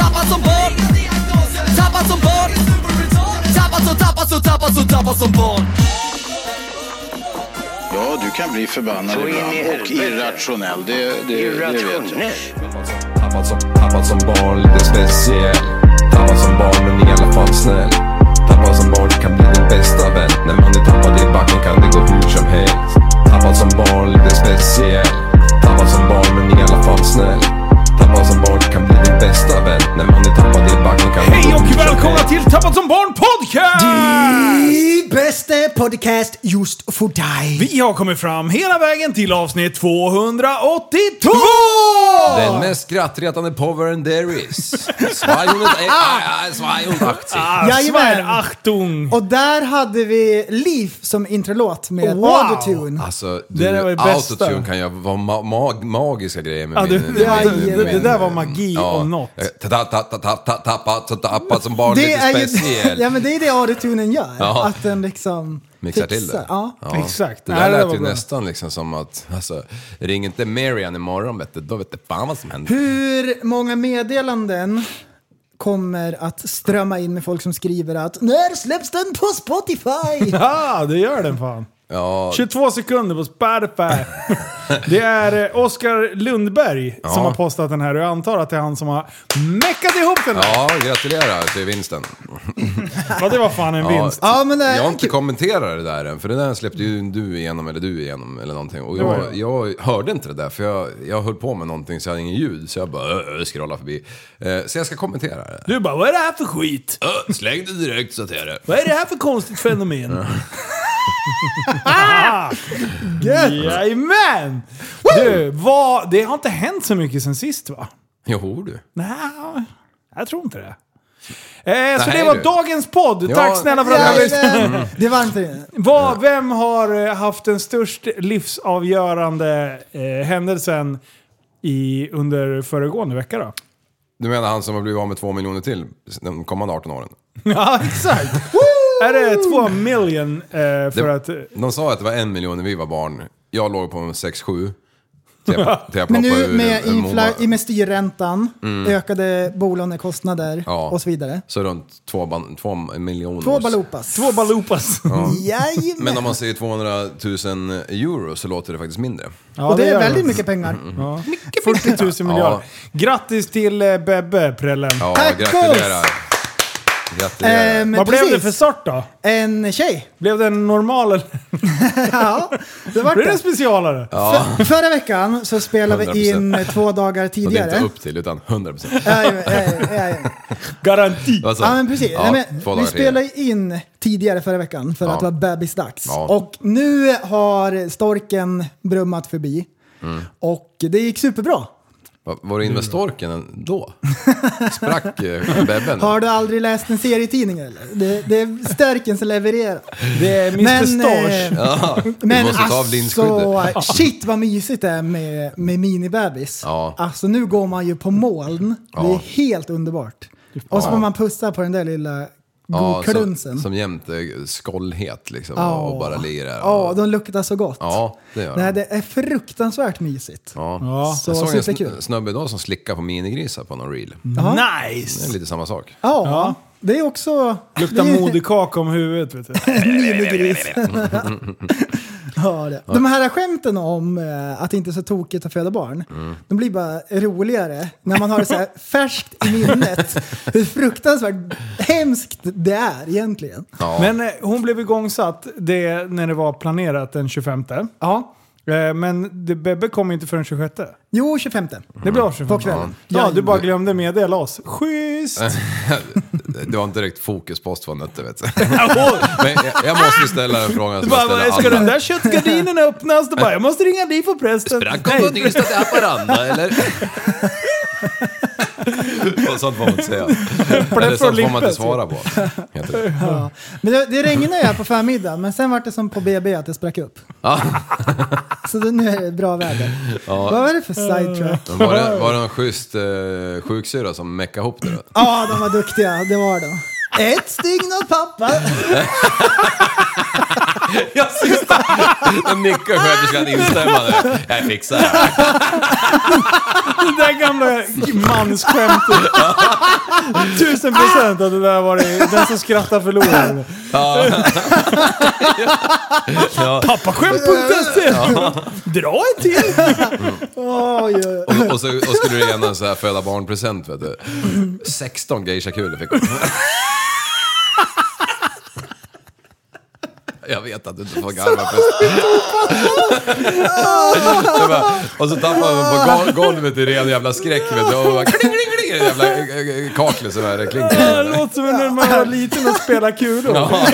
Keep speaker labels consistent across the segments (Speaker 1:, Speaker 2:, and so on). Speaker 1: Tappad som barn Tappad som barn Tappad som, tappad som, tappad som, tappad som barn
Speaker 2: Ja, du kan bli förbannad
Speaker 3: Så in i
Speaker 2: ibland och
Speaker 3: helvete.
Speaker 2: irrationell. Det, det, det vet jag.
Speaker 3: Irrationell.
Speaker 4: Tappad som, tappad som barn, lite speciell. Tappad som barn men i alla fall snäll. Tappad som barn kan bli din bästa vän. När man är tappad i backen kan det gå hur som helst. Tappad som barn, lite speciell. Tappad som barn men i alla fall snäll. Tappad som barn kan bli din bästa vän. När man är tappad i backen kan det
Speaker 5: Hej
Speaker 4: gå hur
Speaker 5: och
Speaker 4: som
Speaker 5: välkomna
Speaker 4: helst.
Speaker 5: till Tappad som barn podcast!
Speaker 6: I bästa podcast just för dig.
Speaker 5: Vi har kommit fram hela vägen till avsnitt 282!
Speaker 4: Den mest skrattretande powern there is. Svajonet är... ah, ah, Svajonet aktie.
Speaker 6: Jajamän.
Speaker 5: Svär Achtung!
Speaker 6: Och där hade vi Liv som introlåt med
Speaker 5: Wow!
Speaker 6: autotune.
Speaker 4: Alltså,
Speaker 5: Det där var
Speaker 4: du,
Speaker 5: det bästa.
Speaker 4: autotune kan ju vara ma mag magiska grejer med
Speaker 5: Ja,
Speaker 4: min,
Speaker 5: du-
Speaker 4: min,
Speaker 5: det-
Speaker 4: min, Eh,
Speaker 6: det- det
Speaker 5: där var magi om något.
Speaker 4: Tappat tappat som barn,
Speaker 6: Det
Speaker 4: lite
Speaker 6: är ju
Speaker 4: speciell.
Speaker 6: ja, men det, är det autotunen gör.
Speaker 4: Ja.
Speaker 6: Att den liksom...
Speaker 4: Mixar till
Speaker 6: fixar.
Speaker 4: det.
Speaker 6: Ja.
Speaker 5: Exakt.
Speaker 4: Det
Speaker 5: Nej,
Speaker 4: där
Speaker 5: det
Speaker 4: lät
Speaker 5: var
Speaker 4: ju
Speaker 5: bra.
Speaker 4: nästan liksom som att, alltså, ring inte Marian imorgon vet du, då vet du fan vad som händer.
Speaker 6: Hur många meddelanden kommer att strömma in med folk som skriver att när släpps den på Spotify?
Speaker 5: Ja, det gör den fan.
Speaker 4: Ja,
Speaker 5: 22 sekunder på Spotify. Det är eh, Oskar Lundberg
Speaker 4: Ja.
Speaker 5: som har postat den här och jag antar att det är han som har meckat ihop den. Ja,
Speaker 4: ja, gratulerar till vinsten.
Speaker 5: det var fan en
Speaker 4: Ja,
Speaker 5: vinst.
Speaker 6: Ja, men det är
Speaker 4: jag har inte
Speaker 6: kul.
Speaker 4: kommenterat det där än, för det där släppte ju du igenom, eller du igenom, eller någonting. Och
Speaker 5: Ja,
Speaker 4: jag, jag hörde inte det där, för jag, jag höll på med någonting så jag hade ingen ljud. Så jag bara äh, äh, scrollade förbi. Eh, så jag ska kommentera det.
Speaker 5: Du bara, vad är det här för skit?
Speaker 4: Äh, släng det direkt så att det är det.
Speaker 5: Vad är det här för konstigt fenomen? Jajamän! Du, vad, det har inte hänt så mycket sen sist va?
Speaker 4: Jo du.
Speaker 5: Nej, jag tror inte det. Eh, så
Speaker 4: Nej,
Speaker 5: det var
Speaker 4: du.
Speaker 5: dagens podd.
Speaker 4: Ja. Mm.
Speaker 5: Tack snälla för att ni har lyssnat.
Speaker 6: Jajamän. Mm. Det var inte det.
Speaker 5: Vad, vem har eh, haft den störst livsavgörande eh, händelsen i, under föregående vecka då?
Speaker 4: Du menar han som har blivit av med två miljoner till de kommande 18 åren?
Speaker 5: Ja, exakt. Är det två million eh, för
Speaker 4: Det-
Speaker 5: att... eh,
Speaker 4: De sa att det var en miljon när vi var barn. Jag låg på en 6-7. Till jag, till jag
Speaker 6: Men
Speaker 4: ploppade
Speaker 6: nu
Speaker 4: ur
Speaker 6: med,
Speaker 4: en- en MOBA.
Speaker 6: infla- med styrräntan, ökade bolånekostnader
Speaker 4: Ja.
Speaker 6: och så vidare.
Speaker 4: Så runt två, ban- två miljoner.
Speaker 6: Två balopas.
Speaker 5: Två balupas.
Speaker 6: Jajamän.
Speaker 4: Men om man säger 200 000 euro så låter det faktiskt mindre.
Speaker 5: Ja,
Speaker 6: och det,
Speaker 5: gör Mm,
Speaker 6: är
Speaker 5: det.
Speaker 6: väldigt mycket pengar.
Speaker 5: 40 000 miljarder. Grattis till eh, Bebbe, prällen.
Speaker 4: Ja,
Speaker 6: Tack,
Speaker 4: gratulerar. Gratulerar.
Speaker 6: Eh, men
Speaker 5: Vad blev det
Speaker 6: precis.
Speaker 5: för sort då?
Speaker 6: En tjej.
Speaker 5: Blev det en normal eller
Speaker 6: Ja, det var
Speaker 5: blev det en
Speaker 6: det.
Speaker 5: specialare?
Speaker 6: För, förra veckan så spelade vi
Speaker 4: 100%.
Speaker 6: in två dagar
Speaker 4: och det är
Speaker 6: tidigare.
Speaker 4: inte upp till utan 100 procent.
Speaker 6: Ja, ja, ja, ja, ja.
Speaker 5: Garanti.
Speaker 4: Alltså,
Speaker 6: ja men precis.
Speaker 4: ja,
Speaker 6: Nej, men,
Speaker 4: två
Speaker 6: vi
Speaker 4: dagar tidigare.
Speaker 6: spelade in tidigare förra veckan för
Speaker 4: Ja.
Speaker 6: att det var bebisdags.
Speaker 4: Ja.
Speaker 6: Och nu har storken brummat förbi.
Speaker 5: Mm.
Speaker 6: Och det gick superbra.
Speaker 4: Va- Var du inne med storken då? Sprack eh, bebben?
Speaker 6: Har du aldrig läst en serietidning eller? Det, det är stärken som levererar.
Speaker 5: Det är Mr.
Speaker 6: Men,
Speaker 5: Stars.
Speaker 6: eh,
Speaker 4: Ja, du
Speaker 6: Men
Speaker 4: måste ta av
Speaker 6: alltså,
Speaker 4: linskyddet.
Speaker 6: shit vad mysigt det är med, med minibebis.
Speaker 4: Ja.
Speaker 6: Alltså nu går man ju på moln. Det är
Speaker 4: Ja.
Speaker 6: helt underbart. Och så får man pussa på den där lilla
Speaker 4: Ja,
Speaker 6: godklunsen.
Speaker 4: som, som jämte skållhet liksom.
Speaker 6: Ja.
Speaker 4: Och bara ligger där.
Speaker 6: Ja, de luktar så gott.
Speaker 4: Ja, det gör
Speaker 6: Nej,
Speaker 4: de.
Speaker 6: det är fruktansvärt mysigt.
Speaker 4: Ja.
Speaker 6: Så
Speaker 4: Jag såg en
Speaker 6: superkul. Mm.
Speaker 4: sn- snubbe idag som slickade på minigrisar på någon reel. Det är
Speaker 5: Nice!
Speaker 4: lite samma sak.
Speaker 6: Ja, det är också...
Speaker 5: Luktar
Speaker 6: det är-
Speaker 5: moderkaka om huvudet vet du.
Speaker 6: minigris. ja, det. De här skämten om eh, att det inte är så tokigt att föda barn, de blir bara roligare när man har det så här färskt i minnet hur fruktansvärt hemskt det är egentligen.
Speaker 5: Men eh, hon blev igångsatt det, när det var planerat den 25.
Speaker 6: Ja.
Speaker 5: Eh, men det, Bebbe kom inte förrän 26.
Speaker 6: Jo, 25.
Speaker 5: Det blev av 25.
Speaker 6: På kvällen.
Speaker 5: Ja, du bara glömde meddela oss. Schysst!
Speaker 4: Det var inte direkt fokuspost från Nötte vet du. Men jag, jag måste ställa en fråga
Speaker 5: Du
Speaker 4: som jag
Speaker 5: bara, ska
Speaker 4: ställer
Speaker 5: den
Speaker 4: alla.
Speaker 5: där köttgardinen öppnas? Du bara, jag måste ringa dit på prästen.
Speaker 4: Sprack hon från Ystad till Haparanda eller? Sånt får man inte säga. Eller sånt får man inte svara på. heter det.
Speaker 6: Ja. Men det, det regnade ju här på förmiddagen, men sen var det som på BB att det sprack upp.
Speaker 4: Ja.
Speaker 6: Så det, nu är det bra väder. Vad var det för sidetrack?
Speaker 4: Men Var det, var det någon schysst eh, sjuksyra som meckade ihop det då?
Speaker 6: Ja, de var duktiga, det var de. Ett stygn åt pappa.
Speaker 4: Jag sista! Den nickar sköterskan instämmande. Jag fixar det här.
Speaker 5: Det där gamla mansskämtet. Tusen procent att det där var det. Den som skrattar förlorar.
Speaker 4: Ja.
Speaker 5: Pappaskämt.se! E. Dra en till!
Speaker 6: Oj, oj, oj.
Speaker 4: Och, och, så, och skulle du gärna så här föda barnpresent vet du. 16 geishakulor fick hon. Jag vet att du inte får gamla present. Det bara- och så tappade hon på gol- golvet i ren jävla skräck vet du. Och bara kling, kling, kling, jävla eh, eh, kaklet som är det
Speaker 5: Det
Speaker 4: klinkar.
Speaker 5: låter som när man var liten och spelade kulor.
Speaker 4: Ja.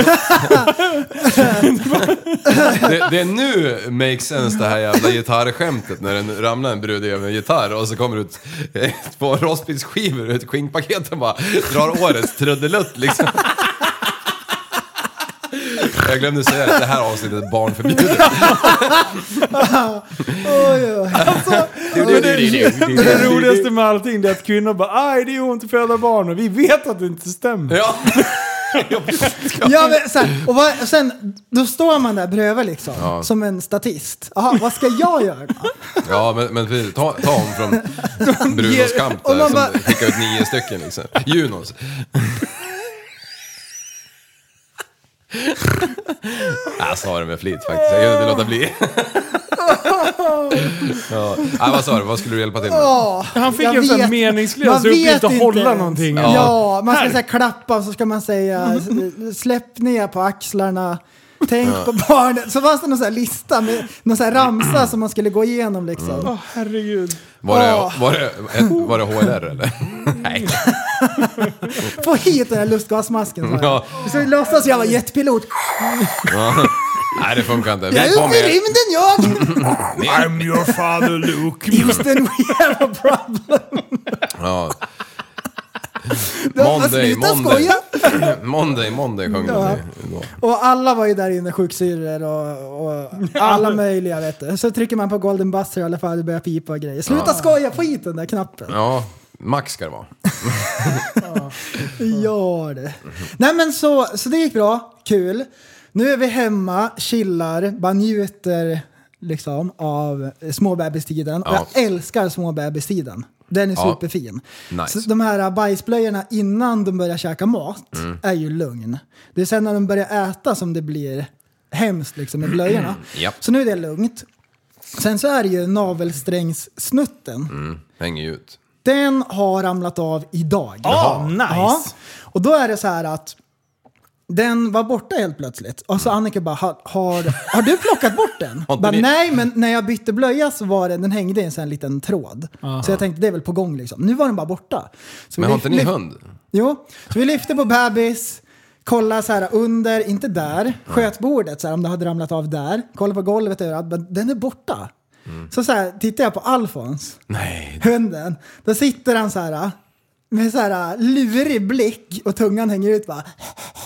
Speaker 4: Det, det är nu makes sense det här jävla gitarrskämtet när den ramlar en brud över en gitarr och så kommer det ut eh, två rostbitsskivor ur ett skinkpaket och bara drar årets trudelutt liksom. Jag glömde säga att det här avsnittet är barnförbjudet.
Speaker 6: oj, Alltså, oj.
Speaker 5: Det roligaste med allting det är att kvinnor bara aj det gör ont att föda barn och vi vet att det inte stämmer.
Speaker 4: Ja.
Speaker 6: Ja, men, så här, och vad, och sen, då står man där bredvid liksom, som en statist. Jaha, vad ska jag göra? då?
Speaker 4: Ja, men, men precis. ta, ta om från Brunos kamp
Speaker 6: Och
Speaker 4: där,
Speaker 6: man
Speaker 4: som
Speaker 6: bara-
Speaker 4: skickade ut nio stycken liksom. Junos. Jag sa det med flit faktiskt, jag kunde inte låta bli. ja. Nej, vad sa du, vad skulle du hjälpa till med?
Speaker 6: Ja,
Speaker 5: Han fick
Speaker 6: jag
Speaker 5: en sån här
Speaker 6: vet- man
Speaker 5: meningslös
Speaker 6: vet
Speaker 5: uppgift att
Speaker 6: inte
Speaker 5: hålla
Speaker 6: ens.
Speaker 5: någonting.
Speaker 6: Ja, man ska säga klappa och så ska man säga
Speaker 5: Mm.
Speaker 6: s- släpp ner på axlarna. Tänk på barnet. Så fanns det någon sån här lista med någon sån här ramsa som man skulle gå igenom liksom.
Speaker 5: Åh, herregud.
Speaker 4: Var det, var det, var det HLR eller? Nej.
Speaker 6: Få hit den här lustgasmasken sa jag.
Speaker 4: Ja.
Speaker 6: Så jag låtsas jag var jetpilot.
Speaker 4: Nej, det funkar inte.
Speaker 6: Jag är
Speaker 4: Vi kom
Speaker 6: ute i
Speaker 4: med.
Speaker 6: rymden jag!
Speaker 5: I'm your father Luke.
Speaker 6: Houston we have a problem.
Speaker 4: Ja.
Speaker 6: De-
Speaker 4: Monday,
Speaker 6: sluta
Speaker 4: Monday.
Speaker 6: skoja.
Speaker 4: Monday, Monday sjöng de ju.
Speaker 6: Och alla var ju där inne, sjuksyrror och, och alla möjliga vet du. Så trycker man på golden buzzer i alla fall, det börjar pipa och grejer. Sluta skoja, få hit den där knappen.
Speaker 4: Ja, Max ska det vara.
Speaker 6: Gör det. Nej men så, så det gick bra, kul. Nu är vi hemma, chillar, bara njuter liksom av eh, småbebistiden. Och
Speaker 4: Ja.
Speaker 6: jag älskar småbebistiden. Den är
Speaker 4: Ja.
Speaker 6: superfin.
Speaker 4: Nice.
Speaker 6: Så de här bajsblöjorna innan de börjar käka mat
Speaker 4: Mm.
Speaker 6: är ju lugn. Det är sen när de börjar äta som det blir hemskt liksom med blöjorna.
Speaker 4: Mm. Japp.
Speaker 6: Så nu är det lugnt. Sen så är det ju navelsträngssnutten.
Speaker 4: Mm. Hänger ju ut.
Speaker 6: Den har ramlat av idag.
Speaker 5: Ah, nice.
Speaker 6: Ja. Och då är det så här att den var borta helt plötsligt. Och så Annika bara, "Ha- har, har du plockat bort den?
Speaker 4: inte
Speaker 6: bara,
Speaker 4: ni-
Speaker 6: Nej, men när jag bytte blöja så var den, den hängde i en sån här liten tråd. Så jag tänkte, det är väl på gång liksom. Nu var den bara borta. Så vi
Speaker 4: Men har
Speaker 6: lyf-
Speaker 4: inte ni
Speaker 6: lyf-
Speaker 4: hund?
Speaker 6: Jo, så vi lyfte på bebis, kollade så här under, inte där, sköt bordet så här, om det hade ramlat av där, kollade på golvet överallt, men den är borta.
Speaker 4: Mm.
Speaker 6: Så, så här, tittar jag på Alfons,
Speaker 4: Nej.
Speaker 6: hunden, då sitter han så här äh, med så här äh, lurig blick och tungan hänger ut bara.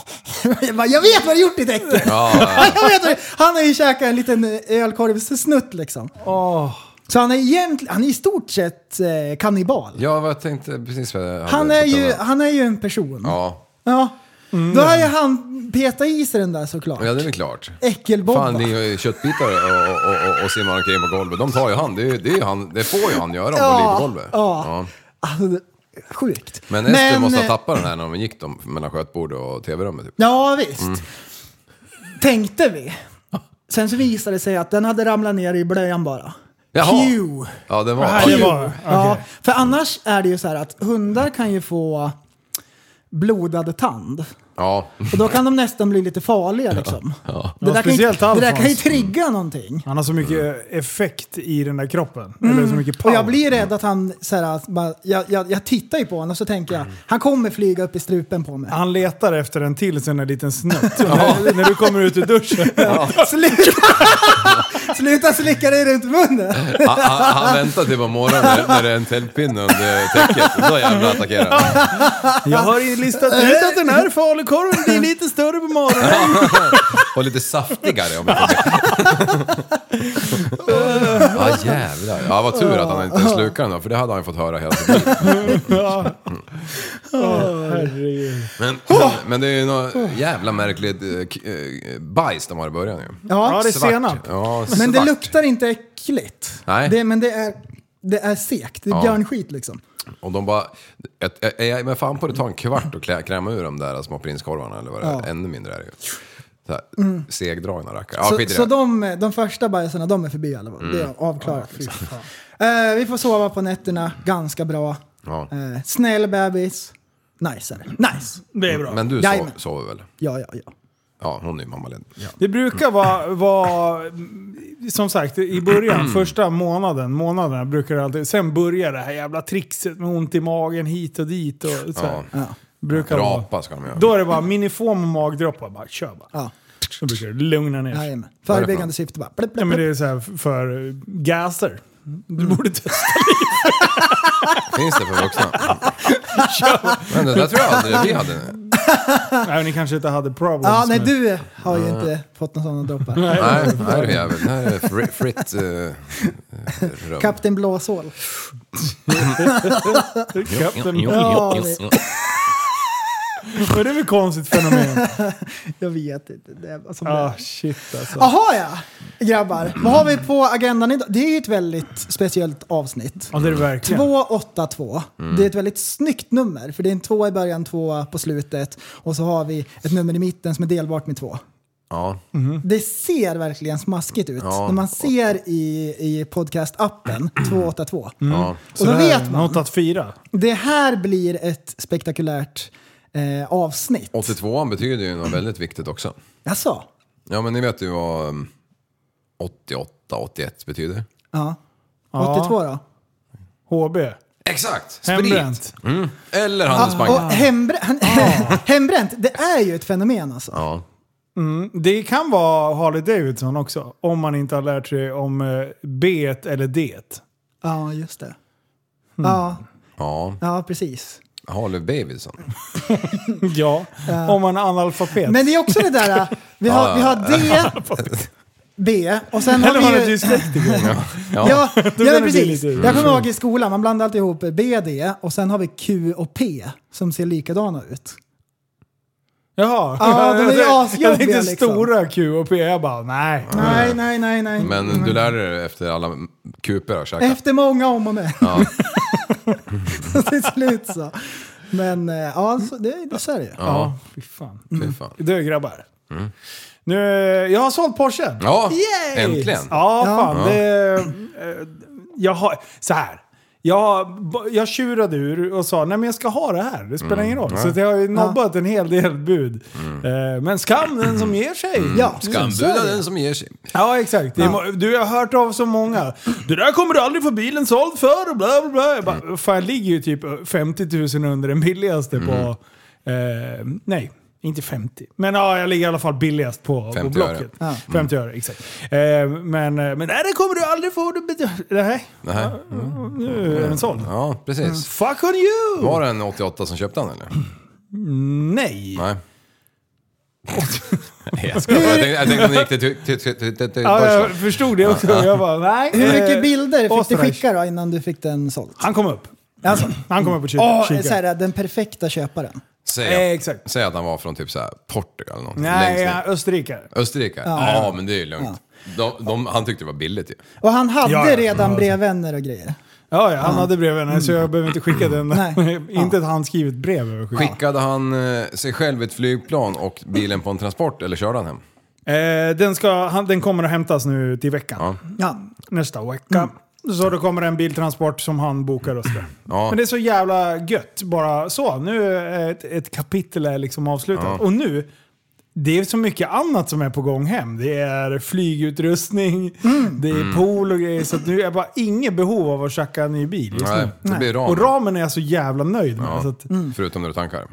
Speaker 6: Jag, bara, jag vet vad du gjort ditt äckel! Jag vet vad du, han har ju käkat en liten eh, ölkorvssnutt liksom.
Speaker 5: Åh.
Speaker 6: Så han är egentligen, han är i stort sett eh, kannibal.
Speaker 4: Ja, vad jag tänkte precis vad jag hade
Speaker 6: Han är,
Speaker 4: på
Speaker 6: ju,
Speaker 4: tungan.
Speaker 6: han är ju en person.
Speaker 4: Ja,
Speaker 6: Ja. Då har ju han petat i sig den där såklart.
Speaker 4: ja det är väl klart.
Speaker 6: Äckelbomba.
Speaker 4: Fan, ni har ju köttbitar och, och, och, och simmar omkring på golvet. De tar ju han. Det, är ju- det, är ju han. det får ju han göra om
Speaker 6: Ja,
Speaker 4: de ligger på golvet.
Speaker 6: ja. Alltså, det- sjukt.
Speaker 4: Men Ester måste ha
Speaker 6: eh,
Speaker 4: tappat den här när de gick dem mellan skötbordet och tv-rummet. Typ.
Speaker 6: Ja, visst. Tänkte vi. Sen så visade det sig att den hade ramlat ner i blöjan bara.
Speaker 4: Jaha.
Speaker 6: Pew.
Speaker 4: Ja, det var...
Speaker 5: Ja, det var-
Speaker 6: Ja, för annars är det ju så här att hundar kan ju få blodad tand.
Speaker 4: Ja.
Speaker 6: Och då kan de nästan bli lite farliga liksom. Det,
Speaker 5: Ja,
Speaker 6: där kan ju,
Speaker 5: speciellt
Speaker 6: det där kan ju
Speaker 5: Alfons.
Speaker 6: trigga någonting.
Speaker 5: Han har så mycket
Speaker 4: Mm.
Speaker 5: eh, effekt i den där kroppen. Eller så mycket
Speaker 6: Mm. Och
Speaker 5: power.
Speaker 6: jag blir rädd att han, så här, att bara, jag, jag, jag tittar ju på honom och så tänker jag, han kommer flyga upp i strupen på mig.
Speaker 5: Han letar efter en till sån där liten snutt. när, när du kommer ut ur duschen.
Speaker 6: Sluta! Sluta slicka dig runt munnen!
Speaker 4: Han, han, han väntar till på morgonen när, när det är en tändpinne under täcket. Då jävlar attackerar han.
Speaker 5: Jag har ju listat ut att den här falukorven blir lite större på morgonen.
Speaker 4: Och lite saftigare om jag får be. Ja jävlar. Ja vad tur att han inte slukade den då, för det hade han ju fått höra hela tiden.
Speaker 5: Herregud.
Speaker 4: Men, men det är ju något jävla märkligt eh, k- eh, bajs de har i början ju.
Speaker 5: Ja,
Speaker 6: Ja,
Speaker 5: det är senap.
Speaker 4: Ja,
Speaker 6: men det
Speaker 4: svart.
Speaker 6: luktar inte äckligt.
Speaker 4: Nej.
Speaker 6: Det, men det är, det är sekt. Det är björnskit liksom.
Speaker 4: Och de bara... Ett, ä- ä- jag- men fan på det, ta en kvart och klä, kräma ur de där små prinskorvarna eller vad det är.
Speaker 6: Ja. Mm.
Speaker 4: Ännu mindre är det ju. Så här, Segdragna rackare. Ja,
Speaker 6: så
Speaker 4: skit i
Speaker 6: så
Speaker 4: det. Mm.
Speaker 6: de, de första bajsarna, de är förbi i alla fall. Det är avklarat. liksom. Eh, vi får sova på nätterna ganska bra.
Speaker 4: Ja.
Speaker 6: Eh, snäll bebis. Nice är det. Nice!
Speaker 5: Det är bra.
Speaker 4: Men du sov,
Speaker 6: Jajamän.
Speaker 4: sover väl?
Speaker 6: Ja, ja, ja.
Speaker 4: Ja, hon är ju mammaledig.
Speaker 5: Det brukar vara, vara, mm, som sagt, i början,
Speaker 4: Mm.
Speaker 5: första månaden, månaderna brukar det alltid, sen börjar det här jävla trixet med ont i magen hit och dit och så här.
Speaker 4: Ja.
Speaker 5: Brukar det vara.
Speaker 4: Rapa ska de göra.
Speaker 5: Då är det bara minifom och magdroppar, bara kör bara.
Speaker 6: ja.
Speaker 5: Då brukar det lugna ner sig.
Speaker 6: Jajamän. Förebyggande syfte bara. Blip,
Speaker 5: Ja,
Speaker 6: blip,
Speaker 5: men det
Speaker 6: blip.
Speaker 5: är så här f- för eh, gaser. Du borde testa.
Speaker 4: Finns det för vuxna? Men det där tror jag aldrig vi hade.
Speaker 5: Nej, ni kanske inte hade problems
Speaker 6: Ja, nej
Speaker 5: med-
Speaker 6: du har ju inte fått några sådana droppar.
Speaker 4: Nej, nej du jävel. Det här är fri, fritt eh, eh, rum.
Speaker 6: Kapten Blåsål.
Speaker 5: Kapten.
Speaker 4: Jo, jo,
Speaker 6: Ja,
Speaker 4: jo,
Speaker 6: det-
Speaker 4: jo.
Speaker 5: Men det är väl konstigt fenomen.
Speaker 6: Jag vet inte. Det är, alltså,
Speaker 5: Ah, shit alltså.
Speaker 6: Jaha ja, grabbar. Vad har vi på agendan idag? Det är ju ett väldigt speciellt avsnitt.
Speaker 5: Ja, Mm. det är det verkligen.
Speaker 6: 282. Det är ett väldigt snyggt nummer. För det är en tvåa i början, tvåa på slutet. Och så har vi ett nummer i mitten som är delbart med två.
Speaker 4: Ja,
Speaker 5: Mm.
Speaker 6: Det ser verkligen smaskigt ut.
Speaker 4: Ja.
Speaker 6: När man ser i, i podcast-appen 282.
Speaker 4: ja.
Speaker 6: Och då
Speaker 5: Det Mm. här är
Speaker 6: vet man.
Speaker 5: Något att fira.
Speaker 6: Det här blir ett spektakulärt eh, avsnitt.
Speaker 4: 82an betyder ju något väldigt viktigt också.
Speaker 6: Jaså?
Speaker 4: Ja, men ni vet ju vad um, 88, 81 betyder.
Speaker 6: Ja.
Speaker 5: Ja.
Speaker 6: 82 då?
Speaker 5: HB.
Speaker 4: Exakt! Sprit!
Speaker 5: Hembränt.
Speaker 4: Eller
Speaker 6: Ja, och
Speaker 4: handelsbanken.
Speaker 6: hembrä- hembränt, det är ju ett fenomen alltså.
Speaker 4: Ja.
Speaker 5: Det kan vara Harley Davidson också. Om man inte har lärt sig om eh, B eller D.
Speaker 6: Ja, just det. Ja,
Speaker 4: Ja,
Speaker 6: ja, precis.
Speaker 4: Harley Davidson.
Speaker 5: Ja, Eh. om man är analfabet.
Speaker 6: Men det är också det där, äh, vi har, vi har D, B och sen
Speaker 5: eller man
Speaker 6: har
Speaker 5: är
Speaker 6: vi ju...
Speaker 5: dyslektiker.
Speaker 4: Ja.
Speaker 6: Ja, ja, men
Speaker 5: bli
Speaker 6: precis.
Speaker 5: lite-
Speaker 6: Jag kommer ihåg i skolan, man blandade alltid ihop B, D och sen har vi Q och P som ser likadana ut.
Speaker 5: Jaha.
Speaker 6: Ja, de är ju
Speaker 5: Jag tänkte- Jag
Speaker 6: asjobbiga,
Speaker 5: tänkte
Speaker 6: liksom.
Speaker 5: stora Q och P. Jag bara, nej.
Speaker 6: Nej, nej, nej, nej.
Speaker 4: Men du lärde dig efter alla kuper har käkat.
Speaker 6: Efter många om och men. Så till slut så. Men äh, ja, så, det, det, så är det ju.
Speaker 5: Ja, fy fan. Mm.
Speaker 4: Fy fan.
Speaker 5: Du grabbar. Nu, jag har sålt Porschen.
Speaker 4: Ja,
Speaker 5: Yay!
Speaker 4: äntligen!
Speaker 5: Ja, fan. Det, eh, jag har, så här. Jag, jag tjurade ur och sa nej men jag ska ha det här, det spelar ingen roll. Så att jag har ju nobbat en hel del bud. Eh, Men skam den som ger sig.
Speaker 6: Ja, så är
Speaker 4: Skambuda
Speaker 6: det.
Speaker 4: den som ger sig.
Speaker 5: Ja, exakt. Det är må- Du jag har hört av så många. Det där kommer du aldrig få bilen såld för och bla bla bla. Jag
Speaker 6: Mm.
Speaker 5: bara, fan, jag ligger ju typ 50 000 under den billigaste på...
Speaker 6: Mm.
Speaker 5: Eh, nej, inte 50. Men ja, jag ligger i alla fall billigast på, på
Speaker 4: 50
Speaker 5: Blocket.
Speaker 4: öre.
Speaker 6: Ja.
Speaker 5: 50 öre, exakt. Eh, men, eh, men nej, det kommer du aldrig få. Du bet- nej,
Speaker 4: Nähä.
Speaker 6: Mm.
Speaker 5: nu är den såld.
Speaker 4: Ja, precis.
Speaker 5: Fuck on you!
Speaker 4: Var det en 88 som köpte den eller?
Speaker 5: Nej.
Speaker 4: Nej. Nej,
Speaker 6: Mm.
Speaker 4: jag skojar. Jag tänkte- Jag tänkte om den gick till- till- till- till- till- till
Speaker 5: Ja, jag
Speaker 4: Deutschland.
Speaker 5: förstod det också. Jag bara, nej.
Speaker 6: Hur
Speaker 5: eh,
Speaker 6: mycket bilder fick du
Speaker 5: Österreich.
Speaker 6: skicka då innan du fick den såld?
Speaker 5: Han kom upp.
Speaker 6: Alltså,
Speaker 5: Han kom upp och
Speaker 6: åh,
Speaker 5: kikade.
Speaker 6: så här, den perfekta köparen.
Speaker 4: Säg,
Speaker 5: Eh,
Speaker 4: att-
Speaker 5: exakt.
Speaker 4: säg att han var från typ så här Portugal eller något.
Speaker 5: Nej,
Speaker 4: Längst
Speaker 5: ja,
Speaker 4: ner.
Speaker 5: österrikare.
Speaker 4: Österrike? Ja, men det är ju lugnt. De, de, han tyckte det var billigt ju.
Speaker 6: Och han hade
Speaker 5: Ja, alltså. ja.
Speaker 6: redan brevvänner och grejer.
Speaker 5: Ja, ja han hade brevvänner så
Speaker 4: Mm.
Speaker 5: jag behöver inte skicka den.
Speaker 6: Nej.
Speaker 5: inte ett handskrivet brev behöver jag skicka.
Speaker 4: Skickade han eh, sig själv i ett flygplan och bilen på en transport eller körde han hem?
Speaker 5: Eh, den, ska, han, den kommer att hämtas nu till veckan.
Speaker 4: Ja. Mm.
Speaker 6: Ja.
Speaker 5: Nästa vecka. Så då kommer det en biltransport som han bokar och sådär.
Speaker 4: Ja.
Speaker 5: Men det är så jävla gött. Bara så. Nu är ett, ett kapitel är liksom avslutat. Och nu, det är så mycket annat som är på gång hem. Det är flygutrustning,
Speaker 4: Mm.
Speaker 5: det är pool och grejer. Så att nu är jag bara inget behov av att tjacka en ny bil just
Speaker 4: Nej,
Speaker 5: nu.
Speaker 4: det blir ram.
Speaker 5: Och ramen är jag så jävla nöjd med.
Speaker 4: Ja,
Speaker 5: Så att, mm.
Speaker 4: Förutom när du tankar.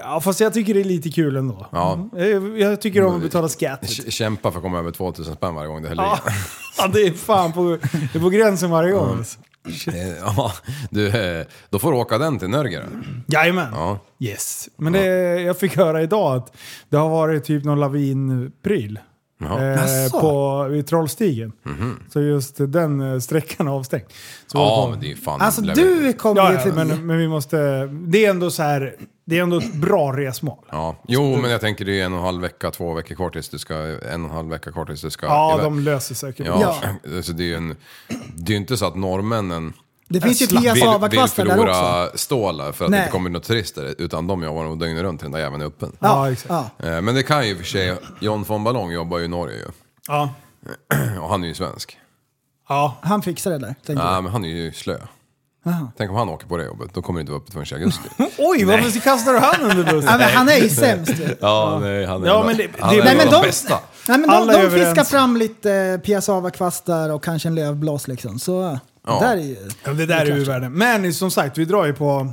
Speaker 5: Ja, fast jag tycker det är lite kul ändå. Mm.
Speaker 4: Ja. Mm.
Speaker 5: Jag, jag tycker om att betala skatt.
Speaker 4: K- Kämpa för att komma över 2000 spänn varje gång du häller
Speaker 5: Ja,
Speaker 4: i.
Speaker 5: ja, det är fan på, det är på gränsen varje gång. alltså.
Speaker 4: Eh, Ja, du, eh, då får du åka den till Norge då.
Speaker 5: Jajamän.
Speaker 4: Ja.
Speaker 5: Yes. Men det, jag fick höra idag att det har varit typ någon lavinpryl.
Speaker 4: Jaha.
Speaker 5: Eh,
Speaker 6: Jaså?
Speaker 5: på, vid Trollstigen. Så just den eh, sträckan är avstängd. Så håller
Speaker 4: Mhm. Ja,
Speaker 5: på.
Speaker 4: men det är ju fan...
Speaker 6: Alltså
Speaker 4: lär-
Speaker 6: du kommer
Speaker 5: ja,
Speaker 6: ju
Speaker 5: ja,
Speaker 6: förbi.
Speaker 5: men, men vi måste... Det är ändå så här... Det är ändå ett bra resmål.
Speaker 4: Ja. Jo, men jag tänker det är en och en halv vecka, två veckor kvar tills du ska... En och en halv vecka kvar tills du ska...
Speaker 5: Ja,
Speaker 4: iväg.
Speaker 5: de löser säkert.
Speaker 4: Ja, alltså det är ju en... Det är ju inte så att norrmännen
Speaker 6: det finns ju
Speaker 5: slapp-
Speaker 6: Pias
Speaker 4: vill, vill
Speaker 6: avakvastar där också.
Speaker 4: förlora stålar för att det
Speaker 6: Nej.
Speaker 4: inte kommer några turister, utan de jobbar nog dygnet runt den där jäveln är öppen.
Speaker 5: Ja, exakt.
Speaker 6: Ja.
Speaker 4: Eh, Men det kan ju i och för sig, John von Ballong jobbar ju i Norge ju.
Speaker 5: Ja.
Speaker 4: Och han är ju svensk.
Speaker 5: ja.
Speaker 6: Han fixar det där, tänker
Speaker 4: Ja,
Speaker 6: jag.
Speaker 4: men han är ju slö. Tänk om han åker på det jobbet, då kommer det inte vara öppet förrän i augusti.
Speaker 5: Oj, varför kastar du han under bussen?
Speaker 6: Ja, men han är ju sämst ju.
Speaker 4: ja, nej, han är
Speaker 5: Ja,
Speaker 4: en-
Speaker 5: men det-
Speaker 4: han
Speaker 5: det-
Speaker 4: är
Speaker 5: nej,
Speaker 4: en
Speaker 5: men
Speaker 4: av de
Speaker 6: de-
Speaker 4: bästa.
Speaker 6: Nej, men
Speaker 5: Alla
Speaker 6: de,
Speaker 5: är
Speaker 6: de
Speaker 5: överens.
Speaker 6: fiskar fram lite eh, Pias avakvastar och kanske en lövblås liksom. Så
Speaker 4: Ja.
Speaker 6: det där är ju...
Speaker 5: Ja, det där är ju världen. Men som sagt, vi drar ju på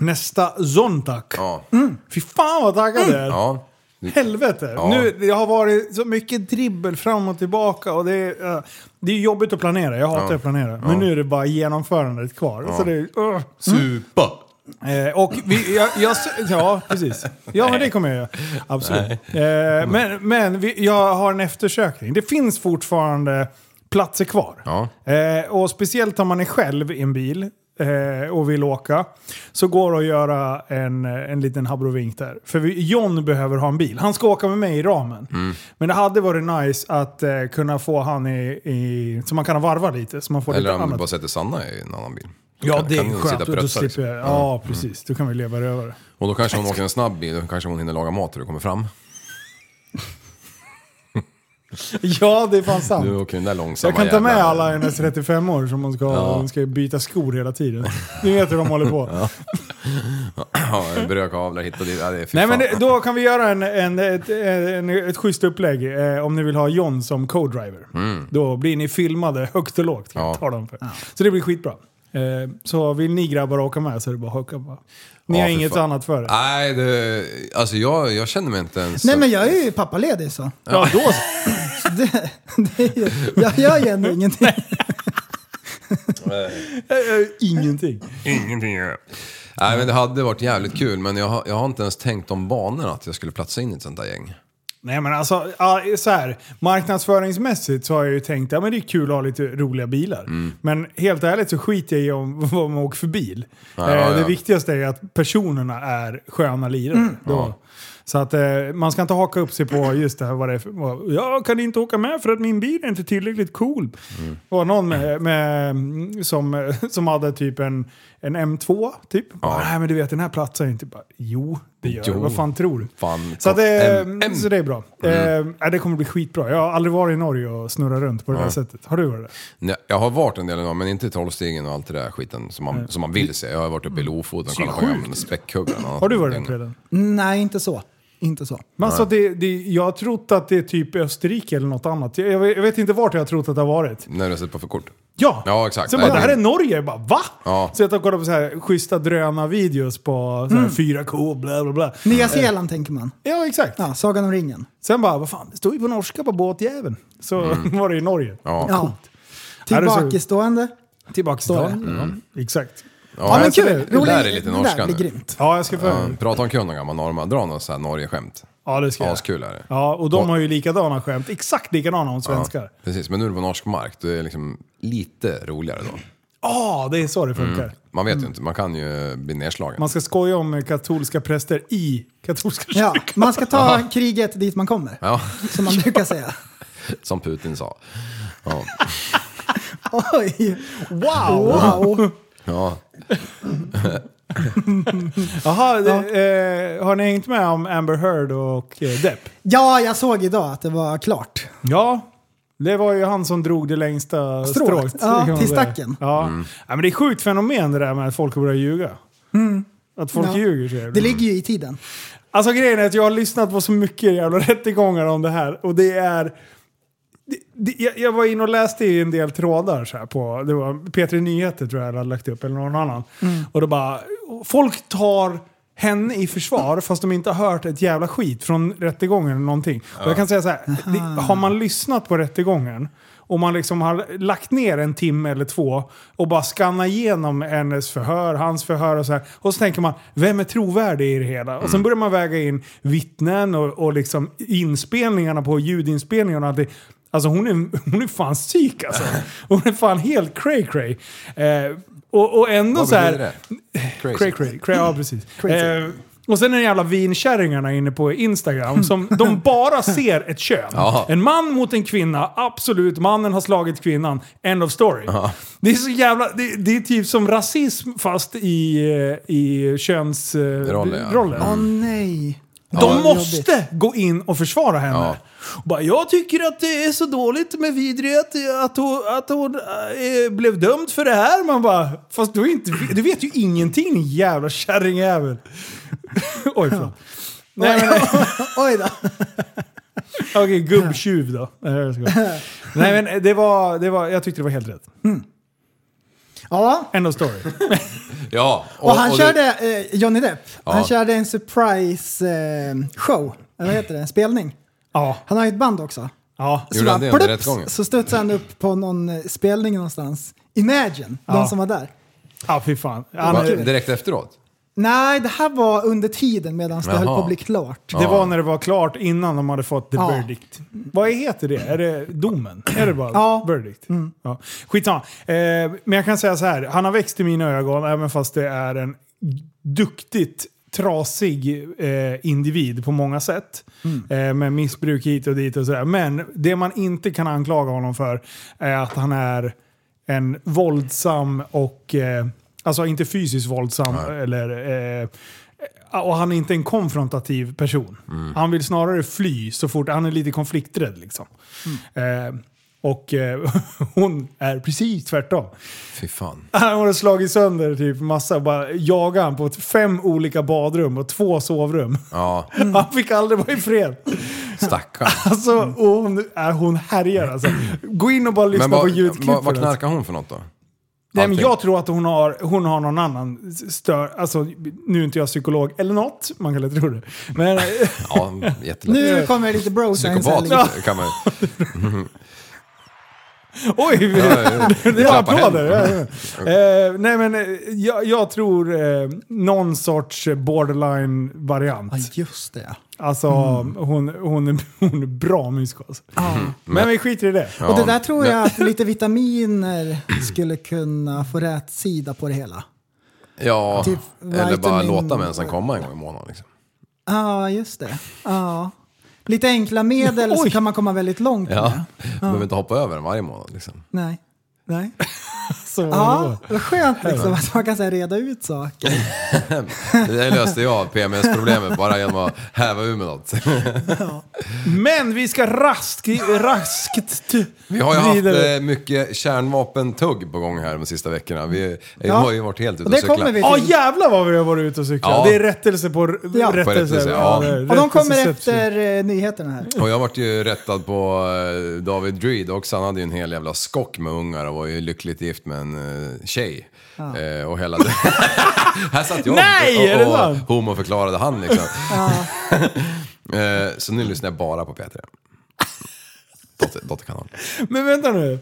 Speaker 5: nästa Zondag.
Speaker 4: Ja. Mm.
Speaker 5: Fy fan vad taggad jag är.
Speaker 4: ja.
Speaker 5: Helvete!
Speaker 4: Ja.
Speaker 5: Nu, det har varit så mycket dribbel fram och tillbaka och det är, eh, det är jobbigt att planera. Jag hatar att planera. Men nu är det bara genomförandet kvar. Så det, är- ugh.
Speaker 4: Supa!
Speaker 5: Eh, och vi, jag, jag, ja, precis. Ja, men det kommer jag göra. Absolut. Eh, men men vi, jag har en eftersökning. Det finns fortfarande platser kvar.
Speaker 4: Ja.
Speaker 5: Eh, och speciellt om man är själv i en bil eh, och vill åka så går det att göra en, eh, en liten habrovink där. För vi, John behöver ha en bil. Han ska åka med mig i ramen.
Speaker 4: Mm.
Speaker 5: Men det hade varit nice att eh, kunna få han i, i... Så man kan varva lite. Så man får
Speaker 4: Eller
Speaker 5: lite
Speaker 4: om du
Speaker 5: annat.
Speaker 4: bara sätter Sanna i en annan bil. Då
Speaker 5: Ja,
Speaker 4: kan-
Speaker 5: det
Speaker 4: kan
Speaker 5: är
Speaker 4: hon sitta
Speaker 5: skönt.
Speaker 4: och
Speaker 5: Då, då
Speaker 4: prutta,
Speaker 5: slipper
Speaker 4: liksom.
Speaker 5: jag, ja, precis. Då kan vi leva rövare.
Speaker 4: Och då kanske hon åker en snabb bil, då kanske hon hinner laga mat när du kommer fram.
Speaker 5: Ja, det är fan sant.
Speaker 4: Du åker den där långsamma
Speaker 5: jag kan ta med
Speaker 4: jävla-
Speaker 5: alla hennes 35 år som hon ska, hon ska byta skor hela tiden. Ni vet hur de håller på.
Speaker 4: Ja, en brödkavlar hit och dit. Ja, det är fy
Speaker 5: Nej,
Speaker 4: fan.
Speaker 5: men det, då kan vi göra en, en, ett, en, ett schysst upplägg eh, om ni vill ha John som co-driver. Då blir ni filmade högt och lågt. Kan
Speaker 4: Mm. Ja.
Speaker 5: jag tala om för. Så det blir skitbra. Eh, så vill ni grabbar åka med så är det bara att haka på. Ni
Speaker 4: Ja,
Speaker 5: har
Speaker 4: för
Speaker 5: inget
Speaker 4: fan. Ah.
Speaker 5: annat för er.
Speaker 4: Nej, det, alltså jag, jag känner mig inte ens...
Speaker 6: Nej men jag är ju pappaledig så.
Speaker 5: Ja, då,
Speaker 6: så det, det är ju, jag gör ju ändå ingenting.
Speaker 5: Eh, ingenting.
Speaker 4: Ingenting gör jag. Nej, men det hade varit jävligt kul, men jag, har- jag har inte ens tänkt om banorna att jag skulle platsa in i ett sånt där gäng.
Speaker 5: Nej men alltså, ja, så här, marknadsföringsmässigt så har jag ju tänkt att ja, men det är kul att ha lite roliga bilar.
Speaker 4: Mm.
Speaker 5: Men helt ärligt så skiter jag i om vad man åker för bil.
Speaker 4: Ja,
Speaker 5: eh,
Speaker 4: ja, Mm.
Speaker 5: Det
Speaker 4: ja.
Speaker 5: viktigaste är att personerna är sköna lirare. Då. Så att eh, man ska inte haka upp sig på just det här vad det är för, vad, Jag kan inte åka med för att min bil är inte tillräckligt cool.
Speaker 4: Mm.
Speaker 5: Det var någon med, med, mm, som, som hade typ en, en M2 typ. Bara, Nej men du vet den här platsen är inte... Bara, jo, det gör
Speaker 4: Jo.
Speaker 5: det. Vad fan tror du?
Speaker 4: Fan,
Speaker 5: Så, att det,
Speaker 4: M- Mm. M.
Speaker 5: så det är bra. Eh, ja, det kommer bli skitbra. Jag har aldrig varit i Norge och snurrat runt på det där sättet. Har du varit där?
Speaker 4: Nej, Jag har varit en del av dem, men inte i Trollstigen och allt det där skiten som man, som man vill se. Jag har varit uppe i Lofoten och kollat på gamla späckhuggaren.
Speaker 5: Har du varit där Preden?
Speaker 6: Nej, inte så. Inte så.
Speaker 5: Men alltså, det, det, jag har trott att det är typ Österrike eller något annat. Jag, jag, vet, jag vet inte vart jag har trott att det har varit.
Speaker 4: När du har sett på förkort?
Speaker 5: Ja!
Speaker 4: Ja, exakt.
Speaker 5: Sen bara,
Speaker 4: Nej,
Speaker 5: det här
Speaker 4: det-
Speaker 5: är Norge. Jag bara, va?
Speaker 4: Ja.
Speaker 5: Så jag tar och kollar på så här schyssta drönarvideos på så här
Speaker 6: Mm.
Speaker 5: 4K, bla bla bla.
Speaker 6: Nya Zeeland tänker man.
Speaker 5: Ja, exakt.
Speaker 6: Ja, Sagan om ringen.
Speaker 5: Sen bara, vad fan, det står ju på norska på båtjäveln. Så var det i Norge.
Speaker 4: Mm. Ja. ja.
Speaker 6: Ja.
Speaker 5: Ja, det är så-
Speaker 6: Tillbakastående.
Speaker 5: Tillbaka till
Speaker 6: Står det.
Speaker 5: Norge. Ja, Exakt.
Speaker 6: Ja, men
Speaker 4: Mm. jag ser
Speaker 6: kul.
Speaker 4: Det, det där är lite
Speaker 6: det
Speaker 4: norska
Speaker 6: blir
Speaker 4: nu.
Speaker 6: grymt.
Speaker 5: Ja, jag ska få...
Speaker 4: Ja, Prata om kunden gammal norma. Dra något sånt här Norge-skämt.
Speaker 5: Ja, det ska jag.
Speaker 4: Askul är det.
Speaker 5: Ja, och de har ju likadana skämt. Exakt likadana om svenskar.
Speaker 4: Ja, precis, men nu är det på norsk mark. Det är liksom lite roligare då.
Speaker 5: Ja, det är så
Speaker 4: Mm.
Speaker 5: det funkar.
Speaker 4: Man vet ju inte, man kan ju bli nedslagen.
Speaker 5: Man ska skoja om katolska präster i katolska
Speaker 6: Ja,
Speaker 5: kyrkan.
Speaker 6: man ska ta kriget dit man kommer.
Speaker 4: Ja,
Speaker 6: Som man brukar säga.
Speaker 4: som Putin sa. Ja.
Speaker 6: Oj!
Speaker 5: Wow!
Speaker 6: Wow!
Speaker 4: ja.
Speaker 5: Jaha, det, eh, har ni hängt med om Amber Heard och eh, Depp?
Speaker 6: Ja, jag såg idag att det var klart.
Speaker 5: Ja. Det var ju han som drog det längsta
Speaker 6: Strået.
Speaker 5: strået.
Speaker 6: Ja,
Speaker 5: kan man
Speaker 6: till
Speaker 5: säga.
Speaker 6: stacken.
Speaker 5: Ja.
Speaker 4: Mm.
Speaker 5: ja, men det är sjukt fenomen det där med att folk börjar ljuga. Att folk
Speaker 6: Mm. Ja.
Speaker 5: ljuger så jävla
Speaker 6: Det ligger ju i tiden.
Speaker 5: Alltså grejen är att jag har lyssnat på så mycket jävla rättegångar om det här och det är... Det, det, jag, jag var inne och läste i en del trådar så här på, det var P3 Nyheter tror jag hade lagt upp eller någon annan. Och då bara, folk tar henne i försvar fast de inte har hört ett jävla skit från rättegången eller någonting. Och jag kan säga så här, det, har man lyssnat på rättegången och man liksom har lagt ner en timme eller två och bara skannar igenom hennes förhör, hans förhör och så här. Och så tänker man, vem är trovärdig i det hela? Och sen börjar man väga in vittnen och, och liksom inspelningarna på ljudinspelningarna. Att det, alltså hon är, hon är fan psyk alltså. Hon är fan helt cray cray. Eh, och, och ändå
Speaker 4: Vad
Speaker 5: så här...
Speaker 4: betyder det? Crazy.
Speaker 5: Cray cray. cray ja, precis. Eh, och sen är det jävla vinkärringarna inne på Instagram som de bara ser ett kön.
Speaker 4: Ja.
Speaker 5: En man mot en kvinna, absolut. Mannen har slagit kvinnan. End of story. Det är så jävla... Det, det är typ som rasism fast i, eh, i
Speaker 4: Roller,
Speaker 5: könsroller.
Speaker 4: ja.
Speaker 5: Eh, roller.
Speaker 6: Åh nej.
Speaker 5: De
Speaker 6: Ja.
Speaker 5: måste gå in och försvara henne.
Speaker 4: Ja.
Speaker 5: Och bara, jag tycker att det är så dåligt med vidrighet att hon, att hon eh, blev dömd för det här. Man bara, fast du, är inte, du vet ju ingenting din jävla kärringjävel. Oj, förlåt. Nej, men-
Speaker 6: Oj då.
Speaker 5: Okej, gubbtjuv då. Nej, jag skojar. Nej men det var, det var, jag tyckte det var helt rätt.
Speaker 6: Ja,
Speaker 5: End of story.
Speaker 4: Ja,
Speaker 6: och han
Speaker 4: och det-
Speaker 6: körde, eh, Johnny Depp, han
Speaker 4: Ja.
Speaker 6: körde en surprise eh, show. Eller vad heter det? En spelning.
Speaker 5: Ja.
Speaker 6: Han har ju ett band också.
Speaker 5: ja.
Speaker 6: Så
Speaker 4: Gjorde han
Speaker 6: bara
Speaker 4: det under
Speaker 6: plups,
Speaker 4: rättegången?
Speaker 6: Så studsade han upp på någon eh, spelning någonstans. Imagine,
Speaker 5: Ja.
Speaker 6: de som var där.
Speaker 5: Ja, fy fan. Han,
Speaker 4: Va,
Speaker 5: det
Speaker 4: direkt efteråt?
Speaker 6: Nej, det här var under tiden medan det
Speaker 4: Jaha.
Speaker 6: höll på att bli klart.
Speaker 5: var när det var klart innan de hade fått the
Speaker 6: Ja.
Speaker 5: verdict. Vad heter det? Är det domen? Är det bara
Speaker 6: Ja. Mm.
Speaker 5: verdict? Ja. Skitsamma. Eh, men jag kan säga så här. Han har växt i mina ögon även fast det är en duktigt trasig eh, individ på många sätt.
Speaker 6: Mm.
Speaker 5: Eh, med missbruk hit och dit och sådär. Men det man inte kan anklaga honom för är att han är en våldsam och... Eh, alltså inte fysiskt våldsam eller... Eh, och han är inte en konfrontativ person.
Speaker 4: Mm.
Speaker 5: Han vill snarare fly så fort... Han är lite konflikträdd liksom.
Speaker 4: Mm.
Speaker 5: Eh, och eh, hon är precis tvärtom.
Speaker 4: Fy fan.
Speaker 5: Han har slagit sönder typ massa, bara jagat han på ett- fem olika badrum och två sovrum.
Speaker 4: Ja,
Speaker 5: Han fick aldrig vara i fred.
Speaker 4: stackarn.
Speaker 5: Alltså, och hon, är hon härjar alltså. Gå in och bara lyssna
Speaker 4: Mm. Men vad,
Speaker 5: på ljudklipp.
Speaker 4: vad, vad
Speaker 5: för det.
Speaker 4: knarkar hon för något då?
Speaker 5: Nej, men
Speaker 4: Allting.
Speaker 5: jag tror att hon har, hon har någon annan stör... Alltså, nu är inte jag psykolog eller något. Man kan lätt tro det. Men,
Speaker 4: Ja, jättelätt.
Speaker 6: Nu kommer det lite bro science här lite.
Speaker 4: Psykopat kan man
Speaker 5: oj!
Speaker 4: Ja,
Speaker 5: Det var
Speaker 4: klappa
Speaker 5: applåder.
Speaker 4: händerna.
Speaker 5: Ja, ja. Eh, nej men eh, jag, jag tror eh, någon sorts borderline-variant.
Speaker 6: Ja, just det.
Speaker 5: Alltså
Speaker 4: Mm.
Speaker 5: hon, hon, är, hon är bra musiker. Alltså.
Speaker 6: Mm.
Speaker 5: Men vi skiter i det.
Speaker 6: Och det där tror jag att lite vitaminer skulle kunna få rätt sida på det hela.
Speaker 4: Ja,
Speaker 6: Typ
Speaker 4: eller bara
Speaker 6: vitamin-
Speaker 4: låta mänsen komma en gång i månaden. Liksom.
Speaker 6: Ja, just det. Ja. Lite enkla medel så
Speaker 5: Oj.
Speaker 6: kan man komma väldigt långt
Speaker 4: Ja.
Speaker 6: med.
Speaker 4: Man behöver inte hoppa över den varje månad. Liksom.
Speaker 6: Nej. Nej.
Speaker 5: Så,
Speaker 6: Ja, vad skönt liksom att man kan så här, reda ut saker.
Speaker 4: Det löste jag, PMS-problemet, bara genom att häva ur med något.
Speaker 5: Men vi ska rask, raskt
Speaker 4: Vi har ju haft
Speaker 5: vidare.
Speaker 4: eh, mycket kärnvapentugg på gång här de sista veckorna. Vi eh,
Speaker 6: Ja.
Speaker 4: har ju varit helt ute
Speaker 6: Och
Speaker 4: och
Speaker 6: det kommer
Speaker 4: cyklat.
Speaker 6: vi
Speaker 5: Ja
Speaker 6: till.
Speaker 5: jävlar vad vi har varit ute och cyklat.
Speaker 4: Ja.
Speaker 5: Det är rättelse på r-
Speaker 6: Ja. På
Speaker 5: rättelse.
Speaker 4: rättelse, ja.
Speaker 5: det är
Speaker 6: Och de kommer
Speaker 5: rättelse-
Speaker 6: efter eh, nyheterna här.
Speaker 4: Och jag vart ju rättad på eh, David Druid också. Han hade ju en hel jävla skock med ungar och var ju lyckligt gift med en eh, tjej. Eh, och hela Här satt jag
Speaker 5: Nej, är det
Speaker 4: och, och, och
Speaker 5: sant?
Speaker 4: homoförklarade han liksom. eh, så nu lyssnar jag bara på P3. Dotter, dotterkanal.
Speaker 5: Men vänta nu.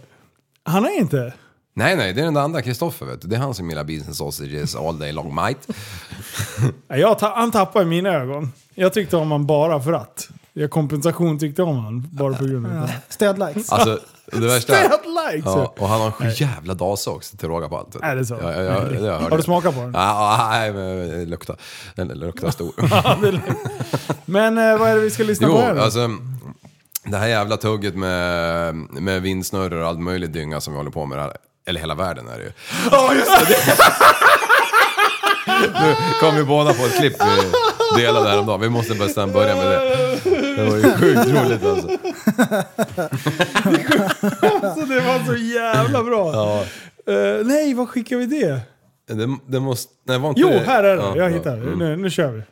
Speaker 5: Han är inte...
Speaker 4: Nej, nej, det är den där andra Kristoffer vet du. Det är han som gillar Beans and Sausages all day long mate.
Speaker 5: Ja, Jag ta han tappade i mina ögon. Jag tyckte om han bara för att. Jag kompensation tyckte om han bara på grund av det.
Speaker 6: Stödlikes.
Speaker 4: Alltså, det värsta...
Speaker 5: Stöd likes!
Speaker 4: Ja, och han har en sjujävla dase också till råga på allt. vet du.
Speaker 5: Är det så?
Speaker 4: Ja, ja, ja, jag hörde
Speaker 5: Har du
Speaker 4: det.
Speaker 5: smakat på den?
Speaker 4: Ja, nej, men det luktar. Den luktar stor.
Speaker 5: Men eh, vad är det vi ska lyssna
Speaker 4: jo,
Speaker 5: på här då?
Speaker 4: alltså... Det här jävla tugget med, med vindsnurror och all möjlig dynga som vi håller på med här. Eller hela världen är det ju. Ja, just det! nu kom vi båda på ett klipp vi delade häromdagen. Vi måste bestämt börja med det. Det var ju sjukt roligt alltså.
Speaker 5: Alltså, det var så jävla bra! Eh, nej, var skickar vi det?
Speaker 4: Det, det måste... Nej, var inte
Speaker 5: Jo,
Speaker 4: det-
Speaker 5: här är det.
Speaker 4: Ja,
Speaker 5: jag
Speaker 4: ja. Mm.
Speaker 5: hittar det. Nu, nu kör vi.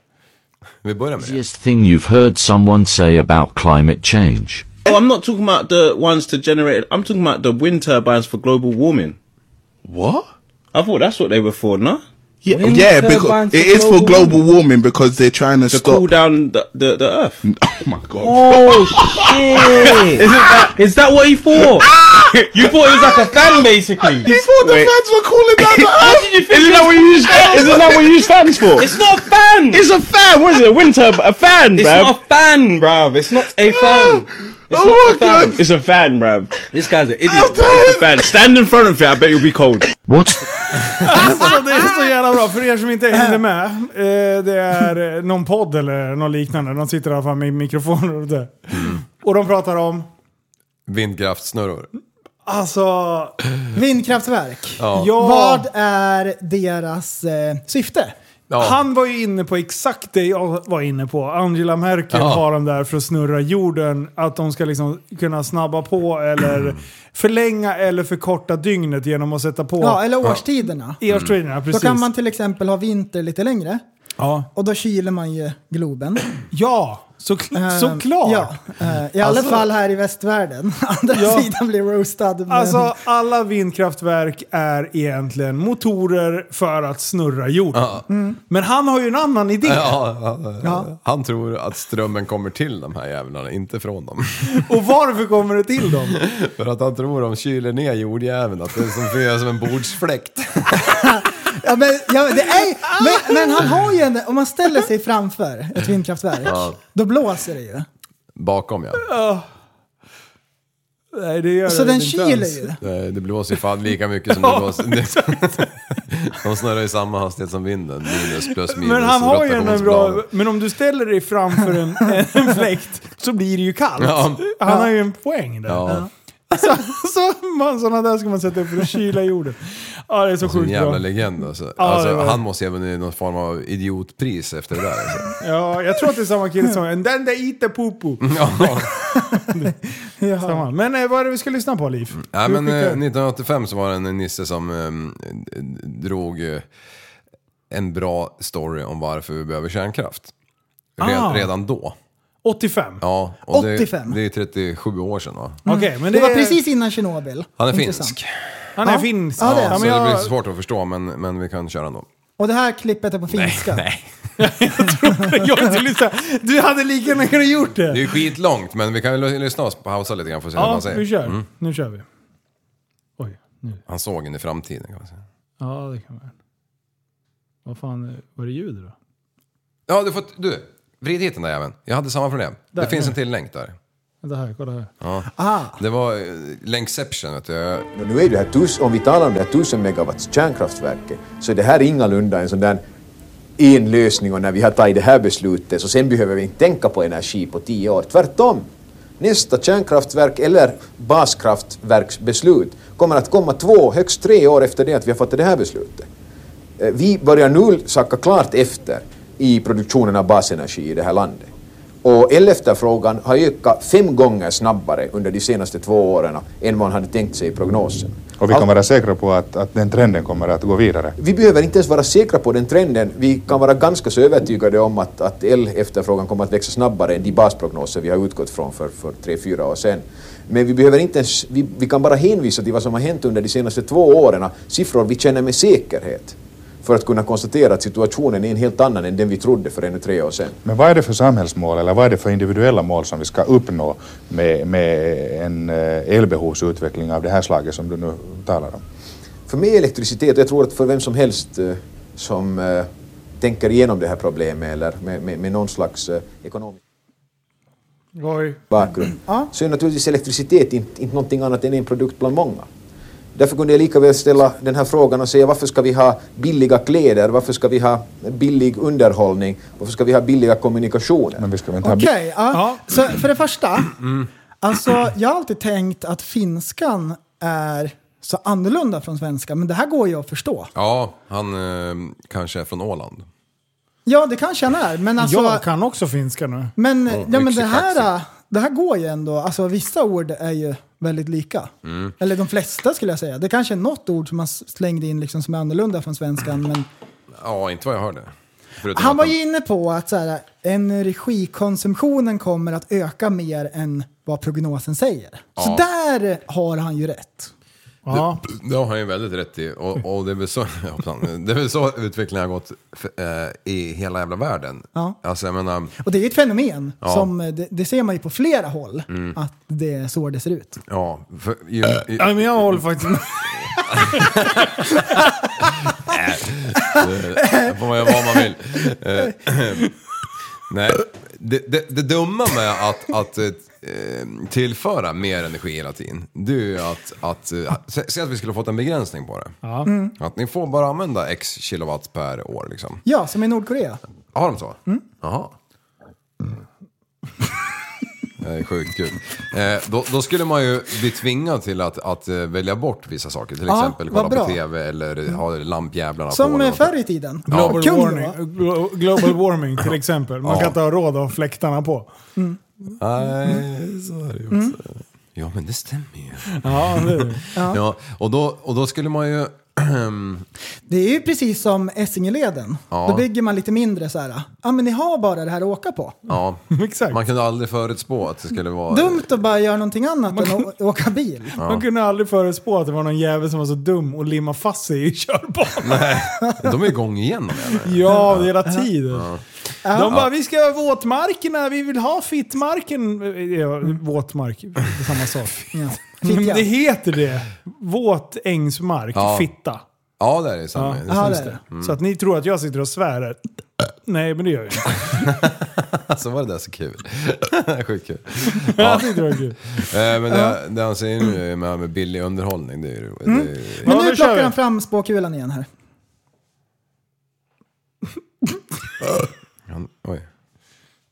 Speaker 4: Vi börjar med det.
Speaker 7: craziest thing you've heard someone say about climate change?
Speaker 8: Oh, I'm not talking about the ones to generate. I'm talking about the wind turbines for global warming.
Speaker 4: What?
Speaker 8: I thought that's what they were for, no?
Speaker 9: Yeah,
Speaker 10: Winter
Speaker 9: because
Speaker 10: bunch
Speaker 9: it
Speaker 10: of
Speaker 9: is for
Speaker 10: global
Speaker 9: global warming because they're trying to
Speaker 8: to
Speaker 9: stop.
Speaker 8: cool down the, the, the earth.
Speaker 9: Oh my god!
Speaker 10: Oh shit!
Speaker 8: Isn't that, is that what he thought?
Speaker 10: you thought it was like a fan, basically.
Speaker 9: He thought the
Speaker 8: Wait.
Speaker 9: fans were calling down the
Speaker 10: How
Speaker 9: earth.
Speaker 10: did you think? Isn't that what you use? Isn't that what you use fans for?
Speaker 8: It's not a fan!
Speaker 10: It's a fan. What is it? A winter? A fan,
Speaker 8: It's
Speaker 10: bruv.
Speaker 8: not a fan, bruv. It's not a fan. It's
Speaker 9: Oh
Speaker 8: not a
Speaker 9: my
Speaker 8: fan.
Speaker 9: god!
Speaker 10: It's a fan, bruv.
Speaker 8: This guy's an idiot.
Speaker 10: It's a fan. Stand in front of it. I bet you'll be cold.
Speaker 7: What's
Speaker 5: Alltså, det är så jävla bra. För er som inte hängde med. Eh, det är eh, någon podd eller något liknande. De sitter i alla fall med mikrofoner och det.
Speaker 4: Mm.
Speaker 5: Och de pratar om,
Speaker 4: Vindkraftsnurror.
Speaker 5: alltså...
Speaker 6: Vindkraftverk.
Speaker 4: Ja.
Speaker 5: Ja,
Speaker 6: Vad är deras eh, syfte?
Speaker 4: Ja.
Speaker 5: Han var ju inne på exakt det jag var inne på. Angela Merkel
Speaker 4: Ja.
Speaker 5: har dem där för att snurra jorden. Att de ska liksom kunna snabba på eller förlänga eller förkorta dygnet genom att sätta på
Speaker 6: Ja, eller årstiderna.
Speaker 5: erströmningarna.
Speaker 6: Då
Speaker 5: Precis.
Speaker 6: kan man till exempel ha vinter lite längre
Speaker 5: ja.
Speaker 6: och då kyler man ju Globen.
Speaker 5: ja, så,
Speaker 6: Eh,
Speaker 5: såklart!
Speaker 6: Ja, eh, I alla
Speaker 5: Alltså-
Speaker 6: fall här i västvärlden. Andra
Speaker 5: Ja.
Speaker 6: sidan blir roastad. men-
Speaker 5: Alltså alla vindkraftverk är egentligen motorer för att snurra jorden. Mm. Men han har ju en annan idé.
Speaker 4: Ja, ja,
Speaker 6: Ja.
Speaker 4: ja. Han tror att strömmen kommer till de här jävlarna, inte från dem.
Speaker 5: Och varför kommer det till dem?
Speaker 4: För att han tror de kyler ner jordjäveln, att det är som, fyra som en bordsfläkt.
Speaker 6: Ja, men, ja, det är, men, men han har ju en, om man ställer sig framför ett vindkraftverk, då blåser det ju.
Speaker 4: Bakom ja.
Speaker 5: Nej, det gör
Speaker 6: Så
Speaker 5: det
Speaker 6: den
Speaker 5: inte
Speaker 6: kyler
Speaker 5: ens.
Speaker 6: ju.
Speaker 4: Det det blåser ju fan lika mycket som det blåser. De snurrar i samma hastighet som vinden, minus plus minus.
Speaker 5: Men han har ju en bra...
Speaker 4: rotationsplanen.
Speaker 5: Men om du ställer dig framför en, en fläkt så blir det ju kallt.
Speaker 4: Ja.
Speaker 5: Han har ju en poäng där.
Speaker 4: Ja,
Speaker 5: Så, så man, sådana där ska man sätta upp för att kyla jorden. Ja, det är så
Speaker 4: som en
Speaker 5: sjukt
Speaker 4: jävla
Speaker 5: bra.
Speaker 4: legend alltså.
Speaker 5: Ja, det
Speaker 4: alltså
Speaker 5: var-
Speaker 4: han måste ju ha vunnit någon form av idiotpris efter det där. Alltså.
Speaker 5: Ja, jag tror att det är samma kille som... And then they eat the poo-poo.
Speaker 4: Ja.
Speaker 5: Samma. Men eh, vad är det vi ska lyssna på, Liv?
Speaker 4: Nej,
Speaker 5: Du
Speaker 4: men eh,
Speaker 5: skickar-
Speaker 4: 1985 så var det en nisse som eh, drog eh, en bra story om varför vi behöver kärnkraft. Red,
Speaker 5: Ah.
Speaker 4: Redan då.
Speaker 5: 85.
Speaker 4: Ja, och det-
Speaker 6: 85.
Speaker 4: Det, är 37 år sedan va?
Speaker 5: Okej, men
Speaker 6: Det
Speaker 5: det,
Speaker 6: var precis innan Tjernobyl.
Speaker 4: Han är
Speaker 6: Intressant.
Speaker 4: finsk.
Speaker 5: Han är
Speaker 6: Ja.
Speaker 5: finsk.
Speaker 6: Ja, det är
Speaker 4: Ja,
Speaker 6: han.
Speaker 4: så
Speaker 5: men
Speaker 4: det
Speaker 5: jag-
Speaker 4: blir svårt att förstå men, men vi kan köra ändå.
Speaker 6: Och det här klippet är på finska.
Speaker 5: jag vill inte lyssna. Du hade lika gärna kunnat gjort
Speaker 4: Det
Speaker 5: det.
Speaker 4: är ju skitlångt men vi kan ju lys- lyssna och pausa lite grann för att se vad
Speaker 5: Ja,
Speaker 4: han
Speaker 5: vi
Speaker 4: säger.
Speaker 5: kör. Nu kör vi. Oj, nu.
Speaker 4: Han såg in i framtiden kan man säga.
Speaker 5: Ja, det kan man. Vad fan eh, var det ljudet då?
Speaker 4: Ja du får... Du! Vrid hit den där jäveln. Jag hade samma problem.
Speaker 5: Där,
Speaker 4: det finns
Speaker 5: där.
Speaker 4: en till länk där.
Speaker 5: Vänta här, kolla här.
Speaker 4: Det var eh, Länkception vet du. Jag-
Speaker 11: Nu är det här tus, om vi talar om det här 1000 megawatts kärnkraftverket så är det här ingalunda en sån där en lösning och när vi har tagit det här beslutet så sen behöver vi inte tänka på energi på tio år. Tvärtom! Nästa kärnkraftverk eller baskraftverksbeslut kommer att komma två, högst tre år efter det att vi har fattat det här beslutet. Eh, Vi börjar nu sacka klart efter i produktionen av basenergi i det här landet. Och elefterfrågan har ökat fem gånger snabbare under de senaste två åren än man hade tänkt sig i prognosen.
Speaker 10: Och vi kan vara säkra på att, att den trenden kommer att gå vidare.
Speaker 11: Vi behöver inte ens vara säkra på den trenden. Vi kan vara ganska så övertygade om att, att el-efterfrågan kommer att växa snabbare än de basprognoser vi har utgått från för, för tre, fyra år sedan. Men vi, behöver inte ens, vi, vi kan bara hänvisa till vad som har hänt under de senaste två åren, siffror vi känner med säkerhet, för att kunna konstatera att situationen är en helt annan än den vi trodde för ännu tre år sedan.
Speaker 10: Men vad är det för samhällsmål eller vad är det för individuella mål som vi ska uppnå med, med en eh, elbehovsutveckling av det här slaget som du nu talar om?
Speaker 11: För mig är elektricitet, och jag tror att för vem som helst eh, som eh, tänker igenom det här problemet eller med, med, med någon slags eh, ekonomisk
Speaker 5: Oj.
Speaker 11: bakgrund, så är naturligtvis elektricitet inte, inte någonting annat än en produkt bland många. Därför kunde jag lika väl ställa den här frågan och säga varför ska vi ha billiga kläder, varför ska vi ha billig underhållning, varför ska vi ha billiga kommunikationer?
Speaker 10: Men vi ska väl inte ha
Speaker 6: Okej,
Speaker 10: bi-
Speaker 6: ja. Så för det första. Alltså, jag har alltid tänkt att finskan är så annorlunda från svenska, men det här går ju att förstå.
Speaker 4: Ja, han eh, kanske är från Åland.
Speaker 6: Ja, det kanske han är, men alltså...
Speaker 5: jag kan också finska nu.
Speaker 6: Men, ja, men det,
Speaker 4: yxekaxigt.
Speaker 6: här, äh, det här går ju ändå. Alltså vissa ord är ju väldigt lika. Eller de flesta skulle jag säga. Det kanske är något ord som man s- slängde in liksom som är annorlunda från svenskan. Men
Speaker 4: Ja, inte vad jag hörde. Förutom
Speaker 6: han
Speaker 4: att
Speaker 6: var ju inne på att så här, energikonsumtionen kommer att öka mer än vad prognosen säger. Så där har han ju rätt.
Speaker 5: Ja.
Speaker 4: Det, det har han ju väldigt rätt i. Och, och det, är väl så, hoppsan. det är väl så utvecklingen har gått för, eh, i hela jävla världen.
Speaker 6: Ja.
Speaker 4: Alltså jag menar,
Speaker 6: Och det är ju ett fenomen.
Speaker 4: Ja.
Speaker 6: Som, eh, det, det ser man ju på flera håll,
Speaker 4: Mm.
Speaker 6: att det är så det ser ut.
Speaker 4: ja. För, ju, ju,
Speaker 5: Ja, men jag håller faktiskt med.
Speaker 4: Det får man göra vad man vill. Eh, Nej, det, det, det dumma med att, att eh, tillföra mer energi hela tiden, det är ju att, att eh, sä- säg att vi skulle ha fått en begränsning på det.
Speaker 5: Ja.
Speaker 6: Mm.
Speaker 4: Att ni får bara använda x kilowatt per år liksom.
Speaker 6: Ja, som i Nordkorea.
Speaker 4: Har de så?
Speaker 6: Mm.
Speaker 4: Jaha. Det är sjukt kul. Eh, då, då skulle man ju bli tvingad till att, att eh, välja bort vissa saker. Till
Speaker 6: Ja,
Speaker 4: exempel
Speaker 6: vad
Speaker 4: kolla på
Speaker 6: bra.
Speaker 4: tv eller ha lampjävlarna på. eller
Speaker 6: Som eh,
Speaker 4: någonting.
Speaker 6: förr i tiden.
Speaker 5: Global,
Speaker 6: Kung då.
Speaker 5: warming, glo- global warming till exempel. Man
Speaker 4: Ja.
Speaker 5: kan inte ha råd att ha fläktarna på. Mm.
Speaker 4: Nej, så är det ju också. Ja, men det stämmer ju.
Speaker 5: Ja, det är det.
Speaker 4: Ja. och, då, och då skulle man ju...
Speaker 6: Det är ju precis som Essingeleden.
Speaker 4: Ja.
Speaker 6: Då bygger man lite mindre så här. Ja, men ni har bara det här att åka på.
Speaker 4: ja, man kunde aldrig förutspå att det skulle vara...
Speaker 6: Dumt att bara göra någonting annat än att å- åka bil.
Speaker 4: Ja.
Speaker 5: Man kunde aldrig förutspå att det var någon jävel som var så dum och limma fast sig i körbanan.
Speaker 4: Nej, de är igång igen.
Speaker 5: Ja, hela tiden.
Speaker 4: Ja.
Speaker 5: De bara, vi ska ha våtmarkerna, vi vill ha fittmarken. Eh, Ja, våtmark, det är samma sak. Men
Speaker 6: Fittja.
Speaker 5: det heter det. Våt ängsmark,
Speaker 4: Ja.
Speaker 5: fitta.
Speaker 4: Ja, det är det
Speaker 5: Ja,
Speaker 4: samma.
Speaker 5: ja, det är det.
Speaker 4: Mm.
Speaker 5: Så att ni tror att jag sitter och svär här. Nej, men det gör jag inte.
Speaker 4: så var det där så kul. Sjukt kul.
Speaker 5: Jag tyckte det var kul.
Speaker 4: Eh, Men det, det han säger nu med, med billig underhållning, det är ju...
Speaker 6: Mm.
Speaker 4: Det är, ju-
Speaker 6: Men nu plockar han fram spåkulan igen här.
Speaker 4: Han, oj,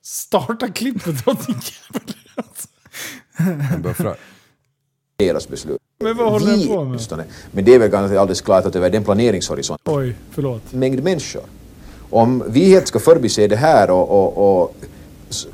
Speaker 5: Starta klippet åt din jävel.
Speaker 4: han buffrar.
Speaker 11: Deras beslut.
Speaker 5: Men vad håller den
Speaker 11: Vi,
Speaker 5: på med?
Speaker 11: åtminstone. Men det är väl ganska alldeles klart att över den planeringshorisonten
Speaker 5: Oj, förlåt.
Speaker 11: mängd människor. Om vi helt ska förbise det här och, och, och s-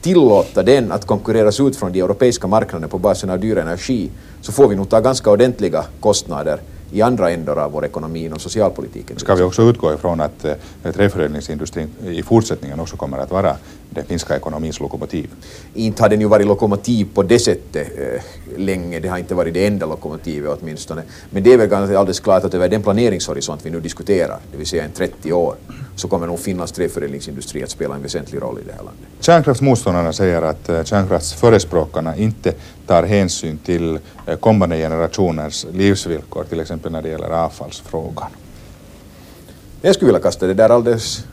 Speaker 11: tillåta den att konkurreras ut från de europeiska marknaderna på basen av dyr energi så får vi nog ta ganska ordentliga kostnader i andra ändar av vår ekonomi inom socialpolitiken.
Speaker 10: Ska vi också utgå ifrån att eh, träförädlingsindustrin i fortsättningen också kommer att vara den finska ekonomins lokomotiv?
Speaker 11: Inte har den ju varit lokomotiv på det sättet eh, länge, det har inte varit det enda lokomotivet åtminstone. Men det är väl ganska alldeles klart att över den planeringshorisont vi nu diskuterar, det vill säga en 30 år, så kommer nog Finlands träförädlingsindustri att spela en väsentlig roll i det här landet.
Speaker 10: Kärnkraftsmotståndarna säger att eh, kärnkraftsförespråkarna inte tar hänsyn till eh, kommande generationers livsvillkor, till exempel när det gäller avfallsfrågan.
Speaker 11: Jag skulle vilja kasta det där alldeles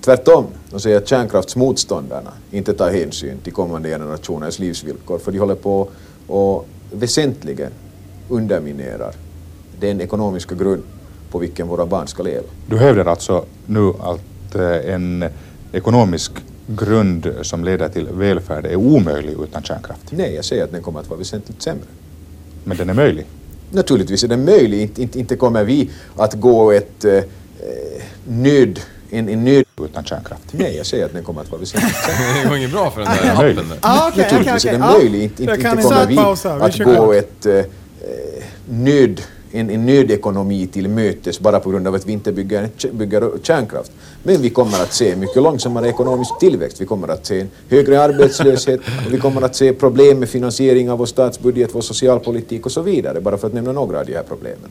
Speaker 11: tvärtom och säga att kärnkraftsmotståndarna inte tar hänsyn till kommande generationers livsvillkor för de håller på och väsentligen underminerar den ekonomiska grund på vilken våra barn ska leva.
Speaker 10: Du hävdar alltså nu att eh, en ekonomisk grund som leder till välfärd är omöjlig utan kärnkraft,
Speaker 11: Nej, jag säger att den kommer att vara väsentligt sämre.
Speaker 10: men den är möjlig.
Speaker 11: Naturligtvis är den möjlig, inte, inte, inte kommer vi att gå ett eh, eh, nöd, en, en nöd...
Speaker 10: Utan kärnkraft?
Speaker 11: Nej, jag säger att den kommer att vara väsentligt sämre.
Speaker 4: Det går inget bra för den där appen. där.
Speaker 6: Ah, okej, okej,
Speaker 11: Naturligtvis
Speaker 6: okej.
Speaker 11: är det
Speaker 6: Ah,
Speaker 11: möjligt. Inte,
Speaker 6: jag
Speaker 11: inte,
Speaker 6: kan
Speaker 11: inte
Speaker 6: inte-
Speaker 11: kommer vi
Speaker 6: pausa, vi
Speaker 11: att
Speaker 6: kör
Speaker 11: gå
Speaker 6: klart.
Speaker 11: ett, eh, eh, nöd, en, en nödekonomi till mötes bara på grund av att vi inte bygger, en k- bygger kärnkraft. Men vi kommer att se mycket långsammare ekonomisk tillväxt. Vi kommer att se en högre arbetslöshet. och Vi kommer att se problem med finansiering av vår statsbudget, vår socialpolitik och så vidare. Bara för att nämna några av de här problemen.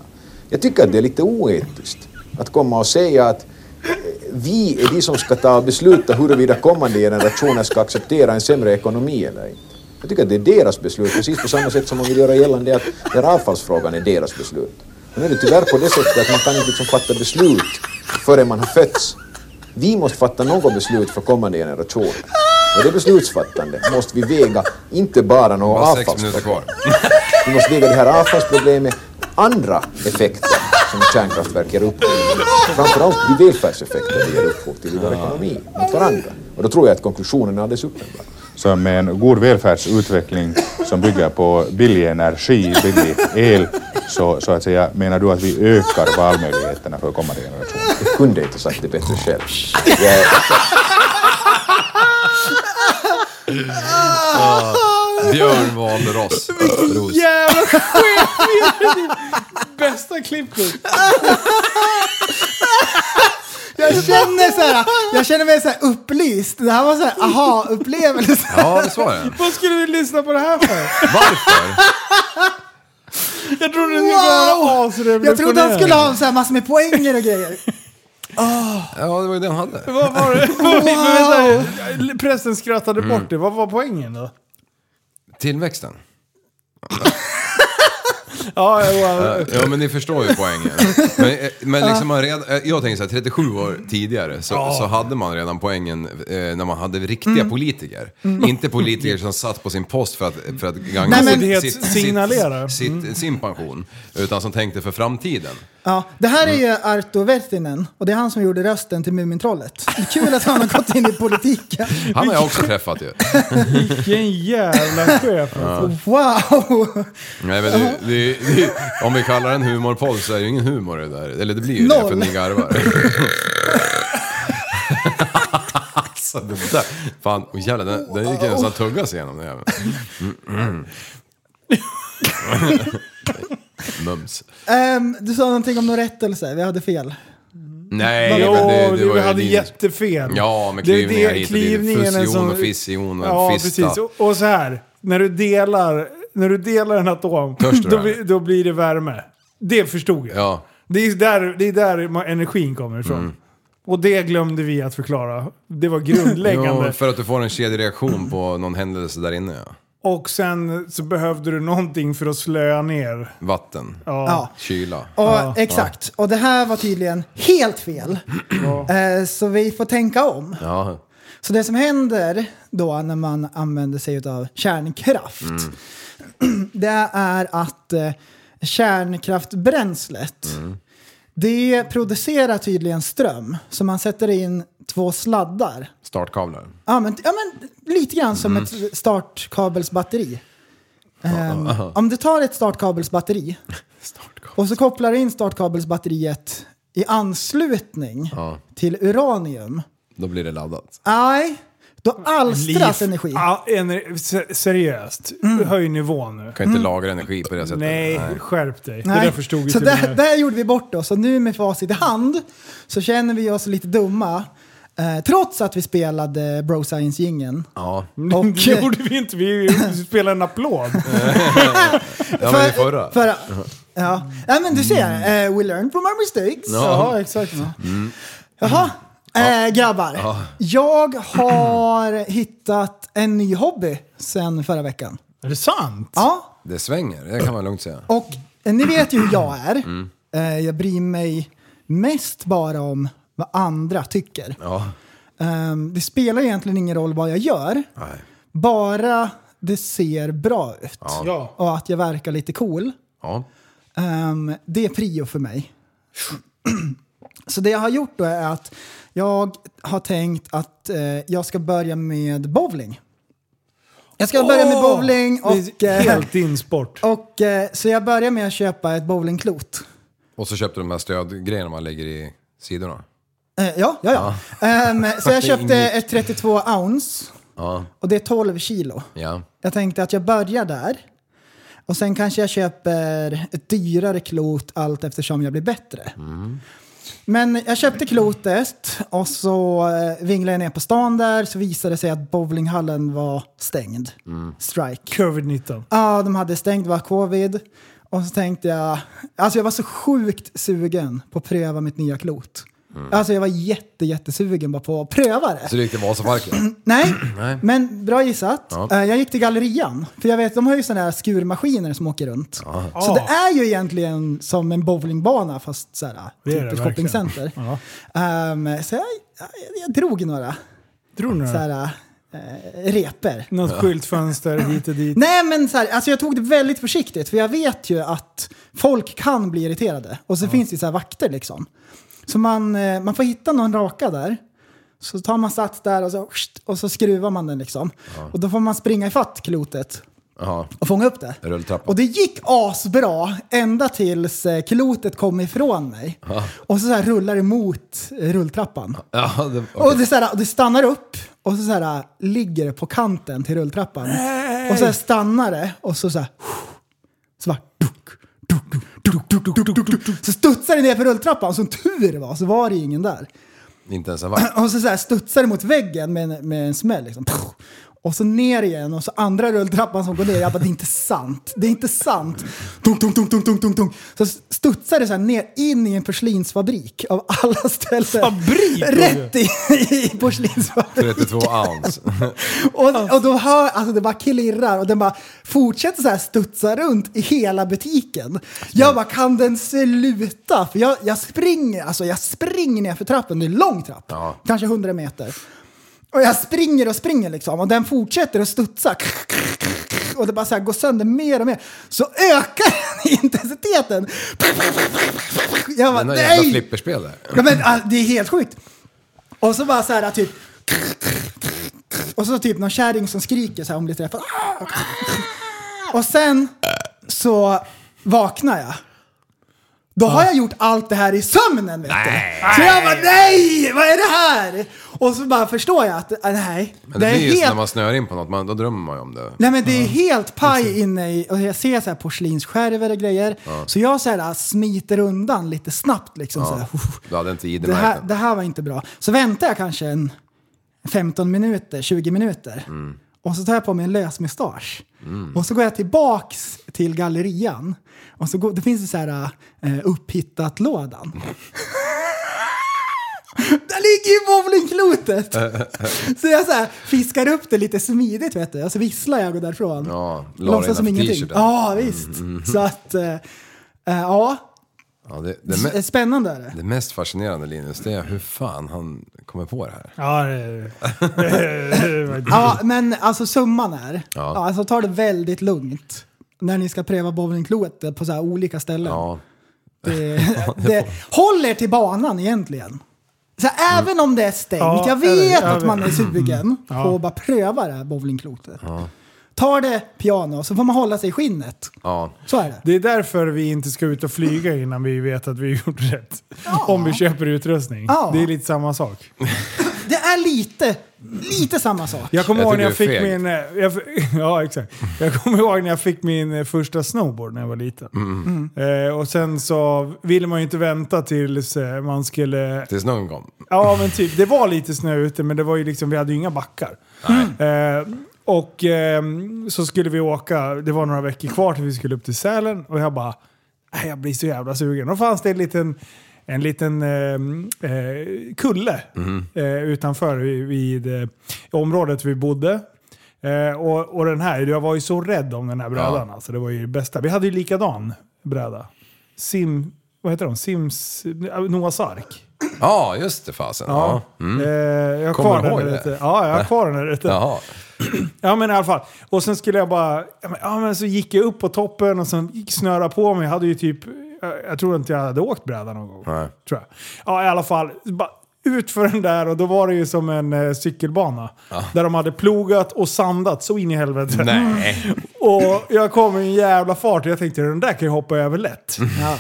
Speaker 11: Jag tycker att det är lite oetiskt att komma och säga att eh, vi är de som ska ta och besluta huruvida kommande generationer ska acceptera en sämre ekonomi eller inte. Jag tycker att det är deras beslut, precis på samma sätt som man vill göra gällande att den här avfallsfrågan är deras beslut. Men nu är det tyvärr på det sättet att man kan inte liksom fatta beslut förrän man har fötts. Vi måste fatta något beslut för kommande generationer. Och det beslutsfattande måste vi väga inte bara några
Speaker 4: Bara sex
Speaker 11: avfallsproblem.
Speaker 4: minuter kvar.
Speaker 11: Vi måste väga det här avfallsproblemet, andra effekter som kärnkraftverk ger upphov till. Framförallt de välfärdseffekter det ger upphov till i vår ekonomi mot varandra. Och då tror jag att konklusionen är alldeles uppenbar.
Speaker 10: Så med en god välfärdsutveckling som bygger på billig energi, billig el, så, så att säga, menar du att vi ökar valmöjligheterna för kommande generationer?
Speaker 11: Jag kunde inte sagt det bättre själv. Jag,
Speaker 4: Björn Wahlross. Ros.
Speaker 5: Jävla skit! Bästa klippet.
Speaker 6: Jag känner, så här, jag känner mig så här upplyst. Det här var så här aha-upplevelse.
Speaker 4: Ja, det var det.
Speaker 5: Vad skulle vi lyssna på det här för?
Speaker 4: Varför?
Speaker 5: Jag trodde det skulle vara asrevolutionerande.
Speaker 6: Jag trodde han skulle ha så här massor med poänger och grejer.
Speaker 4: Ja, det var ju det han hade.
Speaker 5: Vad var det? Wow. Vänta, prästen skrattade
Speaker 4: Mm.
Speaker 5: bort det. Vad var poängen då?
Speaker 4: Tillväxten.
Speaker 5: Ja, ja,
Speaker 4: Eh, Ja men ni förstår ju poängen. Men, eh, men liksom man redan, eh, jag tänker såhär 37 år tidigare så,
Speaker 5: Ja.
Speaker 4: så hade man redan poängen eh, när man hade riktiga
Speaker 5: Mm.
Speaker 4: politiker.
Speaker 5: Mm.
Speaker 4: Inte politiker som satt på sin post för att, för att gagna
Speaker 6: Nej, men-
Speaker 4: sitt, sitt,
Speaker 5: signalera. Mm.
Speaker 4: sitt, sitt, sin pension. Utan som tänkte för framtiden.
Speaker 6: Ja, det här är ju Arto Vertinen och det är han som gjorde rösten till Mumintrollet. Det är Kul att han har gått in i politiken.
Speaker 4: Han har jag också träffat ju.
Speaker 5: Vilken jävla chef. alltså.
Speaker 4: Ja.
Speaker 6: Wow!
Speaker 4: Nej, men det, det, det, om vi kallar det en humorpodd så är det ju ingen humor det där. Eller det blir ju det för
Speaker 6: Noll.
Speaker 4: ni garvar. alltså det där. Fan, oh, jävlar, den, den gick ju nästan att tugga sig igenom den jäveln. Mm, mm. Mums.
Speaker 6: Ehm, du sa någonting om någon rättelse, vi hade fel.
Speaker 4: Nej,
Speaker 5: Jo,
Speaker 4: men det,
Speaker 5: det-
Speaker 4: det var
Speaker 5: vi
Speaker 4: ju
Speaker 5: hade
Speaker 4: din-
Speaker 5: jättefel.
Speaker 4: Ja, med
Speaker 5: Det- det-
Speaker 4: klyvningar hit och dit.
Speaker 5: klyvningen är
Speaker 4: Fusion
Speaker 5: som-
Speaker 4: och fission och
Speaker 5: Ja,
Speaker 4: fista.
Speaker 5: precis. Och, och så här, när du delar, när du delar en atom,
Speaker 4: Törs du
Speaker 5: då,
Speaker 4: det?
Speaker 5: blir- då blir det värme. Det förstod jag.
Speaker 4: Ja.
Speaker 5: Det är där, det är där ma- energin kommer ifrån.
Speaker 4: Mm.
Speaker 5: Och det glömde vi att förklara. Det var grundläggande.
Speaker 4: Jo, för att du får en kedjereaktion på någon händelse där inne ja.
Speaker 5: Och sen så behövde du någonting för att slöa ner.
Speaker 4: Vatten.
Speaker 5: Ja. Ja.
Speaker 4: Kyla.
Speaker 6: Och, Exakt, och det här var tydligen helt fel. Eh, så vi får tänka om.
Speaker 4: Ja.
Speaker 6: Så det som händer då när man använder sig av kärnkraft,
Speaker 4: Mm.
Speaker 6: det är att eh, kärnkraftbränslet,
Speaker 4: Mm.
Speaker 6: det producerar tydligen ström. Så man sätter in två sladdar.
Speaker 4: Startkablar.
Speaker 6: Ja men, ja, men lite grann som
Speaker 4: Mm.
Speaker 6: ett startkabelsbatteri. Ehm,
Speaker 4: aha.
Speaker 6: Om du tar ett startkabelsbatteri och så kopplar du in startkabelsbatteriet i anslutning
Speaker 4: Ja,
Speaker 6: till uranium.
Speaker 4: då blir det laddat.
Speaker 6: Nej, då alstras
Speaker 5: Mm. Liv- Ah,
Speaker 6: energi. Mm.
Speaker 5: Ja, ener- se- seriöst, höj nivån nu.
Speaker 4: Kan inte lagra energi på det sättet.
Speaker 5: Mm. Nej, skärp dig.
Speaker 6: Nej.
Speaker 5: Det där förstod ju
Speaker 6: så
Speaker 5: till och
Speaker 6: där,
Speaker 5: med.
Speaker 6: där gjorde vi bort oss och nu med facit i hand så känner vi oss lite dumma. Eh, trots att vi spelade Bro Science-jingeln.
Speaker 4: Ja.
Speaker 6: Och- eh,
Speaker 5: det gjorde vi inte. Vi spelade en applåd.
Speaker 4: Ja, men i förra.
Speaker 6: Förra. Ja. ja, men du
Speaker 5: Mm.
Speaker 6: ser. eh, we learn from our mistakes.
Speaker 4: Ja. Ja,
Speaker 6: exakt.
Speaker 4: Mm.
Speaker 6: Jaha, eh, grabbar.
Speaker 4: Ja.
Speaker 6: Jag har hittat en ny hobby sen förra veckan.
Speaker 5: Är det sant?
Speaker 6: Ja,
Speaker 4: Det svänger, det kan man lugnt säga.
Speaker 6: och eh, ni vet ju hur jag är.
Speaker 4: Mm.
Speaker 6: Eh, jag bryr mig mest bara om vad andra tycker.
Speaker 4: Ja.
Speaker 6: Ehm, det spelar egentligen ingen roll vad jag gör. Bara det ser bra ut.
Speaker 4: Ja. Ja.
Speaker 6: Och att jag verkar lite cool.
Speaker 4: Ja.
Speaker 6: Ehm, det är prio för mig. Så det jag har gjort då är att jag har tänkt att eh, jag ska börja med bowling. Jag ska börja med
Speaker 5: Åh!
Speaker 6: bowling och...
Speaker 5: Det är
Speaker 6: eh,
Speaker 5: helt din sport.
Speaker 6: och eh, så jag börjar med att köpa ett bowlingklot.
Speaker 4: Och så köpte du de här stödgrejerna man lägger i sidorna.
Speaker 6: Eh, ja, ja, ja. Ehm, så jag
Speaker 4: Det är
Speaker 6: köpte
Speaker 4: inget.
Speaker 6: ett 32 ounce
Speaker 4: Ja.
Speaker 6: och det är 12 kilo.
Speaker 4: Ja.
Speaker 6: Jag tänkte att jag börjar där. Och sen kanske jag köper ett dyrare klot allt eftersom jag blir bättre.
Speaker 4: Mm.
Speaker 6: Men jag köpte klotet och så eh, vinglade jag ner på stan där så visade det sig att bowlinghallen var stängd.
Speaker 5: Mm.
Speaker 6: Strike.
Speaker 5: Covid-19.
Speaker 6: Ja, de hade stängt, det var covid. Och så tänkte jag, alltså jag var så sjukt sugen på att pröva mitt nya klot. Alltså jag var jätte, jättesugen bara på att pröva det.
Speaker 4: Mm. Så du gick till Vasaparken?
Speaker 6: Nej,
Speaker 4: Nej.
Speaker 6: men bra gissat.
Speaker 4: Ja.
Speaker 6: Eh, Jag gick till gallerian, för jag vet de har ju sådana här skurmaskiner som åker runt.
Speaker 4: Ja.
Speaker 6: Så det är ju egentligen som en bowlingbana fast så här,
Speaker 5: Det är
Speaker 6: typ
Speaker 5: det
Speaker 6: ett
Speaker 5: verkligen.
Speaker 6: shoppingcenter.
Speaker 5: Ja.
Speaker 6: Ehm, så jag, jag, jag drog några.
Speaker 5: Drog några?
Speaker 6: Så här, eh, reper.
Speaker 5: Något skyltfönster hit och dit.
Speaker 6: Nej men så här, alltså jag tog det väldigt försiktigt för jag vet ju att folk kan bli irriterade. Och så finns det ju så här vakter liksom. Så man, eh, man får hitta någon raka där. Så tar man sats där och så, och så skruvar man den liksom.
Speaker 4: Ja.
Speaker 6: Och då får man springa ifatt klotet
Speaker 4: Ja.
Speaker 6: och fånga upp det.
Speaker 4: Rulltrappa.
Speaker 6: Och det gick asbra ända tills eh, klotet kom ifrån mig.
Speaker 4: Ja.
Speaker 6: Och så, så här rullar det mot eh, rulltrappan.
Speaker 4: Ja, det,
Speaker 6: Och det, så här, det stannar upp och så, så här, ligger det på kanten till rulltrappan. Och så här, stannar det och så, så här... Så bara, duk, duk, duk, duk, duk, duk, duk, duk. Så studsar det ner för rulltrappan. Som tur var så var det ju ingen där.
Speaker 4: Inte ens en vakt.
Speaker 6: Och så, så här, studsar det mot väggen med en, med en smäll. Liksom. Och så ner igen och så andra rulltrappan som går ner. Jag bara, det är inte sant. Det är inte sant. Tung, tung, tung, tung, tung, tung, tung. Så studsar det så här ner in i en porslinsfabrik av alla ställen. Fabrik? Rätt i, i porslinsfabriken.
Speaker 4: 32 ounce.
Speaker 6: Och, och då hör, alltså det bara klirrar och den bara fortsätter så här studsa runt i hela butiken. Jag bara, kan den sluta? För jag, jag springer, alltså jag springer ner för trappen, det är en lång trapp, kanske 100 meter. Och jag springer och springer liksom och den fortsätter att studsa. Och det bara så här går sönder mer och mer. Så ökar intensiteten. Jag bara,
Speaker 4: Den där jävla
Speaker 6: nej!
Speaker 4: flipperspel där.
Speaker 6: Ja, men, ah, det är helt sjukt. Och så bara så här typ... Och så typ någon kärring som skriker så här om lite träffad. Och sen så vaknar jag. Då har jag gjort allt det här i sömnen vet du. Så jag bara nej, vad är det här? Och så bara förstår jag att ah, nej,
Speaker 4: Men det,
Speaker 6: är
Speaker 4: blir ju så
Speaker 6: helt
Speaker 4: när man snör in på något, man, då drömmer man ju om det.
Speaker 6: Nej men det är helt paj inne i, och jag ser så här porslinsskärvor och grejer.
Speaker 4: Ja.
Speaker 6: Så jag så här ah, smiter undan lite snabbt liksom. Så här,
Speaker 4: Ja. Du hade inte
Speaker 6: det, här,
Speaker 4: idemärken.
Speaker 6: det här var inte bra. Så väntar jag kanske en 15 minuter, 20 minuter.
Speaker 4: Mm.
Speaker 6: Och så tar jag på mig en lös mustasch.
Speaker 4: Mm.
Speaker 6: Och så går jag tillbaks till gallerian. Och så går, det finns en så här eh, upphittat-lådan. Där ligger ju bowlingklotet! Så jag så här fiskar upp det lite smidigt vet du. Och så visslar jag och går därifrån.
Speaker 4: Ja, la dig
Speaker 6: Låtsas som
Speaker 4: innanför
Speaker 6: ingenting.
Speaker 4: t-shirten.
Speaker 6: Ja, visst.
Speaker 4: Mm, mm.
Speaker 6: Så att, eh, eh, ja.
Speaker 4: Ja, det, det, me-
Speaker 6: Spännande är det.
Speaker 4: det mest fascinerande Linus, det är hur fan han kommer på det här.
Speaker 5: Ja, det-
Speaker 6: Ja, men alltså summan är.
Speaker 4: Mm. Ja.
Speaker 6: Ja. alltså ta det väldigt lugnt när ni ska pröva bowlingklotet på så här olika ställen. Det, Eh, det håller till banan egentligen. Så även om det är stängt,
Speaker 5: Ja,
Speaker 6: jag vet
Speaker 5: jag vet. Mm.
Speaker 6: att man är sugen
Speaker 5: Ja.
Speaker 6: på att bara pröva det här bowlingklotet. Ta det piano så får man hålla sig i skinnet.
Speaker 4: Ja.
Speaker 6: Så är det.
Speaker 5: Det är därför vi inte ska ut och flyga innan vi vet att vi har gjort rätt. Om vi köper utrustning.
Speaker 6: Ja.
Speaker 5: Det är lite samma sak.
Speaker 6: Det är lite, lite samma sak.
Speaker 5: Jag kommer
Speaker 6: Jag
Speaker 5: ihåg
Speaker 6: tycker
Speaker 5: när jag
Speaker 6: du är
Speaker 5: fick
Speaker 6: feg.
Speaker 5: min... eh, Jag, ja, exakt. Jag kommer ihåg när jag fick min eh, första snowboard när jag var liten.
Speaker 4: Mm.
Speaker 5: Eh, och sen så ville man ju inte vänta tills eh, man skulle...
Speaker 4: Tills någon gång.
Speaker 5: Ja men typ, det var lite snö ute men det var ju liksom, vi hade ju inga backar. Eh, och ehm, så skulle vi åka, det var några veckor kvar till vi skulle upp till Sälen och jag bara, "Nej, jag blir så jävla sugen. Då fanns det en liten, en liten ehm, eh, kulle
Speaker 4: Mm.
Speaker 5: eh, utanför vid, vid eh, området vi bodde. Eh, och, och den här, jag var ju så rädd om den här brädan.
Speaker 4: Ja.
Speaker 5: Alltså, det var ju det bästa. Vi hade ju likadan bräda. Sim... Vad heter de? Sims... eh, Noahs ark.
Speaker 4: Ja, just det fasen. Ja.
Speaker 5: Eh,
Speaker 4: Mm.
Speaker 5: jag har
Speaker 4: Kommer
Speaker 5: kvar
Speaker 4: du
Speaker 5: den
Speaker 4: ihåg
Speaker 5: här
Speaker 4: det?
Speaker 5: ute. Ja, jag har kvar den här ute.
Speaker 4: Jaha.
Speaker 5: Ja men i alla fall. Och sen skulle jag bara... Ja men, ja, men så gick jag upp på toppen och sen gick snöra på mig. Jag hade ju typ... Jag, jag tror inte jag hade åkt bräda någon gång.
Speaker 4: Nej.
Speaker 5: Tror jag. Ja i alla fall. Bara ut för den där och då var det ju som en eh, cykelbana. Där de hade plogat och sandat så in i helvete.
Speaker 4: Nej.
Speaker 5: Och jag kom i en jävla fart och jag tänkte den där kan jag hoppa över lätt.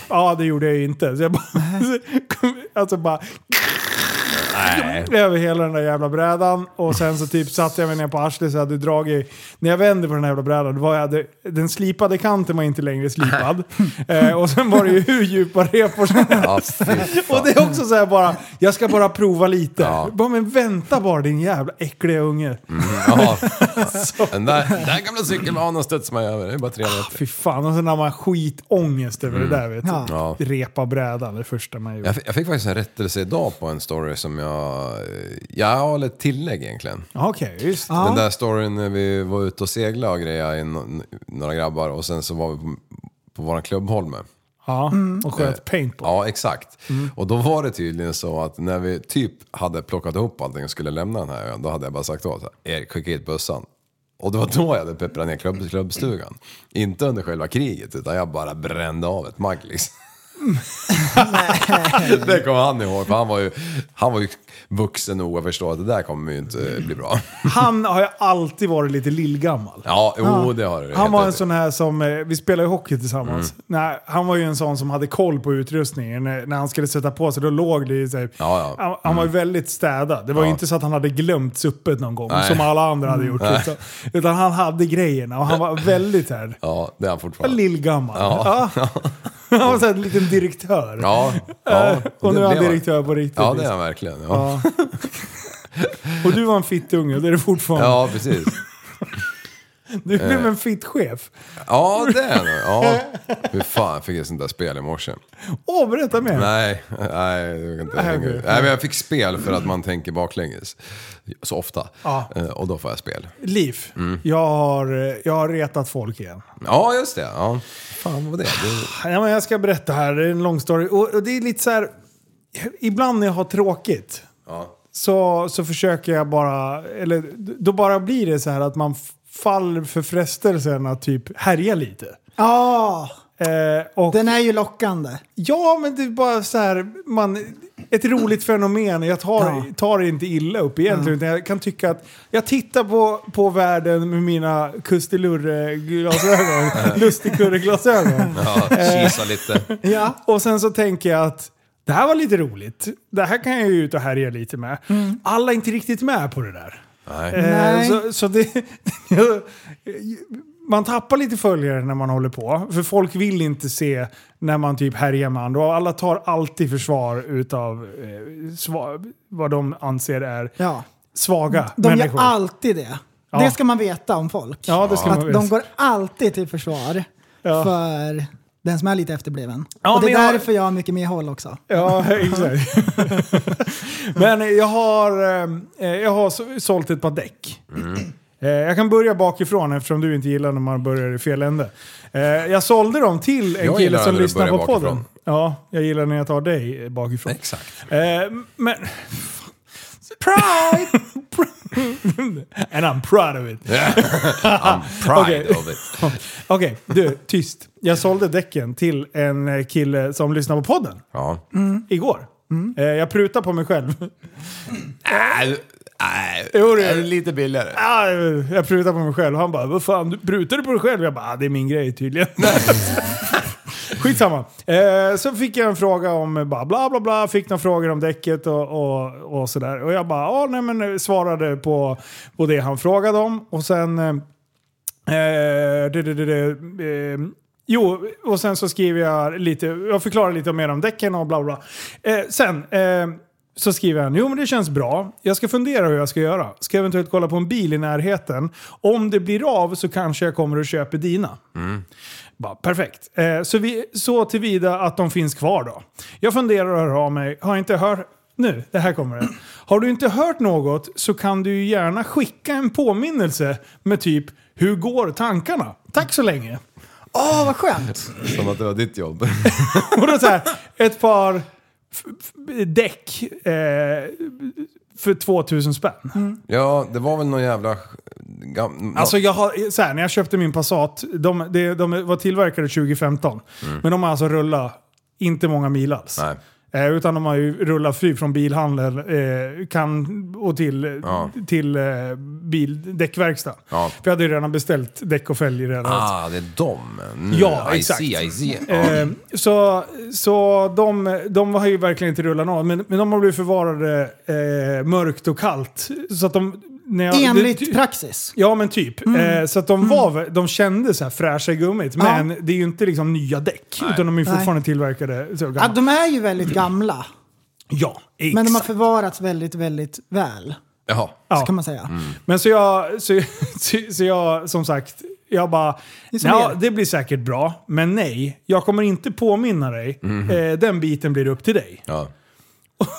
Speaker 5: Ja, det gjorde jag ju inte. Så jag bara... alltså bara...
Speaker 4: Nej.
Speaker 5: Över hela den där jävla brädan och sen så typ satte jag mig ner på arslet så jag hade dragit... När jag vände på den här jävla brädan, då var jag hade, den slipade kanten var inte längre slipad. eh, och sen var det ju hur djupa repor som helst. och det är också så här bara, jag ska bara prova lite. Bara, men vänta bara din jävla äckliga unge.
Speaker 4: Mm. Ja. Den där, den där gamla cykelbanan studsar man över. Det är bara tre meter.
Speaker 5: Fy fan, och sen har man skitångest över
Speaker 4: Mm.
Speaker 5: det där vet du.
Speaker 4: Ja. Ja.
Speaker 5: Repa brädan, det första man gjorde.
Speaker 4: Jag fick, jag fick faktiskt en rättelse idag på en story som jag... eh, Jag har ett tillägg egentligen.
Speaker 5: Okej, just det.
Speaker 4: Den där storyn när vi var ute och segla och grejer i no- några grabbar och sen så var vi på, på våran klubbholme.
Speaker 5: Ja, Mm. och sköt
Speaker 4: Eh,
Speaker 5: paintball.
Speaker 4: Ja, exakt.
Speaker 5: Mm.
Speaker 4: Och då var det tydligen så att när vi typ hade plockat ihop allting och skulle lämna den här ön, då hade jag bara sagt åt så här, Erik, skicka hit bössan. Och det var då jag hade pepprat ner klubb, klubbstugan. Inte under själva kriget, utan jag bara brände av ett magg liksom. det kommer han ihåg, för han var ju, han var ju vuxen nog att förstå att det där kommer ju inte bli bra.
Speaker 5: Han har ju alltid varit lite lillgammal.
Speaker 4: Ja, jo
Speaker 5: Ja.
Speaker 4: det har du
Speaker 5: Han
Speaker 4: helt
Speaker 5: var
Speaker 4: rätt
Speaker 5: en
Speaker 4: i.
Speaker 5: sån här som, eh, vi spelade ju hockey tillsammans.
Speaker 4: Mm.
Speaker 5: Nej, han var ju en sån som hade koll på utrustningen. När när han skulle sätta på sig, då låg det ju så här,
Speaker 4: Ja, ja.
Speaker 5: Han, han var ju väldigt städad. Det var ju
Speaker 4: Ja.
Speaker 5: inte så att han hade glömt suppet någon gång,
Speaker 4: Nej.
Speaker 5: som alla andra hade
Speaker 4: Mm.
Speaker 5: gjort.
Speaker 4: Nej.
Speaker 5: Utan, utan han hade grejerna och han var väldigt så här,
Speaker 4: Ja, det är han fortfarande.
Speaker 5: lillgammal.
Speaker 4: Ja.
Speaker 5: Han var så här en liten direktör.
Speaker 4: Ja, ja.
Speaker 5: Eh, och nu
Speaker 4: det
Speaker 5: är han
Speaker 4: blev
Speaker 5: direktör på riktigt.
Speaker 4: Ja, det är
Speaker 5: liksom.
Speaker 4: han verkligen. Ja,
Speaker 5: Ja. Och du var en fittunge, det är du fortfarande.
Speaker 4: ja precis.
Speaker 5: Du blev
Speaker 4: Eh.
Speaker 5: en fittchef.
Speaker 4: Ja, det är det. Ja. Hur fan fick jag sånt där spel i morse?
Speaker 5: Åh, berätta mer.
Speaker 4: Nej, nej, jag kan inte
Speaker 5: Nej,
Speaker 4: hänga
Speaker 5: okej.
Speaker 4: ut. nej, men jag fick spel för att man tänker baklänges. Så ofta.
Speaker 5: Ja.
Speaker 4: Eh, Och då får jag spel.
Speaker 5: Liv,
Speaker 4: Mm.
Speaker 5: jag, har, eh, jag har retat folk igen.
Speaker 4: Ja, just det. Ja. Fan, vad var det? det...
Speaker 5: Ja, men jag ska berätta här, det är en lång story. Och, och det är lite så här, ibland när jag har tråkigt
Speaker 4: Ja.
Speaker 5: så, så försöker jag bara, eller då bara blir det så här att man f- faller för frestelsen att typ härja lite.
Speaker 6: Ja,
Speaker 5: den
Speaker 6: är ju lockande.
Speaker 5: Ja, men det är bara så här, man, ett roligt fenomen. Jag tar, tar det inte illa upp egentligen, utan jag kan tycka att jag tittar på, på världen med mina kustilurre-glasögon, lustigkurre-glasögon.
Speaker 4: Ja, kisa
Speaker 5: Eh.
Speaker 4: lite.
Speaker 5: Ja. Och sen så tänker jag att det här var lite roligt. Det här kan jag ju ut och härja lite med. Alla är inte riktigt med på det där. Eh,
Speaker 6: Mm. Nej.
Speaker 5: så, så det, man tappar lite följare när man håller på. För folk vill inte se när man typ härjar med andra. Och alla tar alltid försvar utav eh, sva, vad de anser är
Speaker 6: Ja.
Speaker 5: svaga
Speaker 6: De
Speaker 5: människor.
Speaker 6: gör alltid det.
Speaker 5: Ja.
Speaker 6: Det ska man veta om folk.
Speaker 5: Ja, det ska
Speaker 6: att
Speaker 5: man
Speaker 6: de
Speaker 5: veta.
Speaker 6: går alltid till försvar
Speaker 5: Ja.
Speaker 6: för den som är lite efterbliven.
Speaker 5: Ja,
Speaker 6: och det är
Speaker 5: men jag-
Speaker 6: därför jag har mycket mer håll också.
Speaker 5: Ja, exakt. Men jag har, eh, jag har så- sålt ett par däck.
Speaker 4: Mm.
Speaker 5: Eh, Jag kan börja bakifrån eftersom du inte gillar när man börjar i fel ände. Eh, Jag sålde dem till en
Speaker 4: Jag
Speaker 5: kille
Speaker 4: gillar
Speaker 5: som
Speaker 4: när du
Speaker 5: lyssnar på
Speaker 4: börjar
Speaker 5: podden.
Speaker 4: bakifrån.
Speaker 5: Ja, jag gillar när jag tar dig eh, bakifrån.
Speaker 4: Exakt.
Speaker 5: Eh, Men... Pride! And I'm proud of it.
Speaker 4: I'm pride
Speaker 5: Okej.
Speaker 4: of it.
Speaker 5: Okej, du, tyst. Jag sålde däcken till en eh, kille som lyssnar på podden.
Speaker 4: Ja.
Speaker 5: Igår.
Speaker 6: Mm.
Speaker 5: Eh, Jag prutar på mig själv.
Speaker 4: Nej, nej.
Speaker 5: Jo, det
Speaker 4: är
Speaker 5: är-
Speaker 4: det lite billigare.
Speaker 5: Ah, jag prutar på mig själv. Han bara, vad fan, du prutar du på dig själv? Jag bara, ah, det är min grej tydligen. Skitsamma. Eh, så fick jag en fråga om eh, bara bla bla bla, fick några frågor om däcket och, och, och sådär. Och jag bara, ah, nej men eh, svarade på, på det han frågade om. Och sen... Eh, eh, det, det, det, det, eh, Jo, och sen så skriver jag lite, jag förklarar lite mer om däcken och bla bla. bla. Eh, sen eh, så skriver han, jo men det känns bra. Jag ska fundera hur jag ska göra. Ska eventuellt kolla på en bil i närheten. Om det blir av så kanske jag kommer och köper dina. Bara, perfekt. Eh, så, vi, så tillvida att de finns kvar då. Jag funderar och hör av mig. Har inte hört... Nu, det här kommer det. Har du inte hört något så kan du ju gärna skicka en påminnelse med typ “Hur går tankarna?” Tack så länge.
Speaker 6: Åh, vad skönt!
Speaker 4: Som att det var ditt jobb.
Speaker 5: Och då så här, ett par f- f- däck eh, för 2000 spänn.
Speaker 4: Ja, det var väl någon jävla... Gam...
Speaker 5: Alltså jag har, så här, när jag köpte min Passat, de, de, de var tillverkade 2015.
Speaker 4: Mm.
Speaker 5: Men de har alltså rullat inte många mil alls.
Speaker 4: Nej.
Speaker 5: Eh, utan de har ju rullat fri från bilhandeln eh, kan, och till,
Speaker 4: Ja.
Speaker 5: till eh, bil, däckverkstad.
Speaker 4: Ja.
Speaker 5: För jag hade ju redan beställt däck och fälg redan.
Speaker 4: Ah, det är dem. Nu,
Speaker 5: Ja,
Speaker 4: I
Speaker 5: exakt.
Speaker 4: See, I see. Ja.
Speaker 5: Eh, så så de, de har ju verkligen inte rullat något, men, men de har blivit förvarade eh, mörkt och kallt. Så att de, när jag,
Speaker 6: Enligt
Speaker 5: det-
Speaker 6: praxis.
Speaker 5: Ja men typ.
Speaker 6: Mm.
Speaker 5: Eh, så att de, var, vä- de kände så här fräscha i gummit,
Speaker 6: Ja.
Speaker 5: men det är ju inte liksom nya däck.
Speaker 6: Nej.
Speaker 5: Utan de är ju
Speaker 6: Nej.
Speaker 5: fortfarande tillverkade så
Speaker 6: Ja,
Speaker 5: gammalt.
Speaker 6: de är ju väldigt gamla.
Speaker 5: Ja,
Speaker 6: Men de har
Speaker 5: exakt.
Speaker 6: förvarats väldigt, väldigt väl.
Speaker 4: Jaha.
Speaker 5: Ja.
Speaker 6: Så kan man säga.
Speaker 5: Men så jag, så, så, så jag, som sagt, jag bara,
Speaker 6: Det är som
Speaker 5: ja
Speaker 6: er."
Speaker 5: det blir säkert bra, men nej, jag kommer inte påminna dig.
Speaker 4: Mhm.
Speaker 5: Eh, den biten blir upp till dig.
Speaker 4: Ja.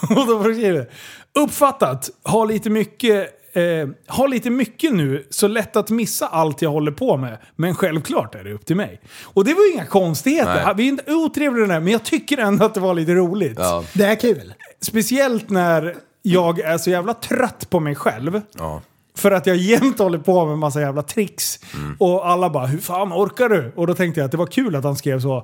Speaker 5: Och då skriver det, uppfattat, ha lite mycket, eh, ha lite mycket nu, så lätt att missa allt jag håller på med. Men självklart är det upp till mig. Och det var ju inga konstigheter,
Speaker 4: Nej.
Speaker 5: vi är inte otrevliga där, men jag tycker ändå att det var lite roligt.
Speaker 4: Ja.
Speaker 6: Det är kul.
Speaker 5: Speciellt när jag är så jävla trött på mig själv.
Speaker 4: Ja.
Speaker 5: För att jag jämt håller på med massa jävla tricks.
Speaker 4: Mm.
Speaker 5: Och alla bara “Hur fan orkar du?” Och då tänkte jag att det var kul att han skrev så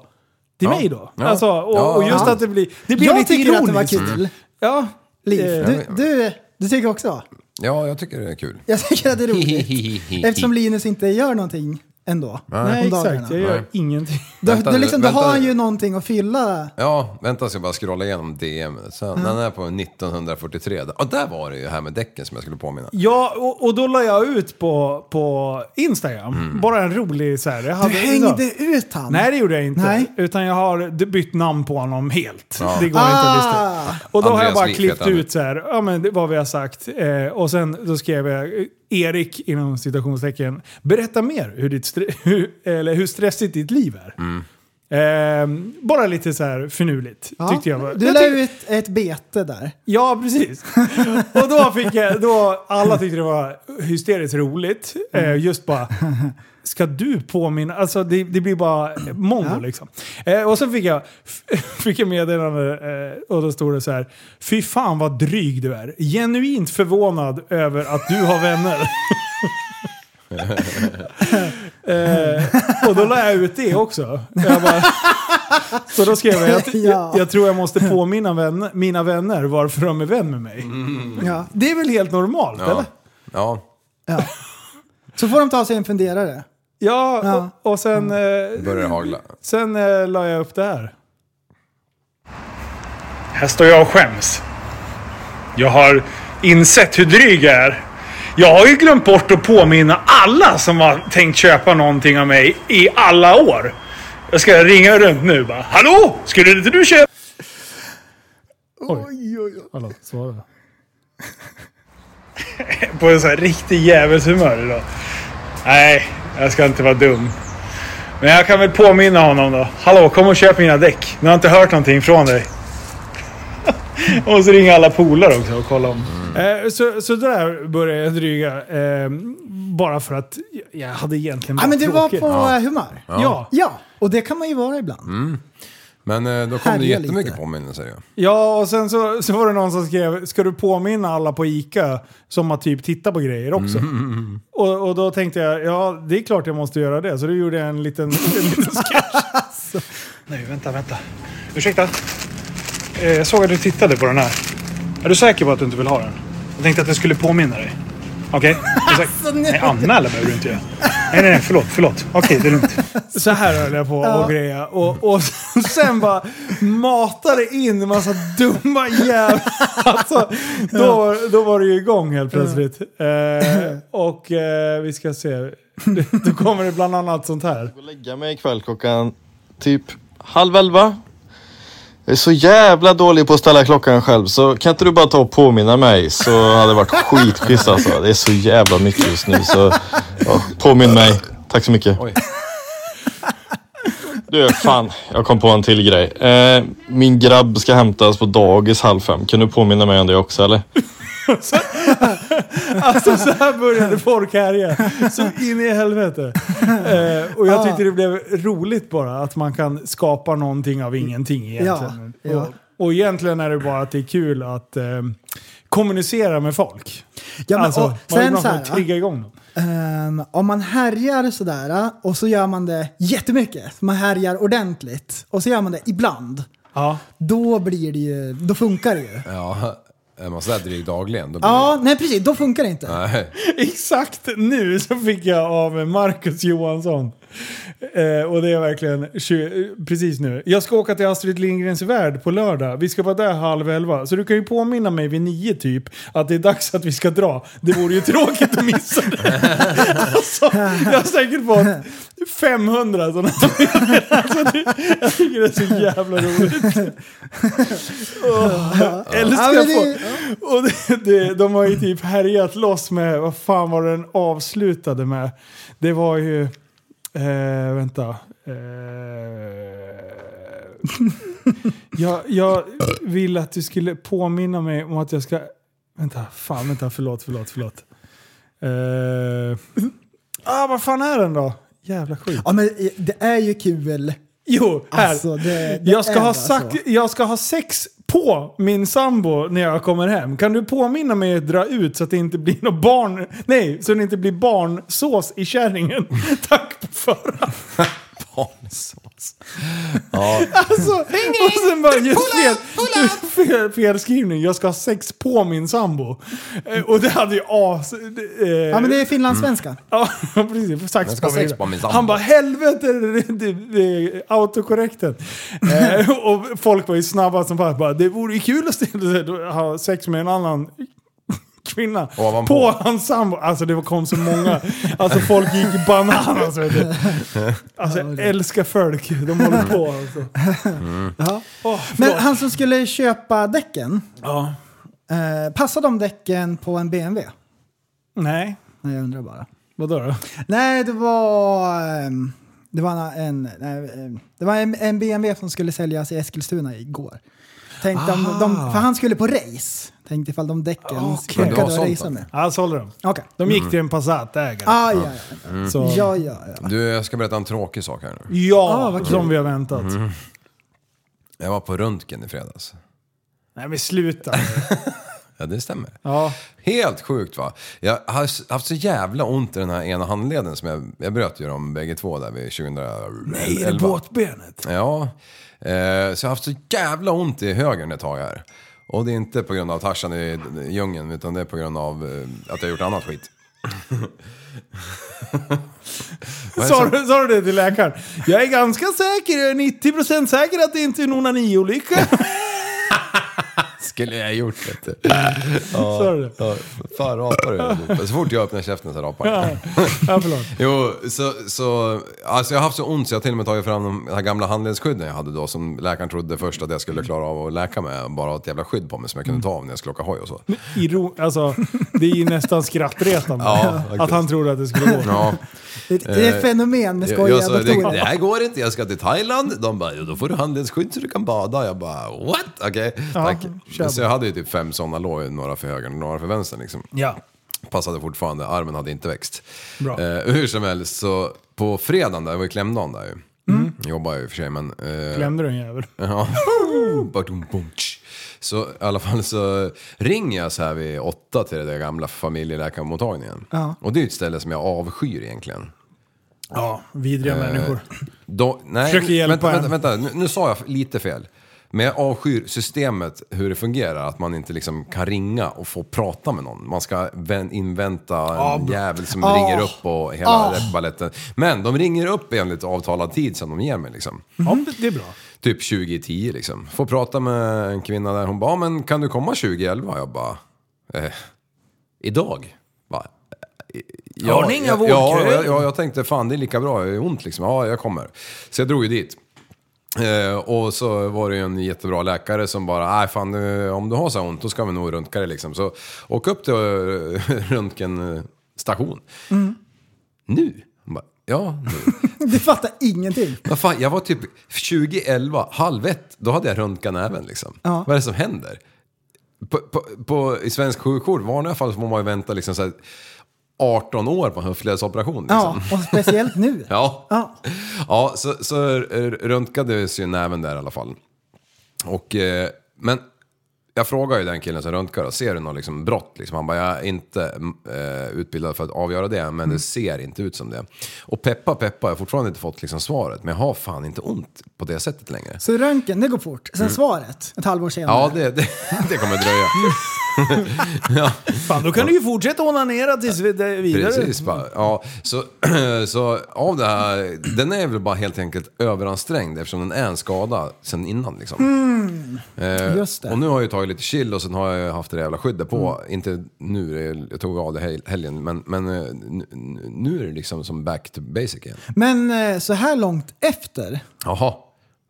Speaker 5: till
Speaker 4: Ja.
Speaker 5: mig då.
Speaker 4: Ja.
Speaker 5: Alltså, och,
Speaker 4: Ja.
Speaker 5: och just
Speaker 4: Ja.
Speaker 5: att det blir, det blir
Speaker 6: jag
Speaker 5: lite
Speaker 6: tycker
Speaker 5: ironiskt.
Speaker 6: att det var kul.
Speaker 5: Ja.
Speaker 6: Liv,
Speaker 5: Eh,
Speaker 6: du, du, du tycker också?
Speaker 4: ja, jag tycker det är kul.
Speaker 6: Jag tycker att det är roligt.
Speaker 4: Hihihihi.
Speaker 6: Eftersom Linus inte gör någonting ändå.
Speaker 4: Nej. Nej, exakt.
Speaker 5: Jag gör
Speaker 4: Nej.
Speaker 5: ingenting.
Speaker 6: Då,
Speaker 4: Vänta
Speaker 6: då,
Speaker 4: nu,
Speaker 6: liksom, då
Speaker 4: vänta
Speaker 6: har
Speaker 4: nu.
Speaker 6: han ju någonting att fylla.
Speaker 4: Ja, vänta så jag bara scrollar igenom DM. Sen,
Speaker 6: Mm.
Speaker 4: Den är på 1943. Ja, där var det ju här med däcken som jag skulle påminna.
Speaker 5: Ja, och, och då la jag ut på, på Instagram.
Speaker 4: Mm.
Speaker 5: Bara en rolig så här. Jag
Speaker 6: Du
Speaker 5: hade, liksom-
Speaker 6: hängde ut han.
Speaker 5: Nej, det gjorde jag inte.
Speaker 6: Nej.
Speaker 5: Utan jag har d- bytt namn på honom helt.
Speaker 6: Ja.
Speaker 5: Det går inte att lista.
Speaker 6: Ah.
Speaker 5: Och då har jag
Speaker 4: Andreas
Speaker 5: bara
Speaker 4: Wijk
Speaker 5: klippt
Speaker 4: heter han.
Speaker 5: ut så här, ja men det- vad vi har sagt. Eh, och sen då skrev jag, eh, Erik, inom citationstecken, berätta mer hur, ditt stre- hur, eller hur stressigt ditt liv är.
Speaker 4: Mm.
Speaker 5: Ehm, bara lite så här finurligt
Speaker 6: Ja,
Speaker 5: tyckte jag. var-
Speaker 6: Du
Speaker 5: jag
Speaker 6: la
Speaker 5: tyck-
Speaker 6: ut ett bete där.
Speaker 5: Ja, precis. Och då fick jag, då alla tyckte det var hysteriskt roligt. Eh, just bara, ska du påminna? Alltså det, det blir bara mongo liksom. Eh, och sen fick jag, fick jag meddelande eh, och då stod det så här. Fy fan vad dryg du är. Genuint förvånad över att du har vänner. eh, och då la jag ut det också. Jag bara, så då skrev jag, jag, jag, jag tror jag måste påminna vänner, mina vänner varför de är vän med mig.
Speaker 4: Mm.
Speaker 6: Ja.
Speaker 5: Det är väl helt normalt, eller?
Speaker 4: Ja. ja.
Speaker 6: Så får de ta sig en funderare.
Speaker 5: Ja, och, och sen, eh,
Speaker 4: Börjar hagla.
Speaker 5: sen eh, la jag upp det här.
Speaker 12: Här står jag och skäms. Jag har insett hur dryg jag är. Jag har ju glömt bort att påminna alla som har tänkt köpa någonting av mig i alla år. Jag ska ringa runt nu bara. Hallå! Skulle inte du köpa?
Speaker 5: Oj, oj, oj. Hallå, svara.
Speaker 12: På en sån här riktig djävulshumör idag. Nej, jag ska inte vara dum. Men jag kan väl påminna honom då. Hallå, kom och köp mina däck. Nu har jag inte hört någonting från dig. och så ringer alla polare också och kollar om.
Speaker 5: Eh, så, så där började jag dryga. Eh, bara för att jag hade egentligen
Speaker 6: Ja, men det var
Speaker 5: tråkigt.
Speaker 6: på eh, humör.
Speaker 4: Ja.
Speaker 5: Ja.
Speaker 6: ja, och det kan man ju vara ibland.
Speaker 4: Mm. Men eh, då kom det
Speaker 6: Härja
Speaker 4: jättemycket påminnelser ju.
Speaker 5: Ja, och sen så, så var det någon som skrev “Ska du påminna alla på ICA som har typ tittat på grejer också?”
Speaker 12: Mm.
Speaker 5: och, och då tänkte jag “Ja, det är klart jag måste göra det”, så då gjorde jag en liten, en liten
Speaker 12: Alltså. Nej, vänta, vänta. Ursäkta. Eh, Jag såg att du tittade på den här. Är du säker på att du inte vill ha den? Jag tänkte att jag skulle påminna dig. Okej? Okay.
Speaker 5: Alltså,
Speaker 12: nej, anmäla behöver du inte göra. Nej, nej, nej. Förlåt, förlåt. Okej, det är lugnt.
Speaker 5: Så här höll jag på och greja. Och, och sen bara matade in en massa dumma jävlar. Alltså, då, då var det ju igång helt plötsligt. Eh, och eh, vi ska se. Då kommer det bland annat sånt här.
Speaker 13: lägga mig ikväll klockan typ halv elva. Jag är så jävla dålig på att ställa klockan själv så kan inte du bara ta och påminna mig så hade det varit skitschysst alltså. Det är så jävla mycket just nu så ja, påminn mig. Tack så mycket. Du, fan. Jag kom på en till grej. Eh, min grabb ska hämtas på dagis halv fem. Kan du påminna mig om det också eller?
Speaker 5: Alltså så här började folk härja. Så in i helvete. Eh, och
Speaker 6: Ah.
Speaker 5: jag tyckte det blev roligt bara att man kan skapa någonting av ingenting egentligen.
Speaker 6: Ja, ja.
Speaker 5: Och, och egentligen är det bara att det är kul att eh, kommunicera med folk. Alltså,
Speaker 6: Ja, men, och
Speaker 5: man
Speaker 6: sen
Speaker 5: vill bara
Speaker 6: så här,
Speaker 5: få trigga igång dem.
Speaker 6: Ehm, om man härjar sådär och så gör man det jättemycket, man härjar ordentligt och så gör man det ibland.
Speaker 5: Ja.
Speaker 6: Då blir det ju, då funkar det ju.
Speaker 4: Ja, är man sådär dryg dagligen då blir
Speaker 6: Ja, nej precis, då funkar det inte.
Speaker 4: Nej.
Speaker 5: Exakt nu så fick jag av Marcus Johansson. Eh, och det är verkligen tju- eh, precis nu. Jag ska åka till Astrid Lindgrens värld på lördag. Vi ska vara där halv elva. Så du kan ju påminna mig vid nio typ att det är dags att vi ska dra. Det vore ju tråkigt att missa det. alltså, jag har säkert fått 500 sådana här. alltså, det, Jag tycker det är så jävla roligt. Åh, jag
Speaker 6: Ja,
Speaker 5: älskar
Speaker 6: men det-
Speaker 5: folk. Och det, det, de har ju typ härjat loss med, vad fan var den avslutade med? Det var ju, eh, vänta. Eh, jag, jag vill att du skulle påminna mig om att jag ska, vänta, fan, vänta, förlåt, förlåt, förlåt. Eh, ah, vad fan är den då? Jävla skit.
Speaker 6: Ja, men det är ju kul.
Speaker 5: Jo, här.
Speaker 6: Alltså, det- det
Speaker 5: jag, ska
Speaker 6: är
Speaker 5: ha
Speaker 6: bara
Speaker 5: sagt,
Speaker 6: så.
Speaker 5: jag ska ha sex på min sambo när jag kommer hem. Kan du påminna mig att dra ut så att det inte blir något barn... Nej, så det inte blir barnsås i kärringen. Tack på förhand.
Speaker 4: barnsås. Ja.
Speaker 5: Alltså, och sen bara just fel, fel, felskrivning. Jag ska ha sex på min sambo. Eh, Och det hade ju as... Eh,
Speaker 6: Ja, men det är finlandssvenska.
Speaker 5: Ja, precis. Sax
Speaker 6: Jag ska
Speaker 5: på
Speaker 6: ha sex
Speaker 5: mig.
Speaker 6: på min sambo.
Speaker 5: Han bara helvete, det- det- det- autokorrekten.
Speaker 6: Mm.
Speaker 5: eh, och folk var ju snabba som fan. Bara, det vore ju kul att ställa sig- ha sex med en annan kvinna.
Speaker 4: Ovanpå.
Speaker 5: På hans sambo. Alltså det kom så många. Alltså folk gick bananas vet du. Alltså jag älskar folk. De håller på alltså.
Speaker 6: Ja.
Speaker 5: Åh,
Speaker 6: Men
Speaker 5: förlåt.
Speaker 6: han som skulle köpa däcken,
Speaker 5: Ja.
Speaker 6: eh, passade de däcken på en BMW?
Speaker 5: Nej.
Speaker 6: Nej, jag undrar bara.
Speaker 5: Vadå då?
Speaker 6: Nej, det var... ehm, Det var en, en, nej, ehm, det var en, en BMW som skulle säljas i Eskilstuna igår. Tänkte om
Speaker 5: Aha.
Speaker 6: de, för han skulle på race. Tänkte ifall de däcken
Speaker 5: Ah. Okej.
Speaker 6: funkade att racea med.
Speaker 5: Ja, sålde de.
Speaker 6: Okej.
Speaker 5: De gick
Speaker 4: Mm.
Speaker 5: till en Passat-ägare.
Speaker 6: Ah, ja, ja.
Speaker 4: Mm.
Speaker 5: Så-
Speaker 6: ja, ja.
Speaker 4: Du, jag ska berätta en tråkig sak här nu.
Speaker 6: Ah,
Speaker 5: Ja, som vi har väntat.
Speaker 4: Mm. Jag var på röntgen i fredags.
Speaker 5: Nej men sluta.
Speaker 4: Ja, det stämmer.
Speaker 5: Ja.
Speaker 4: Helt sjukt va? Jag har s- haft så jävla ont i den här ena handleden som jag, jag bröt ju dem bägge två där vid 2011.
Speaker 5: Nej, är det båtbenet?
Speaker 4: Ja. Eh, så jag har haft så jävla ont i högern ett tag här. Och det är inte på grund av Tarzan i d- djungeln utan det är på grund av eh, att jag har gjort annat skit. Vad är det
Speaker 5: Sa
Speaker 4: som-
Speaker 5: du, sa du det till läkaren? Jag är ganska säker, jag är 90% säker att det inte är någon onaniolycka.
Speaker 4: skulle jag gjort vet du.
Speaker 5: Sa du det?
Speaker 4: ja, fan rapar du? Så fort jag öppnar käften så rapar jag.
Speaker 5: Ja, ja förlåt.
Speaker 4: Jo, så, så, alltså jag har haft så ont så jag har till och med tagit fram de här gamla handledsskydden jag hade då som läkaren trodde först att jag skulle klara av att läka med. Bara ha ett jävla skydd på mig som jag kunde ta av när jag skulle åka hoj och så.
Speaker 5: Iro, alltså, det är ju nästan skrattretande.
Speaker 4: Ja, faktiskt.
Speaker 5: att han trodde att det skulle gå.
Speaker 4: Ja.
Speaker 6: Det, det är ett
Speaker 4: Eh,
Speaker 6: fenomen med
Speaker 4: Jag,
Speaker 6: skojiga
Speaker 4: jag sa, det,
Speaker 6: doktorer.
Speaker 4: det här går inte, jag ska till Thailand. De bara, "Jo, då får du handledsskydd så du kan bada. Jag bara, what? Okej,
Speaker 5: Ja,
Speaker 4: tack.
Speaker 5: kör.
Speaker 4: Så jag hade ju typ fem sådana låg, några för höger och några för vänster liksom.
Speaker 5: Ja.
Speaker 4: Passade fortfarande, armen hade inte växt.
Speaker 5: Bra.
Speaker 4: Eh, hur som helst, så på fredagen där, det var ju klämdagen där ju. Mm. Jobbar ju i och för sig men... eh,
Speaker 5: Klämde du en jävel?
Speaker 4: Ja. Badum, bum, tsch. Så i alla fall så ringer jag så här vid åtta till det där gamla familjeläkarmottagningen.
Speaker 5: Ja.
Speaker 4: Och det är ju ett ställe som jag avskyr egentligen.
Speaker 5: Ja, vidriga
Speaker 4: Eh,
Speaker 5: människor.
Speaker 4: De, nej,
Speaker 5: Försöker hjälpa
Speaker 4: vänta, vänta,
Speaker 5: en.
Speaker 4: vänta. Nu, nu sa jag lite fel. Men jag avskyr systemet, hur det fungerar. Att man inte liksom kan ringa och få prata med någon. Man ska vän, invänta en
Speaker 5: bra.
Speaker 4: jävel som
Speaker 5: Ah.
Speaker 4: ringer upp och hela
Speaker 5: Ah.
Speaker 4: oh. baletten. Men de ringer upp enligt avtalad tid som de ger mig liksom.
Speaker 5: Ja, det är bra.
Speaker 4: Typ 20 i 10 liksom. Får prata med en kvinna där. Hon bara, "Ja, men kan du komma 20 i 11? Jag bara, eh, idag? Bara, "Eh,
Speaker 5: Har ni inga
Speaker 4: ja,
Speaker 5: vårdköer?"
Speaker 4: ja, jag, ja, jag tänkte fan det är lika bra, jag är ont liksom. Ja, jag kommer. Så jag drog ju dit. Eh, och så var det ju en jättebra läkare som bara, nej fan du, om du har så här ont då ska vi nog röntga dig liksom. Så åk upp till eh, röntgenstation.
Speaker 6: Mm.
Speaker 4: Nu? Hon bara, ja nu.
Speaker 6: Du fattar ingenting.
Speaker 4: Vad fan, jag var typ 2011, halv ett, då hade jag röntgat näven liksom.
Speaker 6: Ja.
Speaker 4: Vad är det som händer? På, på, på, I svensk sjukvård, vanliga fall, så får man ju vänta liksom så här 18 år på en höftledsoperation. Liksom.
Speaker 6: Ja, och speciellt nu.
Speaker 4: Ja. Ja. så, så eh, röntgades ju näven där i alla fall. Och, eh, men jag frågar ju den killen som röntgar, då, ser du något liksom brott? Liksom? Han bara, jag är inte eh, utbildad för att avgöra det, men det ser inte ut som det. Och peppa, peppa, jag har fortfarande inte fått liksom svaret, men jag har fan inte ont på det sättet längre.
Speaker 6: Så röntgen, det går fort. Sen
Speaker 4: Mm.
Speaker 6: svaret, ett halvår senare.
Speaker 4: Ja, det, det, det kommer dröja. ja.
Speaker 5: Fan, då kan du ju fortsätta onanera tills vi- det- vidare.
Speaker 4: Precis, bara, ja. Så, så av det här, den är väl bara helt enkelt överansträngd eftersom den är en skada sen innan liksom.
Speaker 6: Mm.
Speaker 4: Eh,
Speaker 6: Just det.
Speaker 4: Och nu har jag ju tagit lite chill och sen har jag ju haft det där jävla skyddet på. Inte nu, det är- jag tog av det hel- helgen, men, men eh, nu- nu är det liksom som back to basic igen.
Speaker 6: Men eh, så här långt efter,
Speaker 4: Jaha.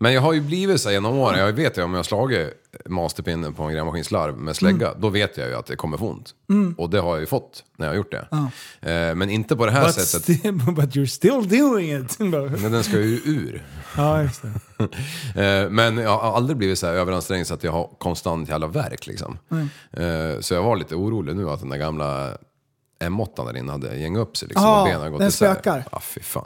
Speaker 4: Men jag har ju blivit så här genom åren, jag vet ju om jag har slagit masterpinnen på en grävmaskinslarv med slägga, då vet jag ju att det kommer få ont.
Speaker 5: Mm.
Speaker 4: Och det har jag ju fått när jag har gjort det.
Speaker 5: Ja.
Speaker 4: Eh, Men inte på det här
Speaker 5: But,
Speaker 4: sättet.
Speaker 5: still, but you're still doing it.
Speaker 4: Men den ska ju ur.
Speaker 5: ja, just det.
Speaker 4: Eh, Men jag har aldrig blivit så här överansträngd så att jag har konstant jävla värk liksom.
Speaker 5: Mm.
Speaker 6: Nej.
Speaker 4: Eh, Så jag var lite orolig nu att den där gamla M8 där inne hade gängat upp sig liksom.
Speaker 6: Ja,
Speaker 4: och benen har gått
Speaker 6: den
Speaker 4: isär.
Speaker 6: spökar.
Speaker 4: Ja, fy fan.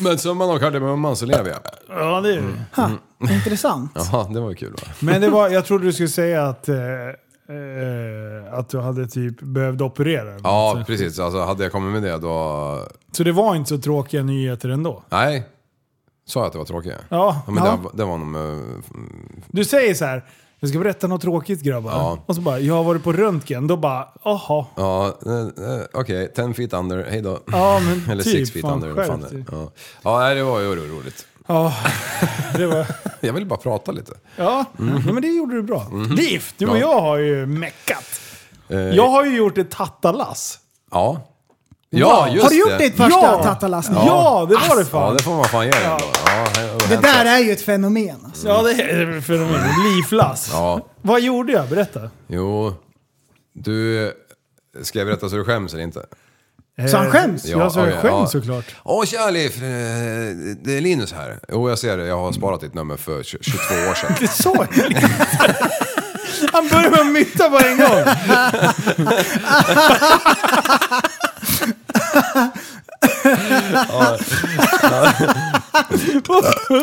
Speaker 4: Men summan av kardemumman så lever jag.
Speaker 5: Ja, det är det.
Speaker 4: Mm.
Speaker 6: intressant.
Speaker 4: Jaha, det var ju kul va?
Speaker 5: Men det var, jag trodde du skulle säga att, eh, eh, att du hade typ behövt operera. den.
Speaker 4: Ja, precis. Alltså hade jag kommit med det då...
Speaker 5: Så det var inte så tråkiga nyheter ändå.
Speaker 4: Nej. Sa jag att det var tråkigt?
Speaker 5: Ja,
Speaker 4: men
Speaker 5: ja.
Speaker 4: Det, var- det var nog... eh,
Speaker 5: Du säger så här, jag ska berätta något tråkigt grabbar.
Speaker 4: Ja.
Speaker 5: Och så bara, jag har varit på röntgen. Då bara, aha.
Speaker 4: Ja, eh, eh, okej. 10 feet under, hej då.
Speaker 5: Ja, men
Speaker 4: Eller
Speaker 5: typ,
Speaker 4: 6 feet
Speaker 5: fan,
Speaker 4: under, eller vad fan
Speaker 5: skärp typ.
Speaker 4: det är. Ja, ja nej, det var ju roligt.
Speaker 5: Ja, det var...
Speaker 4: Jag ville bara prata lite.
Speaker 5: Ja,
Speaker 4: Mm.
Speaker 5: men det gjorde du bra.
Speaker 4: Mm.
Speaker 5: Liv, du och
Speaker 4: Ja.
Speaker 5: jag har ju meckat.
Speaker 4: Eh,
Speaker 5: Jag har ju gjort ett tattalass.
Speaker 4: Ja. Ja,
Speaker 5: Wow.
Speaker 4: just
Speaker 5: Har du gjort
Speaker 4: det.
Speaker 5: ditt första Ja. tattalass nu? Ja, det var det fan.
Speaker 4: Ja, det får man fan ge dig ändå. ja. det har
Speaker 6: Det
Speaker 4: hänt
Speaker 6: där
Speaker 4: saker.
Speaker 6: är ju ett fenomen. alltså.
Speaker 5: Ja, det är fenomen. Livlass.
Speaker 4: Ja,
Speaker 5: Vad gjorde jag? Berätta.
Speaker 4: jo. Du... Ska jag berätta så du skäms eller inte?
Speaker 5: Så han skäms? Eh, Ja, så han
Speaker 4: okej,
Speaker 5: skäms såklart.
Speaker 4: Åh tja Liv, eh, det är Linus här. Jo jag ser det, jag har sparat ditt nummer för 20 22 år sedan.
Speaker 5: Det sa jag Han började med att mytta på en gång.
Speaker 4: ja.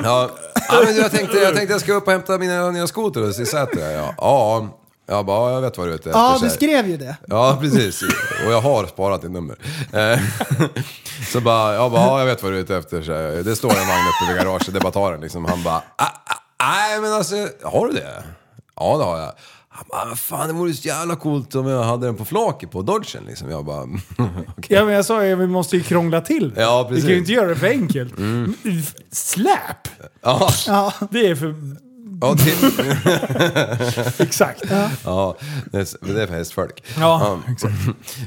Speaker 4: Ja. Ja, men jag, tänkte, jag tänkte jag ska upp och hämta mina nya skoter i Säter. Ja, ja. Jag bara, ja, jag vet vad du är ute efter,
Speaker 6: Ja,
Speaker 4: så
Speaker 6: du
Speaker 4: här.
Speaker 6: skrev ju det.
Speaker 4: Ja, precis. Och jag har sparat ditt nummer. Eh, Så bara, jag bara, ja, jag vet vad du är ute efter. Så här. Det står en vagn uppe vid garaget, debattören liksom. Han bara, "Ah, ah, nej men alltså, har du det? Ja, det har jag. Han bara, "Men fan det vore så jävla coolt om jag hade den på flaket på Dodgen liksom. Jag bara,
Speaker 5: Ja, men jag sa ju vi måste ju krångla till det.
Speaker 4: ja
Speaker 5: Vi
Speaker 4: precis.
Speaker 5: kan ju inte göra det för enkelt.
Speaker 4: Mm.
Speaker 5: Släp!
Speaker 4: Ja.
Speaker 5: Det är för...
Speaker 4: Ja, det...
Speaker 5: Exakt. Ja.
Speaker 4: Ja, det är, det är för hästfolk.
Speaker 5: Ja,
Speaker 4: exakt.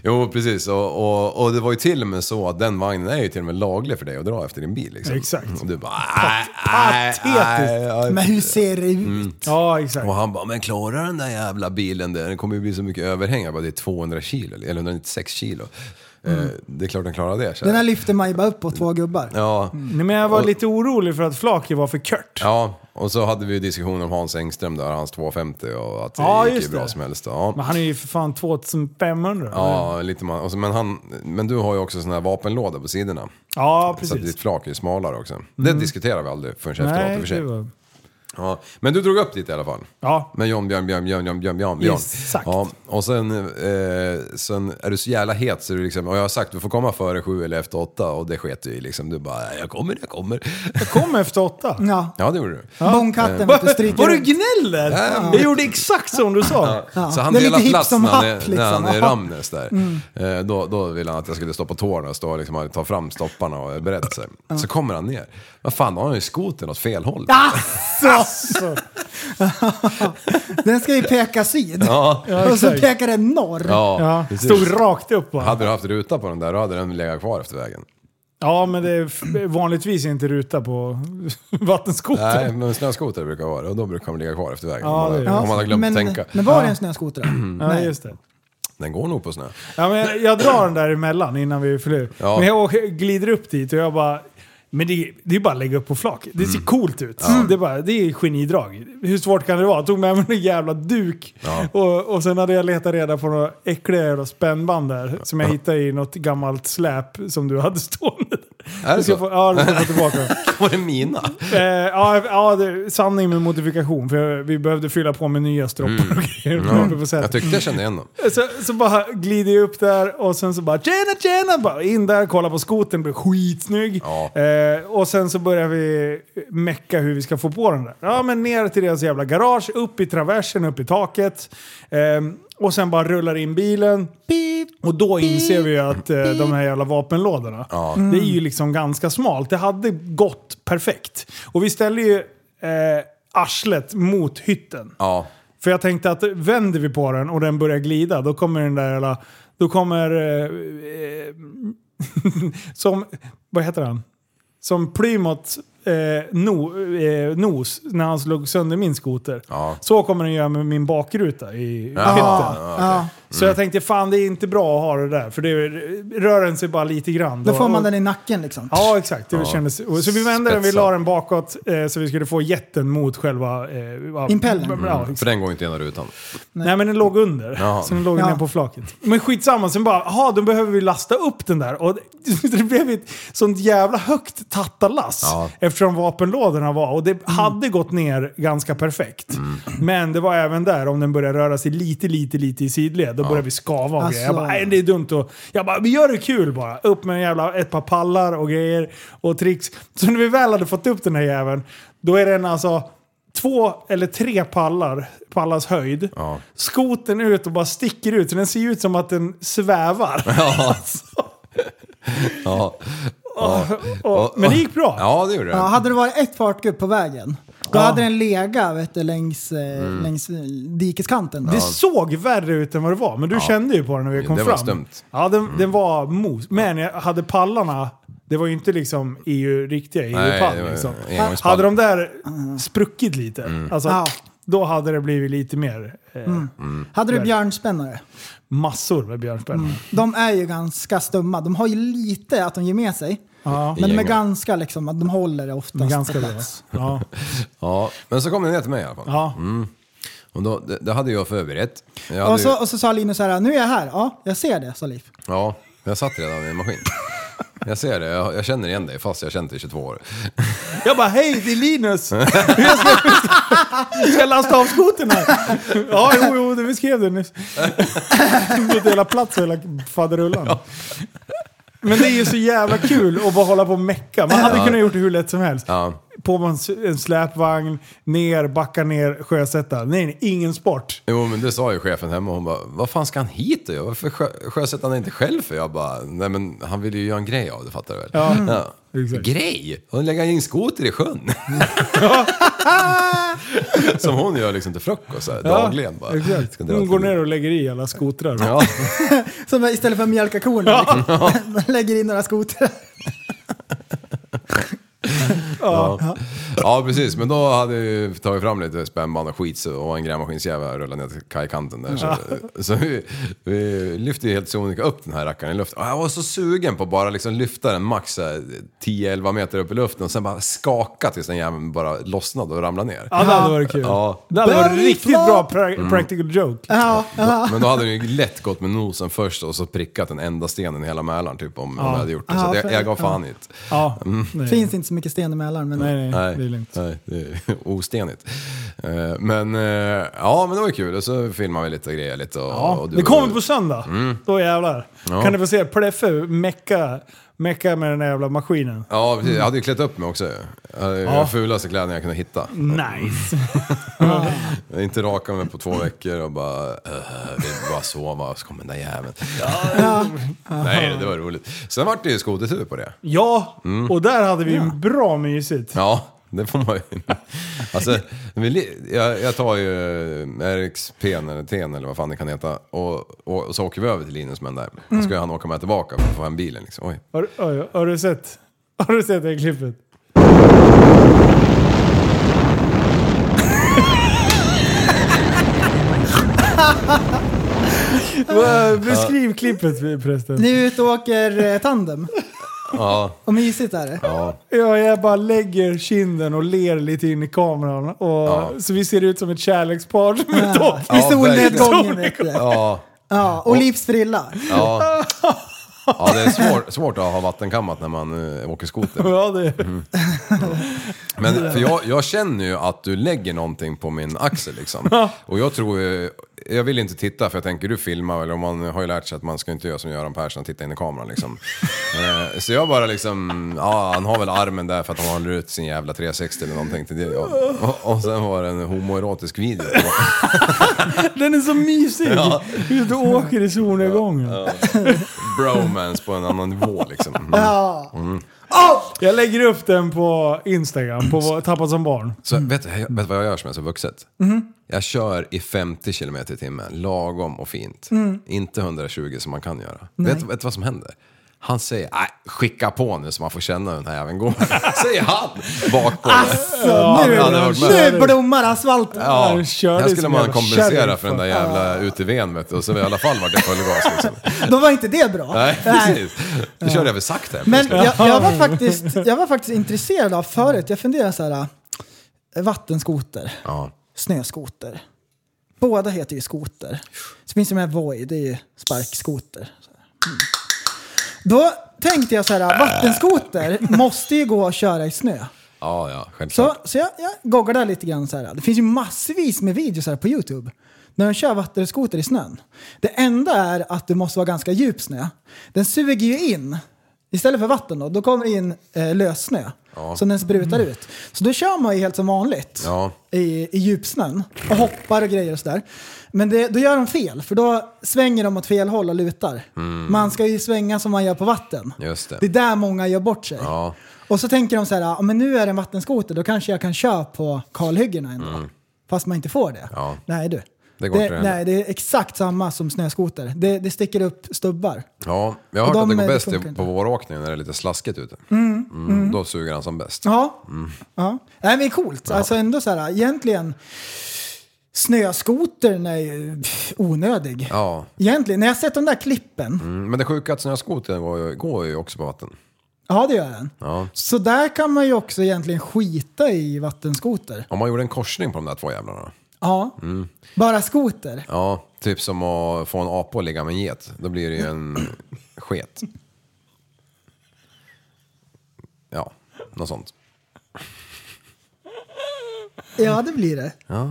Speaker 4: Jo, precis. Och, och, och det var ju till och med så att den vagnen är ju till och med laglig för dig att dra efter din bil. Liksom.
Speaker 5: Exakt.
Speaker 4: Och du bara...
Speaker 5: Patetiskt.
Speaker 6: Men hur ser det ut?
Speaker 4: Mm.
Speaker 5: Ja, exakt.
Speaker 4: Och han bara, men klarar den där jävla bilen det? Den kommer ju bli så mycket överhäng. Jag bara, det är 200 kilo, eller 196 kilo. Eh,
Speaker 5: Mm.
Speaker 4: Det är klart den klarar det. så här.
Speaker 6: Den här lyfter man ju bara upp på två gubbar.
Speaker 4: Ja.
Speaker 5: Nej, men jag var lite orolig för att flaket var för kört.
Speaker 4: Ja, och så hade vi ju diskussion om Hans Engström där, hans 250 och att det
Speaker 5: Ja,
Speaker 4: gick ju
Speaker 5: just
Speaker 4: bra
Speaker 5: det.
Speaker 4: som helst. Ja.
Speaker 5: Men han är ju för fan 2500.
Speaker 4: Ja, lite man, och så, men, han, men du har ju också sån här vapenlåda på sidorna.
Speaker 5: Ja,
Speaker 4: Så att
Speaker 5: precis. Mm.
Speaker 4: ditt flak är ju smalare också. Det diskuterar vi aldrig förrän efteråt i och för sig.
Speaker 5: det var-
Speaker 4: Ja, men du drog upp dit i alla fall.
Speaker 5: Ja.
Speaker 4: Med John, Björn, Björn, Björn, Björn, Björn, Björn. Björn.
Speaker 5: Exakt.
Speaker 4: Ja, och sen, eh, sen är du så jävla het så du liksom, och jag har sagt du får komma före sju eller efter åtta och det sket du i liksom. Du bara, jag kommer, jag kommer.
Speaker 5: Jag kom efter åtta.
Speaker 6: Ja.
Speaker 4: Ja, det gjorde du. Eh,
Speaker 5: Vad vad
Speaker 6: Alltså!
Speaker 5: du gnäller!
Speaker 4: Ja.
Speaker 5: Jag gjorde exakt som du sa.
Speaker 4: Så han delar plats när han är, när
Speaker 5: liksom.
Speaker 4: han är i Ramnäs där.
Speaker 5: Mm.
Speaker 4: Eh, Då, då ville han att jag skulle stå på tårna och stå, liksom, och ta fram stopparna och berätta sig. Så kommer han ner. Vad fan, då har han ju skotern åt fel håll.
Speaker 6: Alltså! den ska ju peka syd.
Speaker 4: Ja. Ja,
Speaker 6: och så
Speaker 4: exakt.
Speaker 6: pekar den norr.
Speaker 4: Ja, precis.
Speaker 5: Stod rakt upp bara.
Speaker 4: Hade du haft ruta på den där, då hade den legat kvar efter vägen.
Speaker 5: Ja, men det är f- vanligtvis inte ruta på vattenskotern.
Speaker 4: Nej, men snöskoter brukar vara det och då brukar de ligga kvar efter vägen.
Speaker 5: Typ. Ja,
Speaker 4: om,
Speaker 5: det
Speaker 4: man, har-
Speaker 5: är det.
Speaker 4: om man har glömt
Speaker 5: Men-
Speaker 4: tänka.
Speaker 6: Men var det en snöskoter?
Speaker 5: Ja, just det.
Speaker 4: Den går nog på snö.
Speaker 5: Ja, men jag, jag drar den där emellan innan vi förlorar.
Speaker 4: Ja.
Speaker 5: Men jag åker, glider upp dit och jag bara... Men det, det är bara att lägga upp på flak. Det ser
Speaker 4: Mm.
Speaker 5: coolt ut. Det, är bara, det är genidrag. Hur svårt kan det vara? Jag tog med mig en jävla duk. Och, och sen hade jag letat reda på några äckliga jävla spännband där. Som jag hittade i något gammalt släp som du hade stående.
Speaker 4: Är det
Speaker 5: Jag ska
Speaker 4: så?
Speaker 5: Få, ja, det ska jag få tillbaka.
Speaker 4: Var det mina?
Speaker 5: Eh, ja, ja det, sanning med modifikation. För vi behövde fylla på med nya stroppar och grejer. uppe på
Speaker 4: Mm. Ja.
Speaker 5: sätet.
Speaker 4: Jag tyckte jag kände igen dem.
Speaker 5: Så, så bara glider jag upp där och sen så bara tjena tjena! Bara in där, kolla på skoten blir skitsnygg. Eh, och sen så börjar vi mecka hur vi ska få på den där. Ja men ner till deras jävla garage, upp i traversen, upp i taket. Ehm, och sen bara rullar in bilen. Och då inser vi ju att eh, de här jävla vapenlådorna,
Speaker 4: Mm.
Speaker 5: det är ju liksom ganska smalt. Det hade gått perfekt. Och vi ställer ju eh, arslet mot hytten.
Speaker 4: Ja.
Speaker 5: För jag tänkte att vänder vi på den och den börjar glida, då kommer den där jävla... Då kommer... Eh, eh, som... Vad heter han? Som Plymouth eh, no, eh, nos när han slog sönder min skoter. Så kommer den göra med min bakruta i
Speaker 6: Ja,
Speaker 5: hytten.
Speaker 6: ja, Mm. okej. Ja.
Speaker 5: Så jag tänkte fan det är inte bra att ha det där för det rör den sig bara lite grann.
Speaker 6: Då får man den i nacken liksom.
Speaker 5: Ja, exakt. Det
Speaker 6: Ja.
Speaker 5: kändes... Så vi vände den, vi
Speaker 4: Spetsad.
Speaker 5: la den bakåt eh, så vi skulle få jätten mot själva... Eh,
Speaker 6: Impellen.
Speaker 5: Ja,
Speaker 4: Mm, för den går ju inte genom rutan.
Speaker 5: Nej. men den låg under.
Speaker 4: Jaha.
Speaker 5: Så den låg
Speaker 4: Ja.
Speaker 5: ner på flaket. Men skitsamma, sen bara, jaha, då behöver vi lasta upp den där. Och det blev ett sånt jävla högt tattarlass.
Speaker 4: Ja.
Speaker 5: Eftersom vapenlådorna var. Och det hade gått ner ganska perfekt.
Speaker 4: Mm.
Speaker 5: Men det var även där, om den började röra sig lite, lite, lite i sidled, då började vi skava och grejer. Jag bara,
Speaker 12: Alltså.
Speaker 5: nej det är dumt och Jag bara, vi gör det kul bara. Upp med en jävla, ett par pallar och grejer och tricks. Så när vi väl hade fått upp den här jäveln, då är den alltså två eller tre pallar, pallars höjd. Ja. Skoten ut och bara sticker ut. Så den ser ju ut som att den svävar.
Speaker 4: Ja. Ja. Ja.
Speaker 5: Och- men det gick bra.
Speaker 4: Ja, det gjorde det.
Speaker 6: Ja, hade det varit ett fartgupp på vägen, då
Speaker 5: Ja.
Speaker 6: hade den legat vet du, längs, eh,
Speaker 4: Mm.
Speaker 6: längs eh, dikeskanten.
Speaker 5: Det såg värre ut än vad det var, men du kände ju på den när vi kom
Speaker 4: Det
Speaker 5: fram.
Speaker 4: var stumt. Mm.
Speaker 5: Ja, den, den var mos. Men jag hade pallarna, det var ju inte liksom EU, riktiga
Speaker 4: Nej,
Speaker 5: EU-pall.
Speaker 4: det var
Speaker 5: Liksom.
Speaker 4: engångspall. Mm.
Speaker 5: Hade de där spruckit lite, alltså,
Speaker 6: Ja.
Speaker 5: Då hade det blivit lite mer... Eh,
Speaker 6: Mm. Hade du
Speaker 5: där.
Speaker 6: björnspännare?
Speaker 5: Massor med björnspännare.
Speaker 6: De är ju ganska stumma. De har ju lite att de ger med sig.
Speaker 5: Ja.
Speaker 6: Men de är
Speaker 4: Gänga.
Speaker 6: ganska liksom, att de håller det oftast
Speaker 5: De är ganska
Speaker 6: på plats.
Speaker 5: Ja.
Speaker 4: ja, men så kom den ner till mig i alla fall.
Speaker 5: Ja.
Speaker 4: Mm. Och då, det, det hade jag förberett. Jag hade
Speaker 6: Och
Speaker 4: ju-
Speaker 6: så, och så sa Linus så här, nu är jag här. Ja, jag ser det, sa Liv.
Speaker 4: Ja, jag satt redan i en maskin. Jag ser det, jag, jag känner igen dig fast jag har känt dig i 22 år.
Speaker 5: Jag bara, hej det är Linus! Jag ska, ska jag lasta av skotern här? Ja, jo, jo, det beskrev du nyss. Bytte hela plats och hela faderullan. Men det är ju så jävla kul att bara hålla på och mecka. Man hade
Speaker 4: Ja.
Speaker 5: kunnat gjort det hur lätt som helst.
Speaker 4: Ja.
Speaker 5: På med en s- en släpvagn, ner, backa ner, sjösätta. Nej, nej, ingen sport.
Speaker 4: Jo, men det sa ju chefen hemma. Hon bara, vad fan ska han hit och göra? Varför sjö, sjösätter han inte själv för? Jag bara, nej men han ville ju göra en grej av det, fattar du väl?
Speaker 5: Ja, exakt.
Speaker 4: Grej? Hon lägger in skoter i sjön. Som hon gör liksom till frukost, så här, dagligen bara.
Speaker 5: exakt.
Speaker 4: Ska dra
Speaker 5: Hon
Speaker 4: till-
Speaker 5: går ner och lägger i alla skotrar.
Speaker 4: Ja.
Speaker 6: Som istället för att mjölka korna.
Speaker 5: Ja.
Speaker 6: Liksom. Man lägger in några skotrar.
Speaker 4: Ja. Ja. ja, precis. Men då hade jag ju tagit fram lite spännband och skit så- och en grävmaskinsjävel rullade ner till kajkanten där. Så, så vi, vi lyfte ju helt sonika upp den här rackaren i luften. Och jag var så sugen på att bara liksom lyfta den max så här 10-11 meter upp i luften och sen bara skaka tills den jäveln bara lossnade och ramlade ner.
Speaker 5: Ja, det hade varit kul.
Speaker 4: Ja.
Speaker 5: Det hade varit
Speaker 6: Belly
Speaker 5: riktigt
Speaker 6: flop!
Speaker 5: bra pra-
Speaker 4: Mm.
Speaker 5: practical joke.
Speaker 6: Ja, ja.
Speaker 4: Men då hade den ju lätt gått med nosen först och så prickat den enda stenen i hela Mälaren typ om, om
Speaker 6: Ja.
Speaker 4: jag hade gjort det. Så
Speaker 6: Ja,
Speaker 4: att jag, jag gav
Speaker 6: för-
Speaker 4: fan
Speaker 6: ja.
Speaker 4: i det.
Speaker 5: Ja.
Speaker 4: Mm.
Speaker 6: Det finns inte så mycket sten emellan. Men
Speaker 4: Nej, nej, det är ostenigt. Eh, Men eh, ja, men det var ju kul. Och så filmade vi lite grejer lite. Och,
Speaker 5: Ja,
Speaker 4: och du-
Speaker 5: det kommer på söndag.
Speaker 4: Mm.
Speaker 5: Då jävlar.
Speaker 4: Ja.
Speaker 5: Kan du få se Pleffe mecka, mecka med den där jävla maskinen.
Speaker 4: Ja, precis. Jag hade ju klätt upp mig också. Jag hade ju
Speaker 5: Ja.
Speaker 4: de fulaste kläderna jag kunde hitta.
Speaker 5: Nice.
Speaker 4: Jag hade inte rakat mig på två veckor och bara... Uh, vill bara sova och så kom den där jäveln. Nej, det var roligt. Sen vart det ju skotertur på det.
Speaker 5: Ja,
Speaker 4: Mm.
Speaker 5: och där hade vi bra mysigt.
Speaker 4: Ja, det får man ju. Alltså, vi li- jag, jag tar ju eh, RXP eller TN eller vad fan det kan heta och, och, och så åker vi över till Linus med den där. Då ska ju han åka med tillbaka för att få hem bilen liksom. Oj.
Speaker 5: Har, har, har, du sett, har du sett det klippet? Vad- Beskriv klippet förresten.
Speaker 6: Ni är ute och åker eh, tandem.
Speaker 4: Ja,
Speaker 6: Och mysigt är det.
Speaker 4: ja.
Speaker 5: Ja, jag bara lägger kinden och ler lite in i kameran. Och,
Speaker 4: Ja.
Speaker 5: Så vi ser ut som ett kärlekspar som är dock.
Speaker 4: Ja, verkligen.
Speaker 6: solnedgången, vet du.
Speaker 4: Ja,
Speaker 6: Ja, och Livs frilla.
Speaker 4: ja. Ja, det är svår, svårt att ha vattenkammat när man eh, åker skoter.
Speaker 5: Ja, det är...
Speaker 4: Mm. Men för jag, jag känner ju att du lägger någonting på min axel liksom. Och jag tror ju- jag vill inte titta för jag tänker du filmar väl och man har ju lärt sig att man ska inte göra som Göran Persson och titta in i kameran liksom. Eh, Så jag bara liksom, ja han har väl armen där för att han håller ut sin jävla 360 eller någonting till det. Och, och, och sen var det en homoerotisk video.
Speaker 5: Den är så mysig!
Speaker 4: Ja.
Speaker 5: Hur du åker i solnedgången.
Speaker 4: Bromance på en annan nivå liksom. Mm.
Speaker 5: Ja.
Speaker 4: Mm.
Speaker 5: Jag lägger upp den på Instagram, på vår- Tappad som barn.
Speaker 4: Så vet, du- jag- vet du vad jag gör som är så vuxet? Jag kör i 50 km i timmen, lagom och fint.
Speaker 5: Mm.
Speaker 4: Inte 120 som man kan göra.
Speaker 5: Nej.
Speaker 4: Vet, vet du vad som händer? Han säger, nej, skicka på nu så man får känna hur den här jäveln går. säger han! Bak på
Speaker 6: Alltså,
Speaker 4: Han-
Speaker 6: nu,
Speaker 4: han hade varit med.
Speaker 6: nu blommar asfalten.
Speaker 4: Ja, här skulle
Speaker 5: som
Speaker 4: man
Speaker 5: jävla
Speaker 4: kompensera
Speaker 5: sheriff,
Speaker 4: för den där
Speaker 5: va?
Speaker 4: jävla UTVn vet du. Och så i alla fall vart det full gas liksom.
Speaker 6: Då var inte det bra.
Speaker 4: Nej, precis. Nu körde jag väl sakta här
Speaker 6: Men jag,
Speaker 4: plötsligt.
Speaker 6: jag, var faktiskt, jag var faktiskt intresserad av förut. Jag funderade så här. äh, Vattenskoter,
Speaker 4: Ja.
Speaker 6: snöskoter. Båda heter ju skoter. Så finns det med Voi, det är ju sparkskoter. Så här. Mm. Då tänkte jag så här, äh, vattenskoter måste ju gå att köra i snö.
Speaker 4: Ja, ja, självklart.
Speaker 6: Så, så jag, jag googlade lite grann så här. Det finns ju massvis med videos här på YouTube. När de kör vattenskoter i snön. Det enda är att det måste vara ganska djup snö. Den suger ju in. Istället för vatten då, då kommer det in eh, lös snö.
Speaker 4: Ja. Mm.
Speaker 6: Som den sprutar ut. Så då kör man ju helt som vanligt
Speaker 4: Ja.
Speaker 6: i, i djupsnön och hoppar och grejer och sådär. Men det, då gör de fel, för då svänger de åt fel håll och lutar.
Speaker 4: Mm.
Speaker 6: Man ska ju svänga som man gör på vatten.
Speaker 4: Just det.
Speaker 6: Det är där många gör bort sig.
Speaker 4: Ja.
Speaker 6: Och så tänker de så här, "Ja, men nu är det en vattenskoter, då kanske jag kan köra på kalhyggena ändå.
Speaker 4: Mm.
Speaker 6: Fast man inte får det.
Speaker 4: Ja.
Speaker 6: Nej du.
Speaker 4: Det går inte det heller.
Speaker 6: nej, det är exakt samma som snöskoter. Det, det sticker upp stubbar.
Speaker 4: Ja, jag har
Speaker 6: Och
Speaker 4: hört att
Speaker 6: de-
Speaker 4: det
Speaker 6: det
Speaker 4: går bäst
Speaker 6: funkar
Speaker 4: i- på våråkningen när det är lite slaskigt ute.
Speaker 6: Mm, mm.
Speaker 4: Då suger han som bäst.
Speaker 6: Ja,
Speaker 4: Mm.
Speaker 6: ja. Nej, men det är coolt. Alltså ändå så här, egentligen Snöskotern är ju pff, onödig.
Speaker 4: Ja.
Speaker 6: Egentligen, när jag sett de där klippen.
Speaker 4: Mm, men det sjuka är att snöskotern går, ju- går ju också på vatten.
Speaker 6: Ja, det gör den.
Speaker 4: Ja.
Speaker 6: Så där kan man ju också egentligen skita i vattenskoter.
Speaker 4: Om man gjorde en korsning på de där två jävlarna.
Speaker 6: Ja,
Speaker 4: Mm.
Speaker 6: bara skoter.
Speaker 4: Ja, typ som att få en apa att ligga med en get. Då blir det ju en sket. Ja, något sånt.
Speaker 6: Ja, det blir det.
Speaker 4: Ja.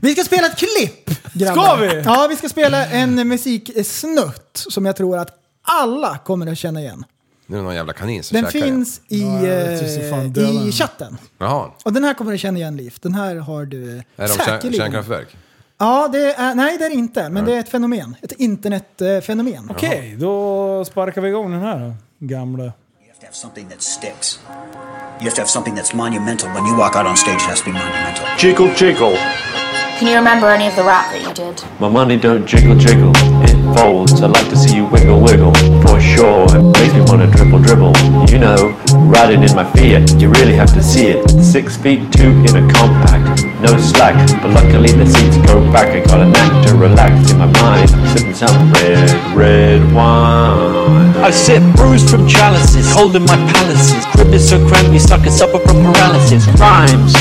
Speaker 6: Vi ska spela ett klipp, grabbar.
Speaker 5: Ska vi?
Speaker 6: Ja, vi ska spela en musiksnutt som jag tror att alla kommer att känna igen.
Speaker 4: Nu är det någon jävla kanin som
Speaker 6: Den
Speaker 4: käkar igen.
Speaker 6: finns i,
Speaker 5: jag tror så fan
Speaker 6: eh,
Speaker 5: döda
Speaker 6: i
Speaker 5: den.
Speaker 6: chatten.
Speaker 4: Jaha,
Speaker 6: Och den här kommer du känna igen, Liv. Den här har du
Speaker 4: är det om kärn-
Speaker 6: säkerligen.
Speaker 4: kärnkraftverk?
Speaker 6: Ja, det är, nej det är det inte. Men det är ett fenomen. Ett internetfenomen.
Speaker 5: Okej, då sparkar vi igång den här då, gamla.
Speaker 14: to have something that sticks. You have to have something that's monumental. When you walk out on stage, it has to be monumental.
Speaker 3: Jiggle, jiggle.
Speaker 15: Can you remember any of the rap that you did?
Speaker 3: My money don't jiggle, jiggle. It folds. I like to see you wiggle, wiggle. For sure, it makes me wanna dribble, dribble. You know, riding in my Fiat. You really have to see it. Six feet two in a compact. No slack, but luckily the seats go back. I got a knack to relax in my mind. I'm sipping some red, red wine.
Speaker 16: I sip brews from chalices, holding my palaces. Crib is so cramped, you suckers suffer from paralysis. Rhymes,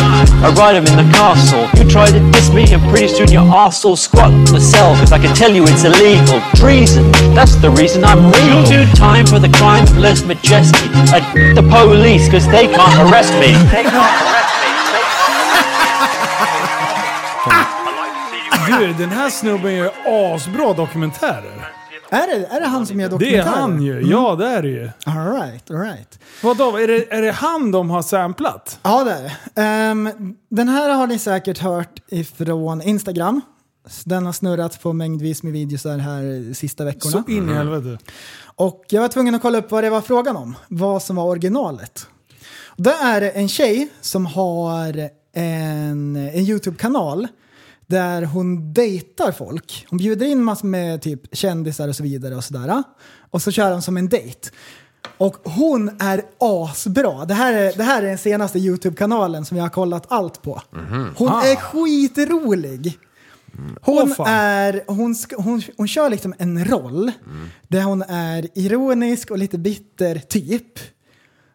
Speaker 16: I ride 'em in the castle. You try to diss me, and pretty soon your arse will squat in the cell. Cause I can tell you it's illegal. Treason, that's the reason I'm real. Due time for the crime of less majesty. I d- the police, cause they can't arrest me. They can't arrest me.
Speaker 5: Du, den här snubben gör asbra dokumentärer.
Speaker 6: Är det, är det han som gör
Speaker 5: Det är
Speaker 6: dokumentärer?
Speaker 5: han ju.
Speaker 6: Mm.
Speaker 5: Ja, det är det ju.
Speaker 6: All right, all right.
Speaker 5: Vadå, är det, är det han de har samplat?
Speaker 6: Ja, det är det. Ehm, Den här har ni säkert hört ifrån Instagram. Den har snurrat på mängdvis med videos där här sista veckorna.
Speaker 5: Så in i helvete.
Speaker 6: Och jag var tvungen att kolla upp vad det var frågan om. Vad som var originalet. Då är det en tjej som har en, en YouTube-kanal där hon dejtar folk. Hon bjuder in massor med typ kändisar och så vidare och sådär. Och så kör hon som en dejt. Och hon är asbra. Det här är, det här är den senaste YouTube-kanalen som jag har kollat allt på. Hon är skitrolig. Hon, är, hon, sk- hon, hon kör liksom en roll där hon är ironisk och lite bitter typ.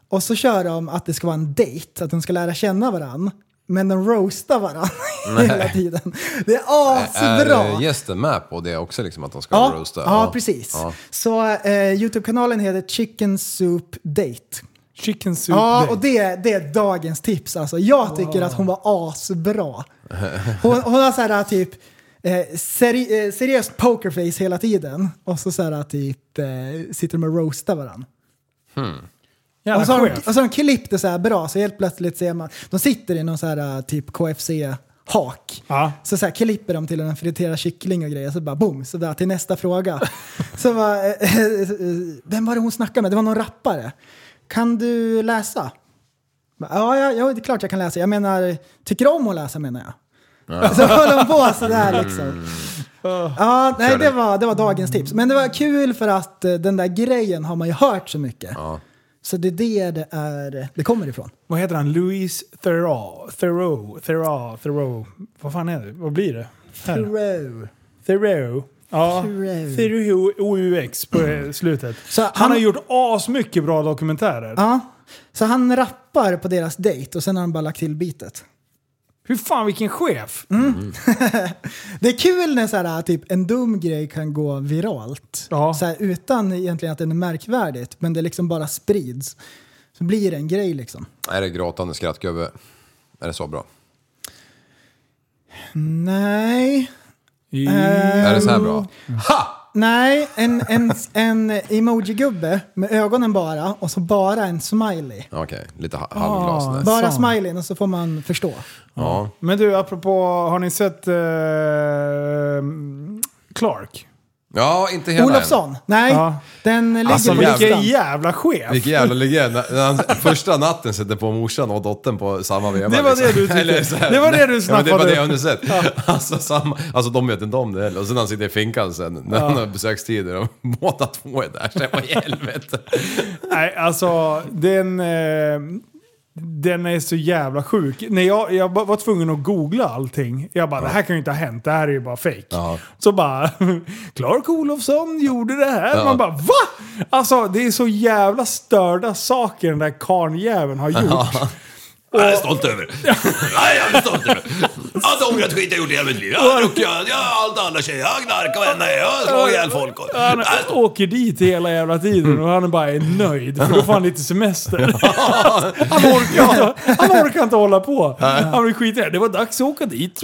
Speaker 6: Och så kör de att det ska vara en dejt, att de ska lära känna varann. Men de roastar varann
Speaker 4: Nej.
Speaker 6: hela tiden. Det är
Speaker 4: Är
Speaker 6: asbra!
Speaker 4: eh, gästen med på det också, liksom, att de ska
Speaker 6: Ja,
Speaker 4: roasta?
Speaker 6: ja, precis.
Speaker 4: Ja.
Speaker 6: Så eh, Youtube-kanalen heter Chicken Soup Date.
Speaker 5: Chicken Soup
Speaker 6: Ja,
Speaker 5: Date.
Speaker 6: och det, det är dagens tips alltså. Jag tycker att hon var asbra. Hon, hon har så här typ eh, seri eh, seriöst pokerface hela tiden och så, så här typ eh, sitter de och roastar varandra.
Speaker 4: Hmm.
Speaker 5: Jävla
Speaker 6: och, så har de,
Speaker 5: chef.
Speaker 6: och så har de klippt det så här bra så helt plötsligt ser man, de sitter i någon så här typ KFC-hak. Så, så här klipper de till en friterad kyckling och grejer så bara boom, så där till nästa fråga. så bara, eh, eh, vem var det hon snackade med? Det var någon rappare. Kan du läsa? Bara, Ja, ja, ja, det är klart jag kan läsa. Jag menar, tycker du om att läsa menar jag. Så håller de på sådär
Speaker 5: Mm.
Speaker 6: liksom. Ja, nej, det var, det var dagens tips. Men det var kul för att eh, den där grejen har man ju hört så mycket. Så det är det det, är, det kommer ifrån.
Speaker 5: Vad heter han? Louis Theroux? Theroux? Theroux? Theroux? Vad fan är det? Vad blir det? Här.
Speaker 6: Thoreau.
Speaker 5: Theroux. Ja,
Speaker 6: Thoreau.
Speaker 5: Theroux OUX på eh, slutet. han,
Speaker 6: han-
Speaker 5: har gjort asmycket bra dokumentärer.
Speaker 6: Ja. Så han rappar på deras dejt och sen har han bara lagt till bitet.
Speaker 5: Hur fan vilken chef!
Speaker 6: Det är kul när så här, typ, en dum grej kan gå viralt. Så här, utan egentligen att den är märkvärdigt, men det liksom bara sprids. Så blir det en grej liksom.
Speaker 4: Är det gråtande skrattgubbe? Är det så bra?
Speaker 6: Nej.
Speaker 4: Är det så här
Speaker 6: Ehm.
Speaker 4: bra?
Speaker 6: Nej, en, en, en emoji-gubbe med ögonen bara och så bara en smiley.
Speaker 4: Ja, Okej, lite ha- halvglas där.
Speaker 6: bara smileyn och så får man förstå.
Speaker 4: Ja.
Speaker 5: Men du, apropå, har ni sett eh, Clark?
Speaker 4: ja, inte hela
Speaker 6: Olofsson? Nej,
Speaker 5: Ja.
Speaker 6: den ligger
Speaker 4: Alltså,
Speaker 6: på
Speaker 4: vilken
Speaker 6: listan.
Speaker 4: jä-
Speaker 5: Jävla chef!
Speaker 4: än. Vilken jävla legend. När han första natten sätter på morsan och dottern på samma veva. liksom.
Speaker 5: Det var det du tyckte.
Speaker 4: så här,
Speaker 5: Det var det
Speaker 4: nej, ja,
Speaker 5: du
Speaker 4: men
Speaker 5: snappade
Speaker 4: Det var det
Speaker 5: upp.
Speaker 4: jag hade sett. Alltså, samma, alltså de vet inte om det heller. Och sen när han sitter i finkan sen, när
Speaker 5: Ja.
Speaker 4: han har besökstider och båda två är där. Så jag bara, i helvete.
Speaker 5: Nej, alltså den... Eh, Den är så jävla sjuk. När jag, jag ba- var tvungen att googla allting. Jag bara, det här kan ju inte ha hänt. Det här är ju bara fake. Så bara, Clark Olofsson gjorde det här.
Speaker 4: Ja.
Speaker 5: Man bara, va? Alltså det är så jävla störda saker den där karljäveln har gjort.
Speaker 4: Ja. Jag är stolt över. Jag är jävligt stolt över. Allt ångrat skit jag gjort i hela mitt liv. Jag har druckit, jag har allt andra tjejer. Jag har knarkat varenda jag har slagit ihjäl folk. och-
Speaker 5: Han åker dit hela jävla tiden och han är bara nöjd. För då får han lite semester. Han orkar inte, han orkar inte hålla på.
Speaker 4: Nej.
Speaker 5: Han blir skitig. Det var dags att åka dit.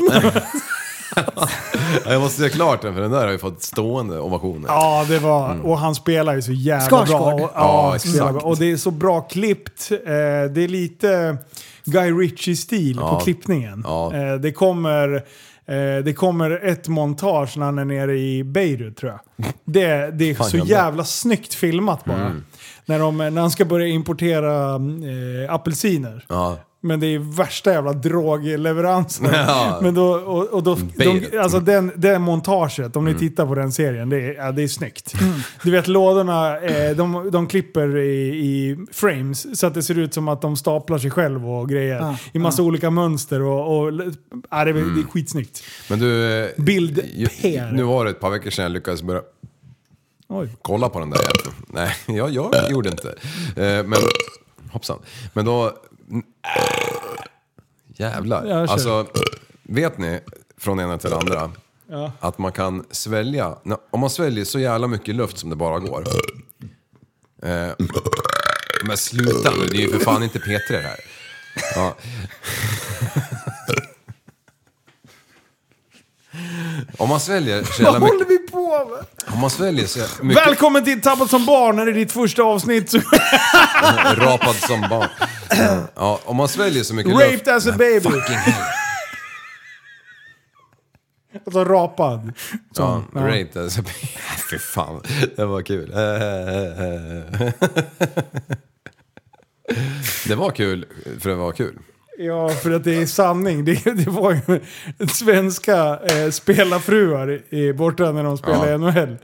Speaker 4: Ja, Jag måste göra klart den, för den där har ju fått stående ovationer.
Speaker 5: Ja, det var... Och han spelar ju så jävla bra.
Speaker 4: Skarsgård.
Speaker 5: Och,
Speaker 4: Mm. Ja,
Speaker 5: ja, han spelar
Speaker 4: exakt.
Speaker 5: bra. Och det är så bra klippt. Eh, det är lite Guy Ritchie-stil
Speaker 4: Ja.
Speaker 5: på klippningen.
Speaker 4: Ja.
Speaker 5: Eh, det, kommer, eh, det kommer ett montage när han är nere i Beirut, tror jag. Det, det är
Speaker 4: Fan,
Speaker 5: så
Speaker 4: jävlar.
Speaker 5: jävla snyggt filmat bara.
Speaker 4: Mm.
Speaker 5: När, de, när han ska börja importera eh, apelsiner.
Speaker 4: Ja.
Speaker 5: Men det är värsta jävla drogleveransen.
Speaker 4: Ja.
Speaker 5: Men då, och, och då, de,
Speaker 4: Beirut.
Speaker 5: alltså den, det montaget, om ni
Speaker 4: Mm.
Speaker 5: tittar på den serien, det är, ja, det är snyggt. Du vet lådorna, eh, de, de klipper i, i frames så att det ser ut som att de staplar sig själv och grejer.
Speaker 4: Ah,
Speaker 5: I massa olika mönster och... och ja, det, är, det är
Speaker 4: Mm.
Speaker 5: skitsnyggt.
Speaker 4: Men du... eh, ju-
Speaker 5: PR.
Speaker 4: Nu var det ett par veckor sedan jag lyckades börja
Speaker 5: Oj.
Speaker 4: kolla på den där igen. Nej, jag, jag gjorde inte. Eh, Men, hoppsan. Men då... Äh, Jävlar.
Speaker 5: Ja, kör.
Speaker 4: alltså, vet ni, från ena till andra,
Speaker 5: Ja.
Speaker 4: att man kan svälja... nej, Om man sväljer så jävla mycket luft som det bara går. Eh, Men sluta nu, det är ju för fan inte P3 det här. Ja. Om man sväljer så jävla
Speaker 5: Vad håller
Speaker 4: mycket...
Speaker 5: vi på med?
Speaker 4: Om man sväljer så jävla mycket...
Speaker 5: Välkommen till Tappat som barn, när det är ditt första avsnitt.
Speaker 4: Rapad som barn. Ja, om man sväljer så mycket luft...
Speaker 5: Raped as a baby. Alltså rapad.
Speaker 4: Ja,
Speaker 5: Som- ja.
Speaker 4: raped as a baby. Fy fan, det var kul. Eh, eh, eh. Det var kul, för det var kul.
Speaker 5: Ja, för att det är sanning. Det, det var ju svenska eh, spelarfruar i, borta när de spelade
Speaker 4: Ja.
Speaker 5: i NHL.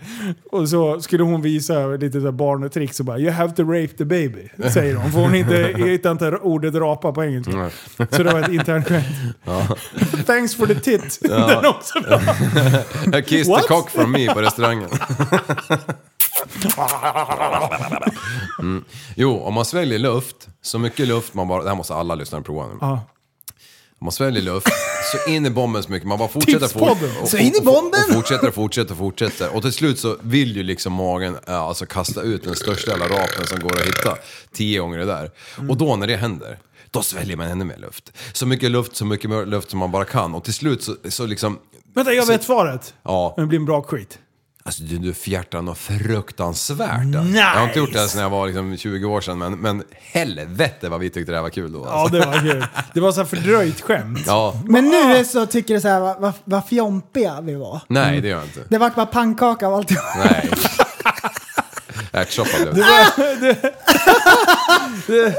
Speaker 5: Och så skulle hon visa lite så här barnetricks och bara “You have to rape the baby”, säger hon. För hon inte, hittar inte ordet rapa på engelska. Så det var ett internt skämt.
Speaker 4: Ja.
Speaker 5: Thanks for the tit.
Speaker 4: Ja.
Speaker 5: Den är också bra.
Speaker 4: I kissed
Speaker 5: What?
Speaker 4: the cock from me på restaurangen. Mm. Jo, om man sväljer luft, så mycket luft man bara... Det här måste alla lyssnare prova nu.
Speaker 5: Ja.
Speaker 4: Om man sväljer luft, så in i bomben så mycket. Man bara fortsätter...
Speaker 5: Tipspodden.
Speaker 4: och- och-
Speaker 5: Så in i
Speaker 4: och- och-
Speaker 5: bomben!
Speaker 4: Och fortsätter och fortsätter och fortsätter. Och till slut så vill ju liksom magen eh, alltså kasta ut den största jävla rapen som går att hitta. Tio gånger det där. Och då när det händer, då sväljer man ännu mer luft. Så mycket luft, så mycket mer luft som man bara kan. Och till slut så, så liksom...
Speaker 5: Vänta, jag
Speaker 4: så-
Speaker 5: vet svaret.
Speaker 4: Ja.
Speaker 5: Men det blir en bra skit.
Speaker 4: Alltså du, du fjärtar något fruktansvärt.
Speaker 5: Nice!
Speaker 4: Jag har inte gjort det ens när jag var liksom 20 år sedan, men, men helvete vad vi tyckte det här var kul då.
Speaker 5: Ja,
Speaker 4: Alltså.
Speaker 5: det var kul. Det var så här fördröjt skämt. Ah.
Speaker 4: Ja.
Speaker 6: Men nu så tycker du så här, vad, vad, vad fjompiga vi var.
Speaker 4: Nej, det gör jag inte.
Speaker 6: Det vart bara pannkaka av alltihop.
Speaker 4: Nej. Ärtsoppa blev
Speaker 5: Det
Speaker 4: det.
Speaker 5: var, det, det,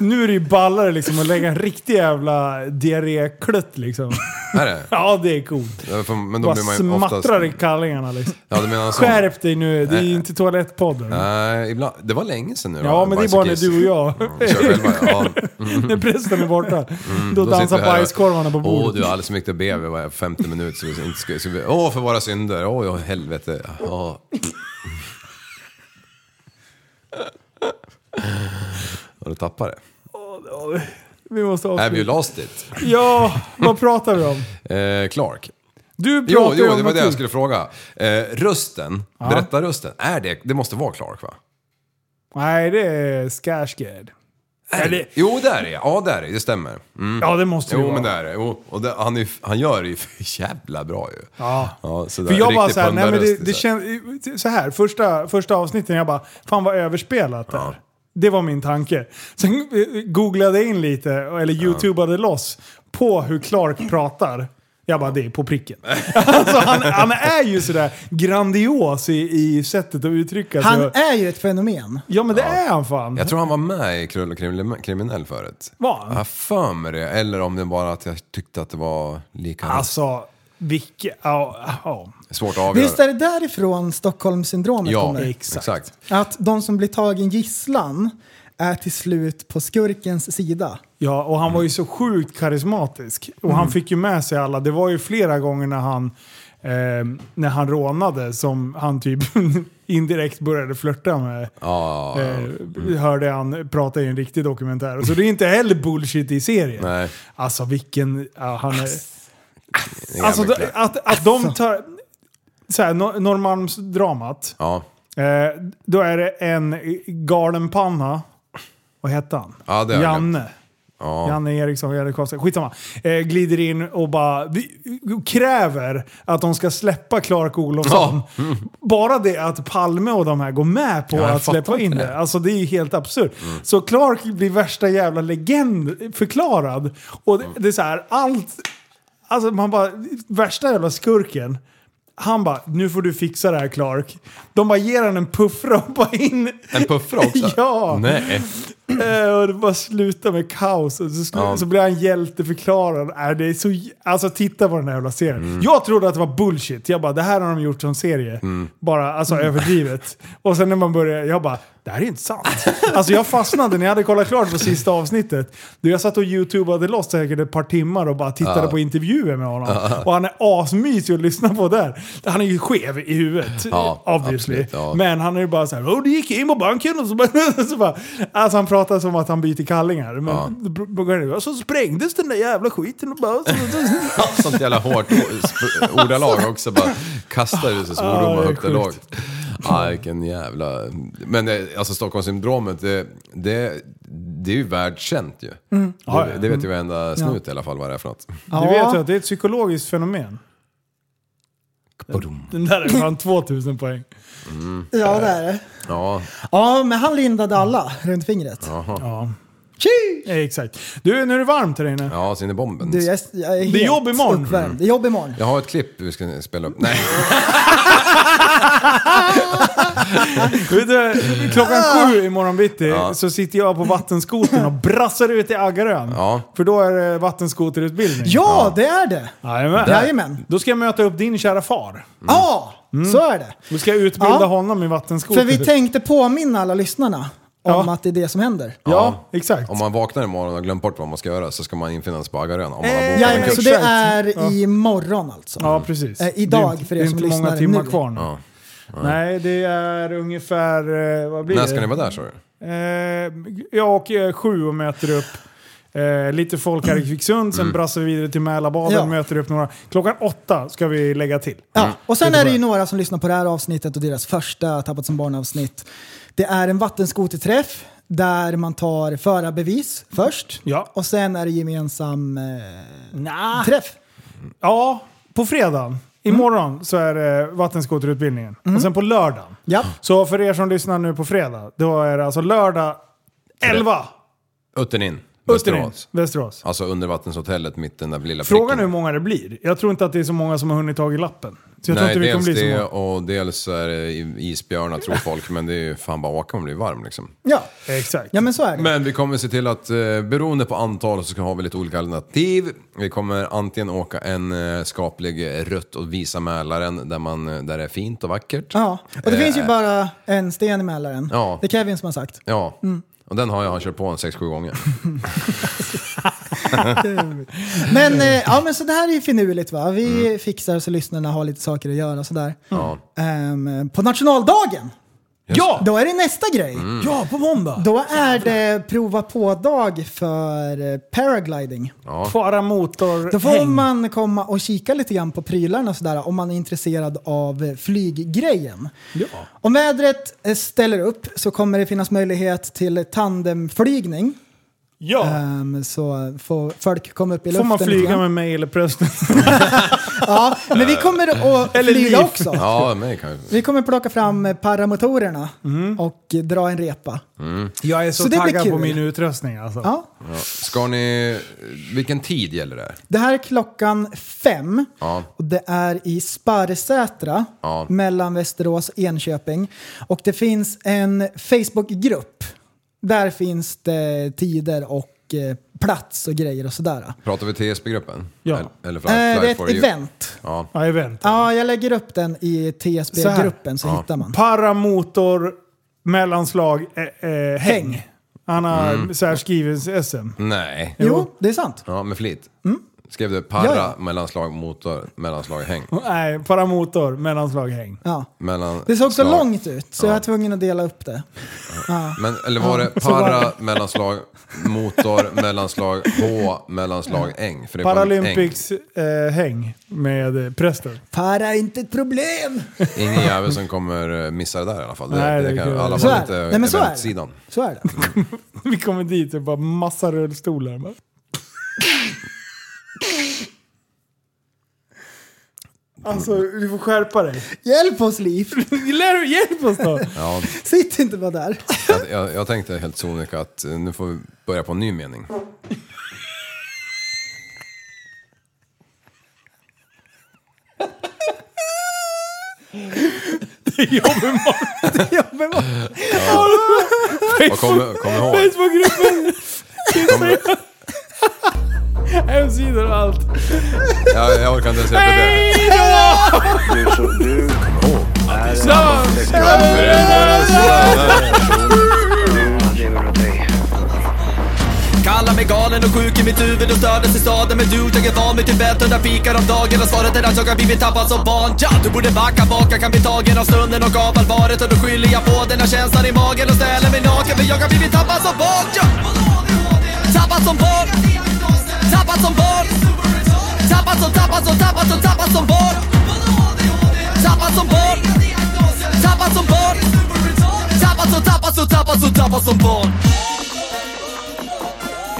Speaker 5: nu är det ju ballare liksom att lägga en riktig jävla diarréklutt liksom.
Speaker 4: Är det?
Speaker 5: Ja, det är coolt.
Speaker 4: Ja, för- Men då
Speaker 5: Bara
Speaker 4: blir man ju oftast...
Speaker 5: smattrar i kallingarna liksom.
Speaker 4: Ja, du menar en sån?
Speaker 5: Skärp dig nu, det är
Speaker 4: Nej.
Speaker 5: ju inte toalettpodden.
Speaker 4: Nej, ibland. Det var länge sedan nu va?
Speaker 5: Ja, men det är
Speaker 4: Bajs
Speaker 5: bara
Speaker 4: och
Speaker 5: när
Speaker 4: kiss.
Speaker 5: du och jag...
Speaker 4: Mm, kör själva, ja.
Speaker 5: När prästen är borta.
Speaker 4: Mm,
Speaker 5: då, dansar
Speaker 4: sitter vi här och-
Speaker 5: bajskorvarna på
Speaker 4: Åh, du
Speaker 5: bordet.
Speaker 4: har alldeles för mycket att be. Vi var 50 minuter så vi inte skulle... skulle vi- Åh, för våra synder. Åh, ja, helvete. Ja. Har du tappat det?
Speaker 5: vi måste
Speaker 4: Have you
Speaker 5: avsluta.
Speaker 4: lost it?
Speaker 5: Ja, vad pratar vi om?
Speaker 4: Eh, Clark.
Speaker 5: Du pratar
Speaker 4: Jo,
Speaker 5: ju
Speaker 4: jo
Speaker 5: om
Speaker 4: det var
Speaker 5: något
Speaker 4: det jag
Speaker 5: kul.
Speaker 4: skulle fråga. Eh, rösten,
Speaker 5: Ja.
Speaker 4: berätta rösten. Är det, det måste vara Clark va?
Speaker 5: Nej, det är Skarsgård.
Speaker 4: Är det? Jo, där är det. Ja, där är det. Det stämmer. Mm.
Speaker 5: Ja, det måste det
Speaker 4: Jo,
Speaker 5: vara.
Speaker 4: men där är det. Jo, och det, han, är, ju- han gör det ju för jävla bra ju.
Speaker 5: Ja.
Speaker 4: ja sådär.
Speaker 5: För jag bara
Speaker 4: Riktig
Speaker 5: såhär, nej men
Speaker 4: pundarröst,
Speaker 5: det, det
Speaker 4: så här.
Speaker 5: känns... Så här, första, första avsnitten jag bara, fan vad överspelat där. Det var min tanke. Sen eh, googlade jag in lite, eller youtubade loss, på hur Clark pratar. Jag bara, det är på pricken. alltså, han, han är ju sådär grandios i, i sättet att uttrycka sig.
Speaker 6: Han är ju ett fenomen.
Speaker 5: Ja men det är han fan.
Speaker 4: Jag tror han var med i Krull och Krim- kriminell förut.
Speaker 5: Var han?
Speaker 4: Jag har för mig det. Eller om det bara att jag tyckte att det var lika...
Speaker 5: Alltså, vilket... Ja, ja.
Speaker 4: Svårt att avgöra.
Speaker 6: Visst är det därifrån Stockholmssyndromet
Speaker 4: Ja,
Speaker 6: kommer?
Speaker 4: exakt.
Speaker 6: Att de som blir tagen gisslan är till slut på skurkens sida.
Speaker 5: Ja, och han var
Speaker 4: Mm.
Speaker 5: ju så sjukt karismatisk. Och han
Speaker 6: Mm.
Speaker 5: fick ju med sig alla. Det var ju flera gånger när han, eh, när han rånade som han typ indirekt började flirta med.
Speaker 4: Ja. Mm.
Speaker 5: Eh, Hörde han prata i en riktig dokumentär. Så det är inte heller bullshit i serien.
Speaker 4: Nej.
Speaker 5: Alltså vilken... Ja, han är,
Speaker 4: Det är
Speaker 5: alltså
Speaker 4: jävla
Speaker 5: de-
Speaker 4: klart.
Speaker 5: att, att de tar... Så här, Nor- Norrmalmsdramat.
Speaker 4: Ja.
Speaker 5: Eh, då är det en galen panna. Vad hette han?
Speaker 4: Ja, det är han.
Speaker 5: Janne.
Speaker 4: Ja.
Speaker 5: Janne Eriksson, Janne Karlsson. Skitsamma. Eh, glider in och bara vi, kräver att de ska släppa Clark Olofsson.
Speaker 4: Ja. Mm.
Speaker 5: Bara det att Palme och de här går med på
Speaker 4: Ja, jag
Speaker 5: att släppa
Speaker 4: fattar
Speaker 5: in
Speaker 4: inte
Speaker 5: det.
Speaker 4: det.
Speaker 5: Alltså det är ju helt absurt.
Speaker 4: Mm.
Speaker 5: Så Clark blir värsta jävla legend förklarad. Och det, det är så här, allt... Alltså man bara, värsta jävla skurken. Han bara, nu får du fixa det här Clark. De bara ger han en puffra och bara in.
Speaker 4: En puffra också?
Speaker 5: ja.
Speaker 4: Nej.
Speaker 5: Eh, Och det bara slutar med kaos. Och så, slu-
Speaker 4: Ja.
Speaker 5: så blir han hjälteförklarad. Äh, det är så, j- alltså titta på den här jävla serien.
Speaker 4: Mm.
Speaker 5: Jag trodde att det var bullshit. Jag bara, det här har de gjort som serie.
Speaker 4: Mm.
Speaker 5: Bara alltså överdrivet. Och sen när man börjar, jag bara, det här är inte sant. Alltså jag fastnade när jag hade kollat klart på sista avsnittet. Du, jag satt och youtubade loss säkert ett par timmar och bara tittade
Speaker 4: Ja.
Speaker 5: på intervjuer med honom.
Speaker 4: Ja.
Speaker 5: Och han är asmysig att lyssna på där. Han är ju skev i huvudet,
Speaker 4: Ja,
Speaker 5: obviously.
Speaker 4: absolut, ja.
Speaker 5: Men han är ju bara så här, oh, det gick in på banken och så bara, så bara... Alltså han pratar som att han byter kallingar. Men
Speaker 4: Ja.
Speaker 5: ja. så sprängdes den där jävla skiten och bara...
Speaker 4: Sånt jävla hårt sp- ordalag också. Bara kastar ut sig som
Speaker 5: Ja, Ah, det
Speaker 4: ungdomar
Speaker 5: är
Speaker 4: högt och
Speaker 5: sjukt.
Speaker 4: lågt. Ja, vilken jävla... Men eh, alltså Stockholmssyndromet, det, det, det är ju världskänt ju.
Speaker 5: Mm. Ja,
Speaker 4: Det,
Speaker 5: ja.
Speaker 4: det vet ju
Speaker 5: Mm.
Speaker 4: varenda
Speaker 5: Ja.
Speaker 4: snut i alla fall vad det är för något.
Speaker 5: Du vet ju att det är ett psykologiskt fenomen. Den där är fan 2000 poäng.
Speaker 4: Mm.
Speaker 6: Ja, det är det.
Speaker 4: Ja.
Speaker 6: Ja, men han lindade alla runt fingret.
Speaker 5: Ja. Ja, exakt. Du, nu är det varmt här inne.
Speaker 4: Ja, så in i bomben.
Speaker 6: Du, jag, jag är
Speaker 5: Det är
Speaker 6: helt
Speaker 5: jobb imorgon.
Speaker 6: uppvärmd. Det är jobb imorgon.
Speaker 4: Jag har ett klipp vi ska spela upp. Nej.
Speaker 5: Vet du, klockan sju imorgon bitti så sitter jag på vattenskoten och brassar ut i Aggarön. För då är det vattenskoterutbildning.
Speaker 6: Ja, det är det!
Speaker 5: Jajamän.
Speaker 6: Jajamän.
Speaker 5: Då ska jag möta upp din kära far.
Speaker 6: Ja,
Speaker 5: Mm.
Speaker 6: så är det.
Speaker 5: Då ska jag utbilda
Speaker 6: Ja.
Speaker 5: honom i vattenskoter.
Speaker 6: För vi tänkte påminna alla lyssnarna om
Speaker 4: Ja.
Speaker 6: att det är det som händer.
Speaker 5: exakt.
Speaker 4: Om man vaknar imorgon och glömt bort vad man ska göra så ska man infinna sig på Aggarön. Om man
Speaker 5: Eh,
Speaker 4: har bokat en
Speaker 6: Jajamän,
Speaker 4: kurs.
Speaker 6: så det är imorgon alltså.
Speaker 5: Ja, precis.
Speaker 6: Eh, idag
Speaker 5: Det är-
Speaker 6: för
Speaker 5: det
Speaker 6: er
Speaker 5: är
Speaker 6: som
Speaker 5: inte många
Speaker 6: lyssnar
Speaker 5: timmar
Speaker 6: nu.
Speaker 5: kvar nu.
Speaker 4: Ja.
Speaker 5: Nej, det är ungefär... eh, Vad blir
Speaker 4: När
Speaker 5: det?
Speaker 4: ska ni vara där sa du?
Speaker 5: Eh, jag åker sju och möter upp eh, lite folk här i Kvicksund, sen
Speaker 4: Mm.
Speaker 5: brassar vi vidare till Mälarbaden
Speaker 6: Ja.
Speaker 5: möter upp några. Klockan åtta ska vi lägga till.
Speaker 6: Ja, och sen är det ju några som lyssnar på det här avsnittet och deras första Tappat som barn-avsnitt. Det är en vattenskoterträff där man tar förarbevis först och sen är det gemensam eh, träff.
Speaker 5: Ja, på fredagen.
Speaker 6: Mm.
Speaker 5: Imorgon så är det vattenskoterutbildningen. Och sen på lördagen. Så för er som lyssnar nu på fredag, då är det alltså lördag 11.
Speaker 4: Utten in.
Speaker 5: Utternäs,
Speaker 4: Västerås.
Speaker 5: Västerås.
Speaker 4: Alltså undervattenshotellet mitt den där lilla
Speaker 5: Frågan är hur många det blir. Jag tror inte att det är så många som har hunnit ta i lappen. Så jag tror
Speaker 4: Nej,
Speaker 5: inte vi
Speaker 4: dels
Speaker 5: kommer bli så
Speaker 4: det
Speaker 5: många.
Speaker 4: och dels är det isbjörnar tror folk, men det är ju fan bara åka om det blir varm liksom.
Speaker 6: Ja,
Speaker 5: exakt.
Speaker 6: Ja, men så är det.
Speaker 4: Men vi kommer se till att eh, beroende på antal så har vi lite olika alternativ. Vi kommer antingen åka en eh, skaplig eh, rött och visa Mälaren där, man, eh, där det är fint och vackert.
Speaker 6: Ja, och det
Speaker 4: Eh,
Speaker 6: finns ju bara en sten i Mälaren.
Speaker 4: Ja.
Speaker 6: Det är Kevin som har sagt.
Speaker 4: Ja,
Speaker 6: Mm.
Speaker 4: och den har jag kört på en 6-7 gånger.
Speaker 6: Men, eh, ja, men så det här är ju finurligt va. Vi fixar så lyssnarna har lite saker att göra och sådär.
Speaker 4: Ja.
Speaker 6: Ehm, på nationaldagen!
Speaker 5: Ja!
Speaker 6: Då är det nästa grej.
Speaker 5: Mm. Ja, på måndag!
Speaker 6: Då är det prova på-dag för eh, paragliding.
Speaker 5: Fara motor,
Speaker 6: Då får
Speaker 5: häng.
Speaker 6: man komma och kika lite grann på prylarna och sådär om man är intresserad av eh, flyggrejen.
Speaker 5: Ja.
Speaker 6: Om vädret eh, ställer upp så kommer det finnas möjlighet till tandemflygning. Ehm,
Speaker 5: Ja.
Speaker 6: så får folk komma upp i
Speaker 5: Får
Speaker 6: luften.
Speaker 5: man
Speaker 6: lite
Speaker 5: flyga
Speaker 6: grann.
Speaker 5: med mig eller prästen?
Speaker 6: Ja, men vi kommer att
Speaker 5: Eller
Speaker 6: flyga
Speaker 5: liv.
Speaker 6: också.
Speaker 4: Ja, mig kan
Speaker 6: Vi kommer plocka fram eh, paramotorerna
Speaker 5: Mm.
Speaker 6: och eh, dra en repa.
Speaker 4: mm.
Speaker 5: Jag är så,
Speaker 6: Så det blir
Speaker 5: taggad på
Speaker 6: kul.
Speaker 5: min utrustning alltså.
Speaker 6: Ja.
Speaker 4: Ja. Ska ni... Vilken tid gäller det? här?
Speaker 6: Det här är klockan fem.
Speaker 4: Ja.
Speaker 6: Och det är i Sparrsätra
Speaker 4: Ja.
Speaker 6: mellan Västerås och Enköping. Och det finns en Facebookgrupp. Där finns det tider och eh, plats och grejer och sådär.
Speaker 4: Pratar vi TSB-gruppen?
Speaker 5: Ja.
Speaker 4: Eller, eller
Speaker 6: Eh, det är ett
Speaker 4: for you?
Speaker 6: event.
Speaker 4: Ja.
Speaker 5: Ja, event.
Speaker 6: Ja, jag lägger upp den i TSB-gruppen så,
Speaker 4: Ja.
Speaker 6: hittar man.
Speaker 5: Paramotor, mellanslag, eh, eh, häng. Han har
Speaker 4: Mm.
Speaker 5: så här skrivits SM.
Speaker 4: Nej.
Speaker 5: Jo, det är sant.
Speaker 4: Ja, med flit.
Speaker 5: Mm.
Speaker 4: Skrev du para,
Speaker 5: Ja, ja.
Speaker 4: mellanslag, motor, mellanslag, häng.
Speaker 5: Nej, paramotor, mellanslag, häng.
Speaker 6: Ja.
Speaker 4: Mellan
Speaker 6: Det såg så
Speaker 4: slag.
Speaker 6: långt ut så jag var tvungen att dela upp det. Ja.
Speaker 4: Men, eller var
Speaker 6: Ja,
Speaker 4: det
Speaker 6: så var
Speaker 4: para,
Speaker 6: det.
Speaker 4: mellanslag, motor, mellanslag, H, mellanslag, äng? För det var en
Speaker 5: Paralympics-häng med eh, präster.
Speaker 6: Para är inte ett problem!
Speaker 4: äng. Ingen jävel som kommer eh, missa det där i alla fall. Det,
Speaker 5: Nej,
Speaker 4: Nej,
Speaker 5: det
Speaker 4: det, kan,
Speaker 5: är
Speaker 4: I alla fall
Speaker 5: kul. Så är
Speaker 4: inte
Speaker 5: det. Nej, men så är det.
Speaker 4: eventsidan.
Speaker 6: Så är det.
Speaker 5: Vi kommer dit och bara massa rullstolar. Bara. Alltså, du får skärpa dig.
Speaker 6: Hjälp oss Liv!
Speaker 5: Hjälp oss då!
Speaker 4: Ja,
Speaker 6: Sitt inte bara där.
Speaker 4: jag, jag, jag tänkte helt sonika att eh, nu får vi börja på en ny mening.
Speaker 5: Det är jobb imorgon. Det är jobb imorgon. Facebook-
Speaker 4: Kom- kom ihåg.
Speaker 5: Facebookgruppen. Instagram. Hemsidor och allt.
Speaker 4: Jag, jag orkar inte ens repetera.
Speaker 5: Hej
Speaker 17: Du,
Speaker 5: då!
Speaker 17: så, du är en
Speaker 5: Ja.
Speaker 17: intellektuell person. Du lever åt dig.
Speaker 1: Kallar mig galen och sjuk i mitt huvud och stördes i staden Men du, jag är van vid Tibet under fikar om dagen Och svaret är att jag har blivit tappad som barn ja, Du borde backa bak, jag kan bli tagen av stunden och av allvaret Och då skyller jag på den här känslan i magen och ställer mig naken För jag har blivit tappad som barn ja. Tappad som barn Tappad som barn Tappad som, tappad som, tappad som, tappad som barn Tappad som barn Tappad som barn Tappad som, tappad som, tappad som, tappad som barn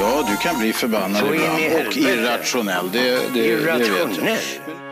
Speaker 2: Ja, du kan bli förbannad
Speaker 17: Så in i
Speaker 2: ibland och
Speaker 17: helvete.
Speaker 2: irrationell. Det, det, det vet jag.
Speaker 17: Irrationell.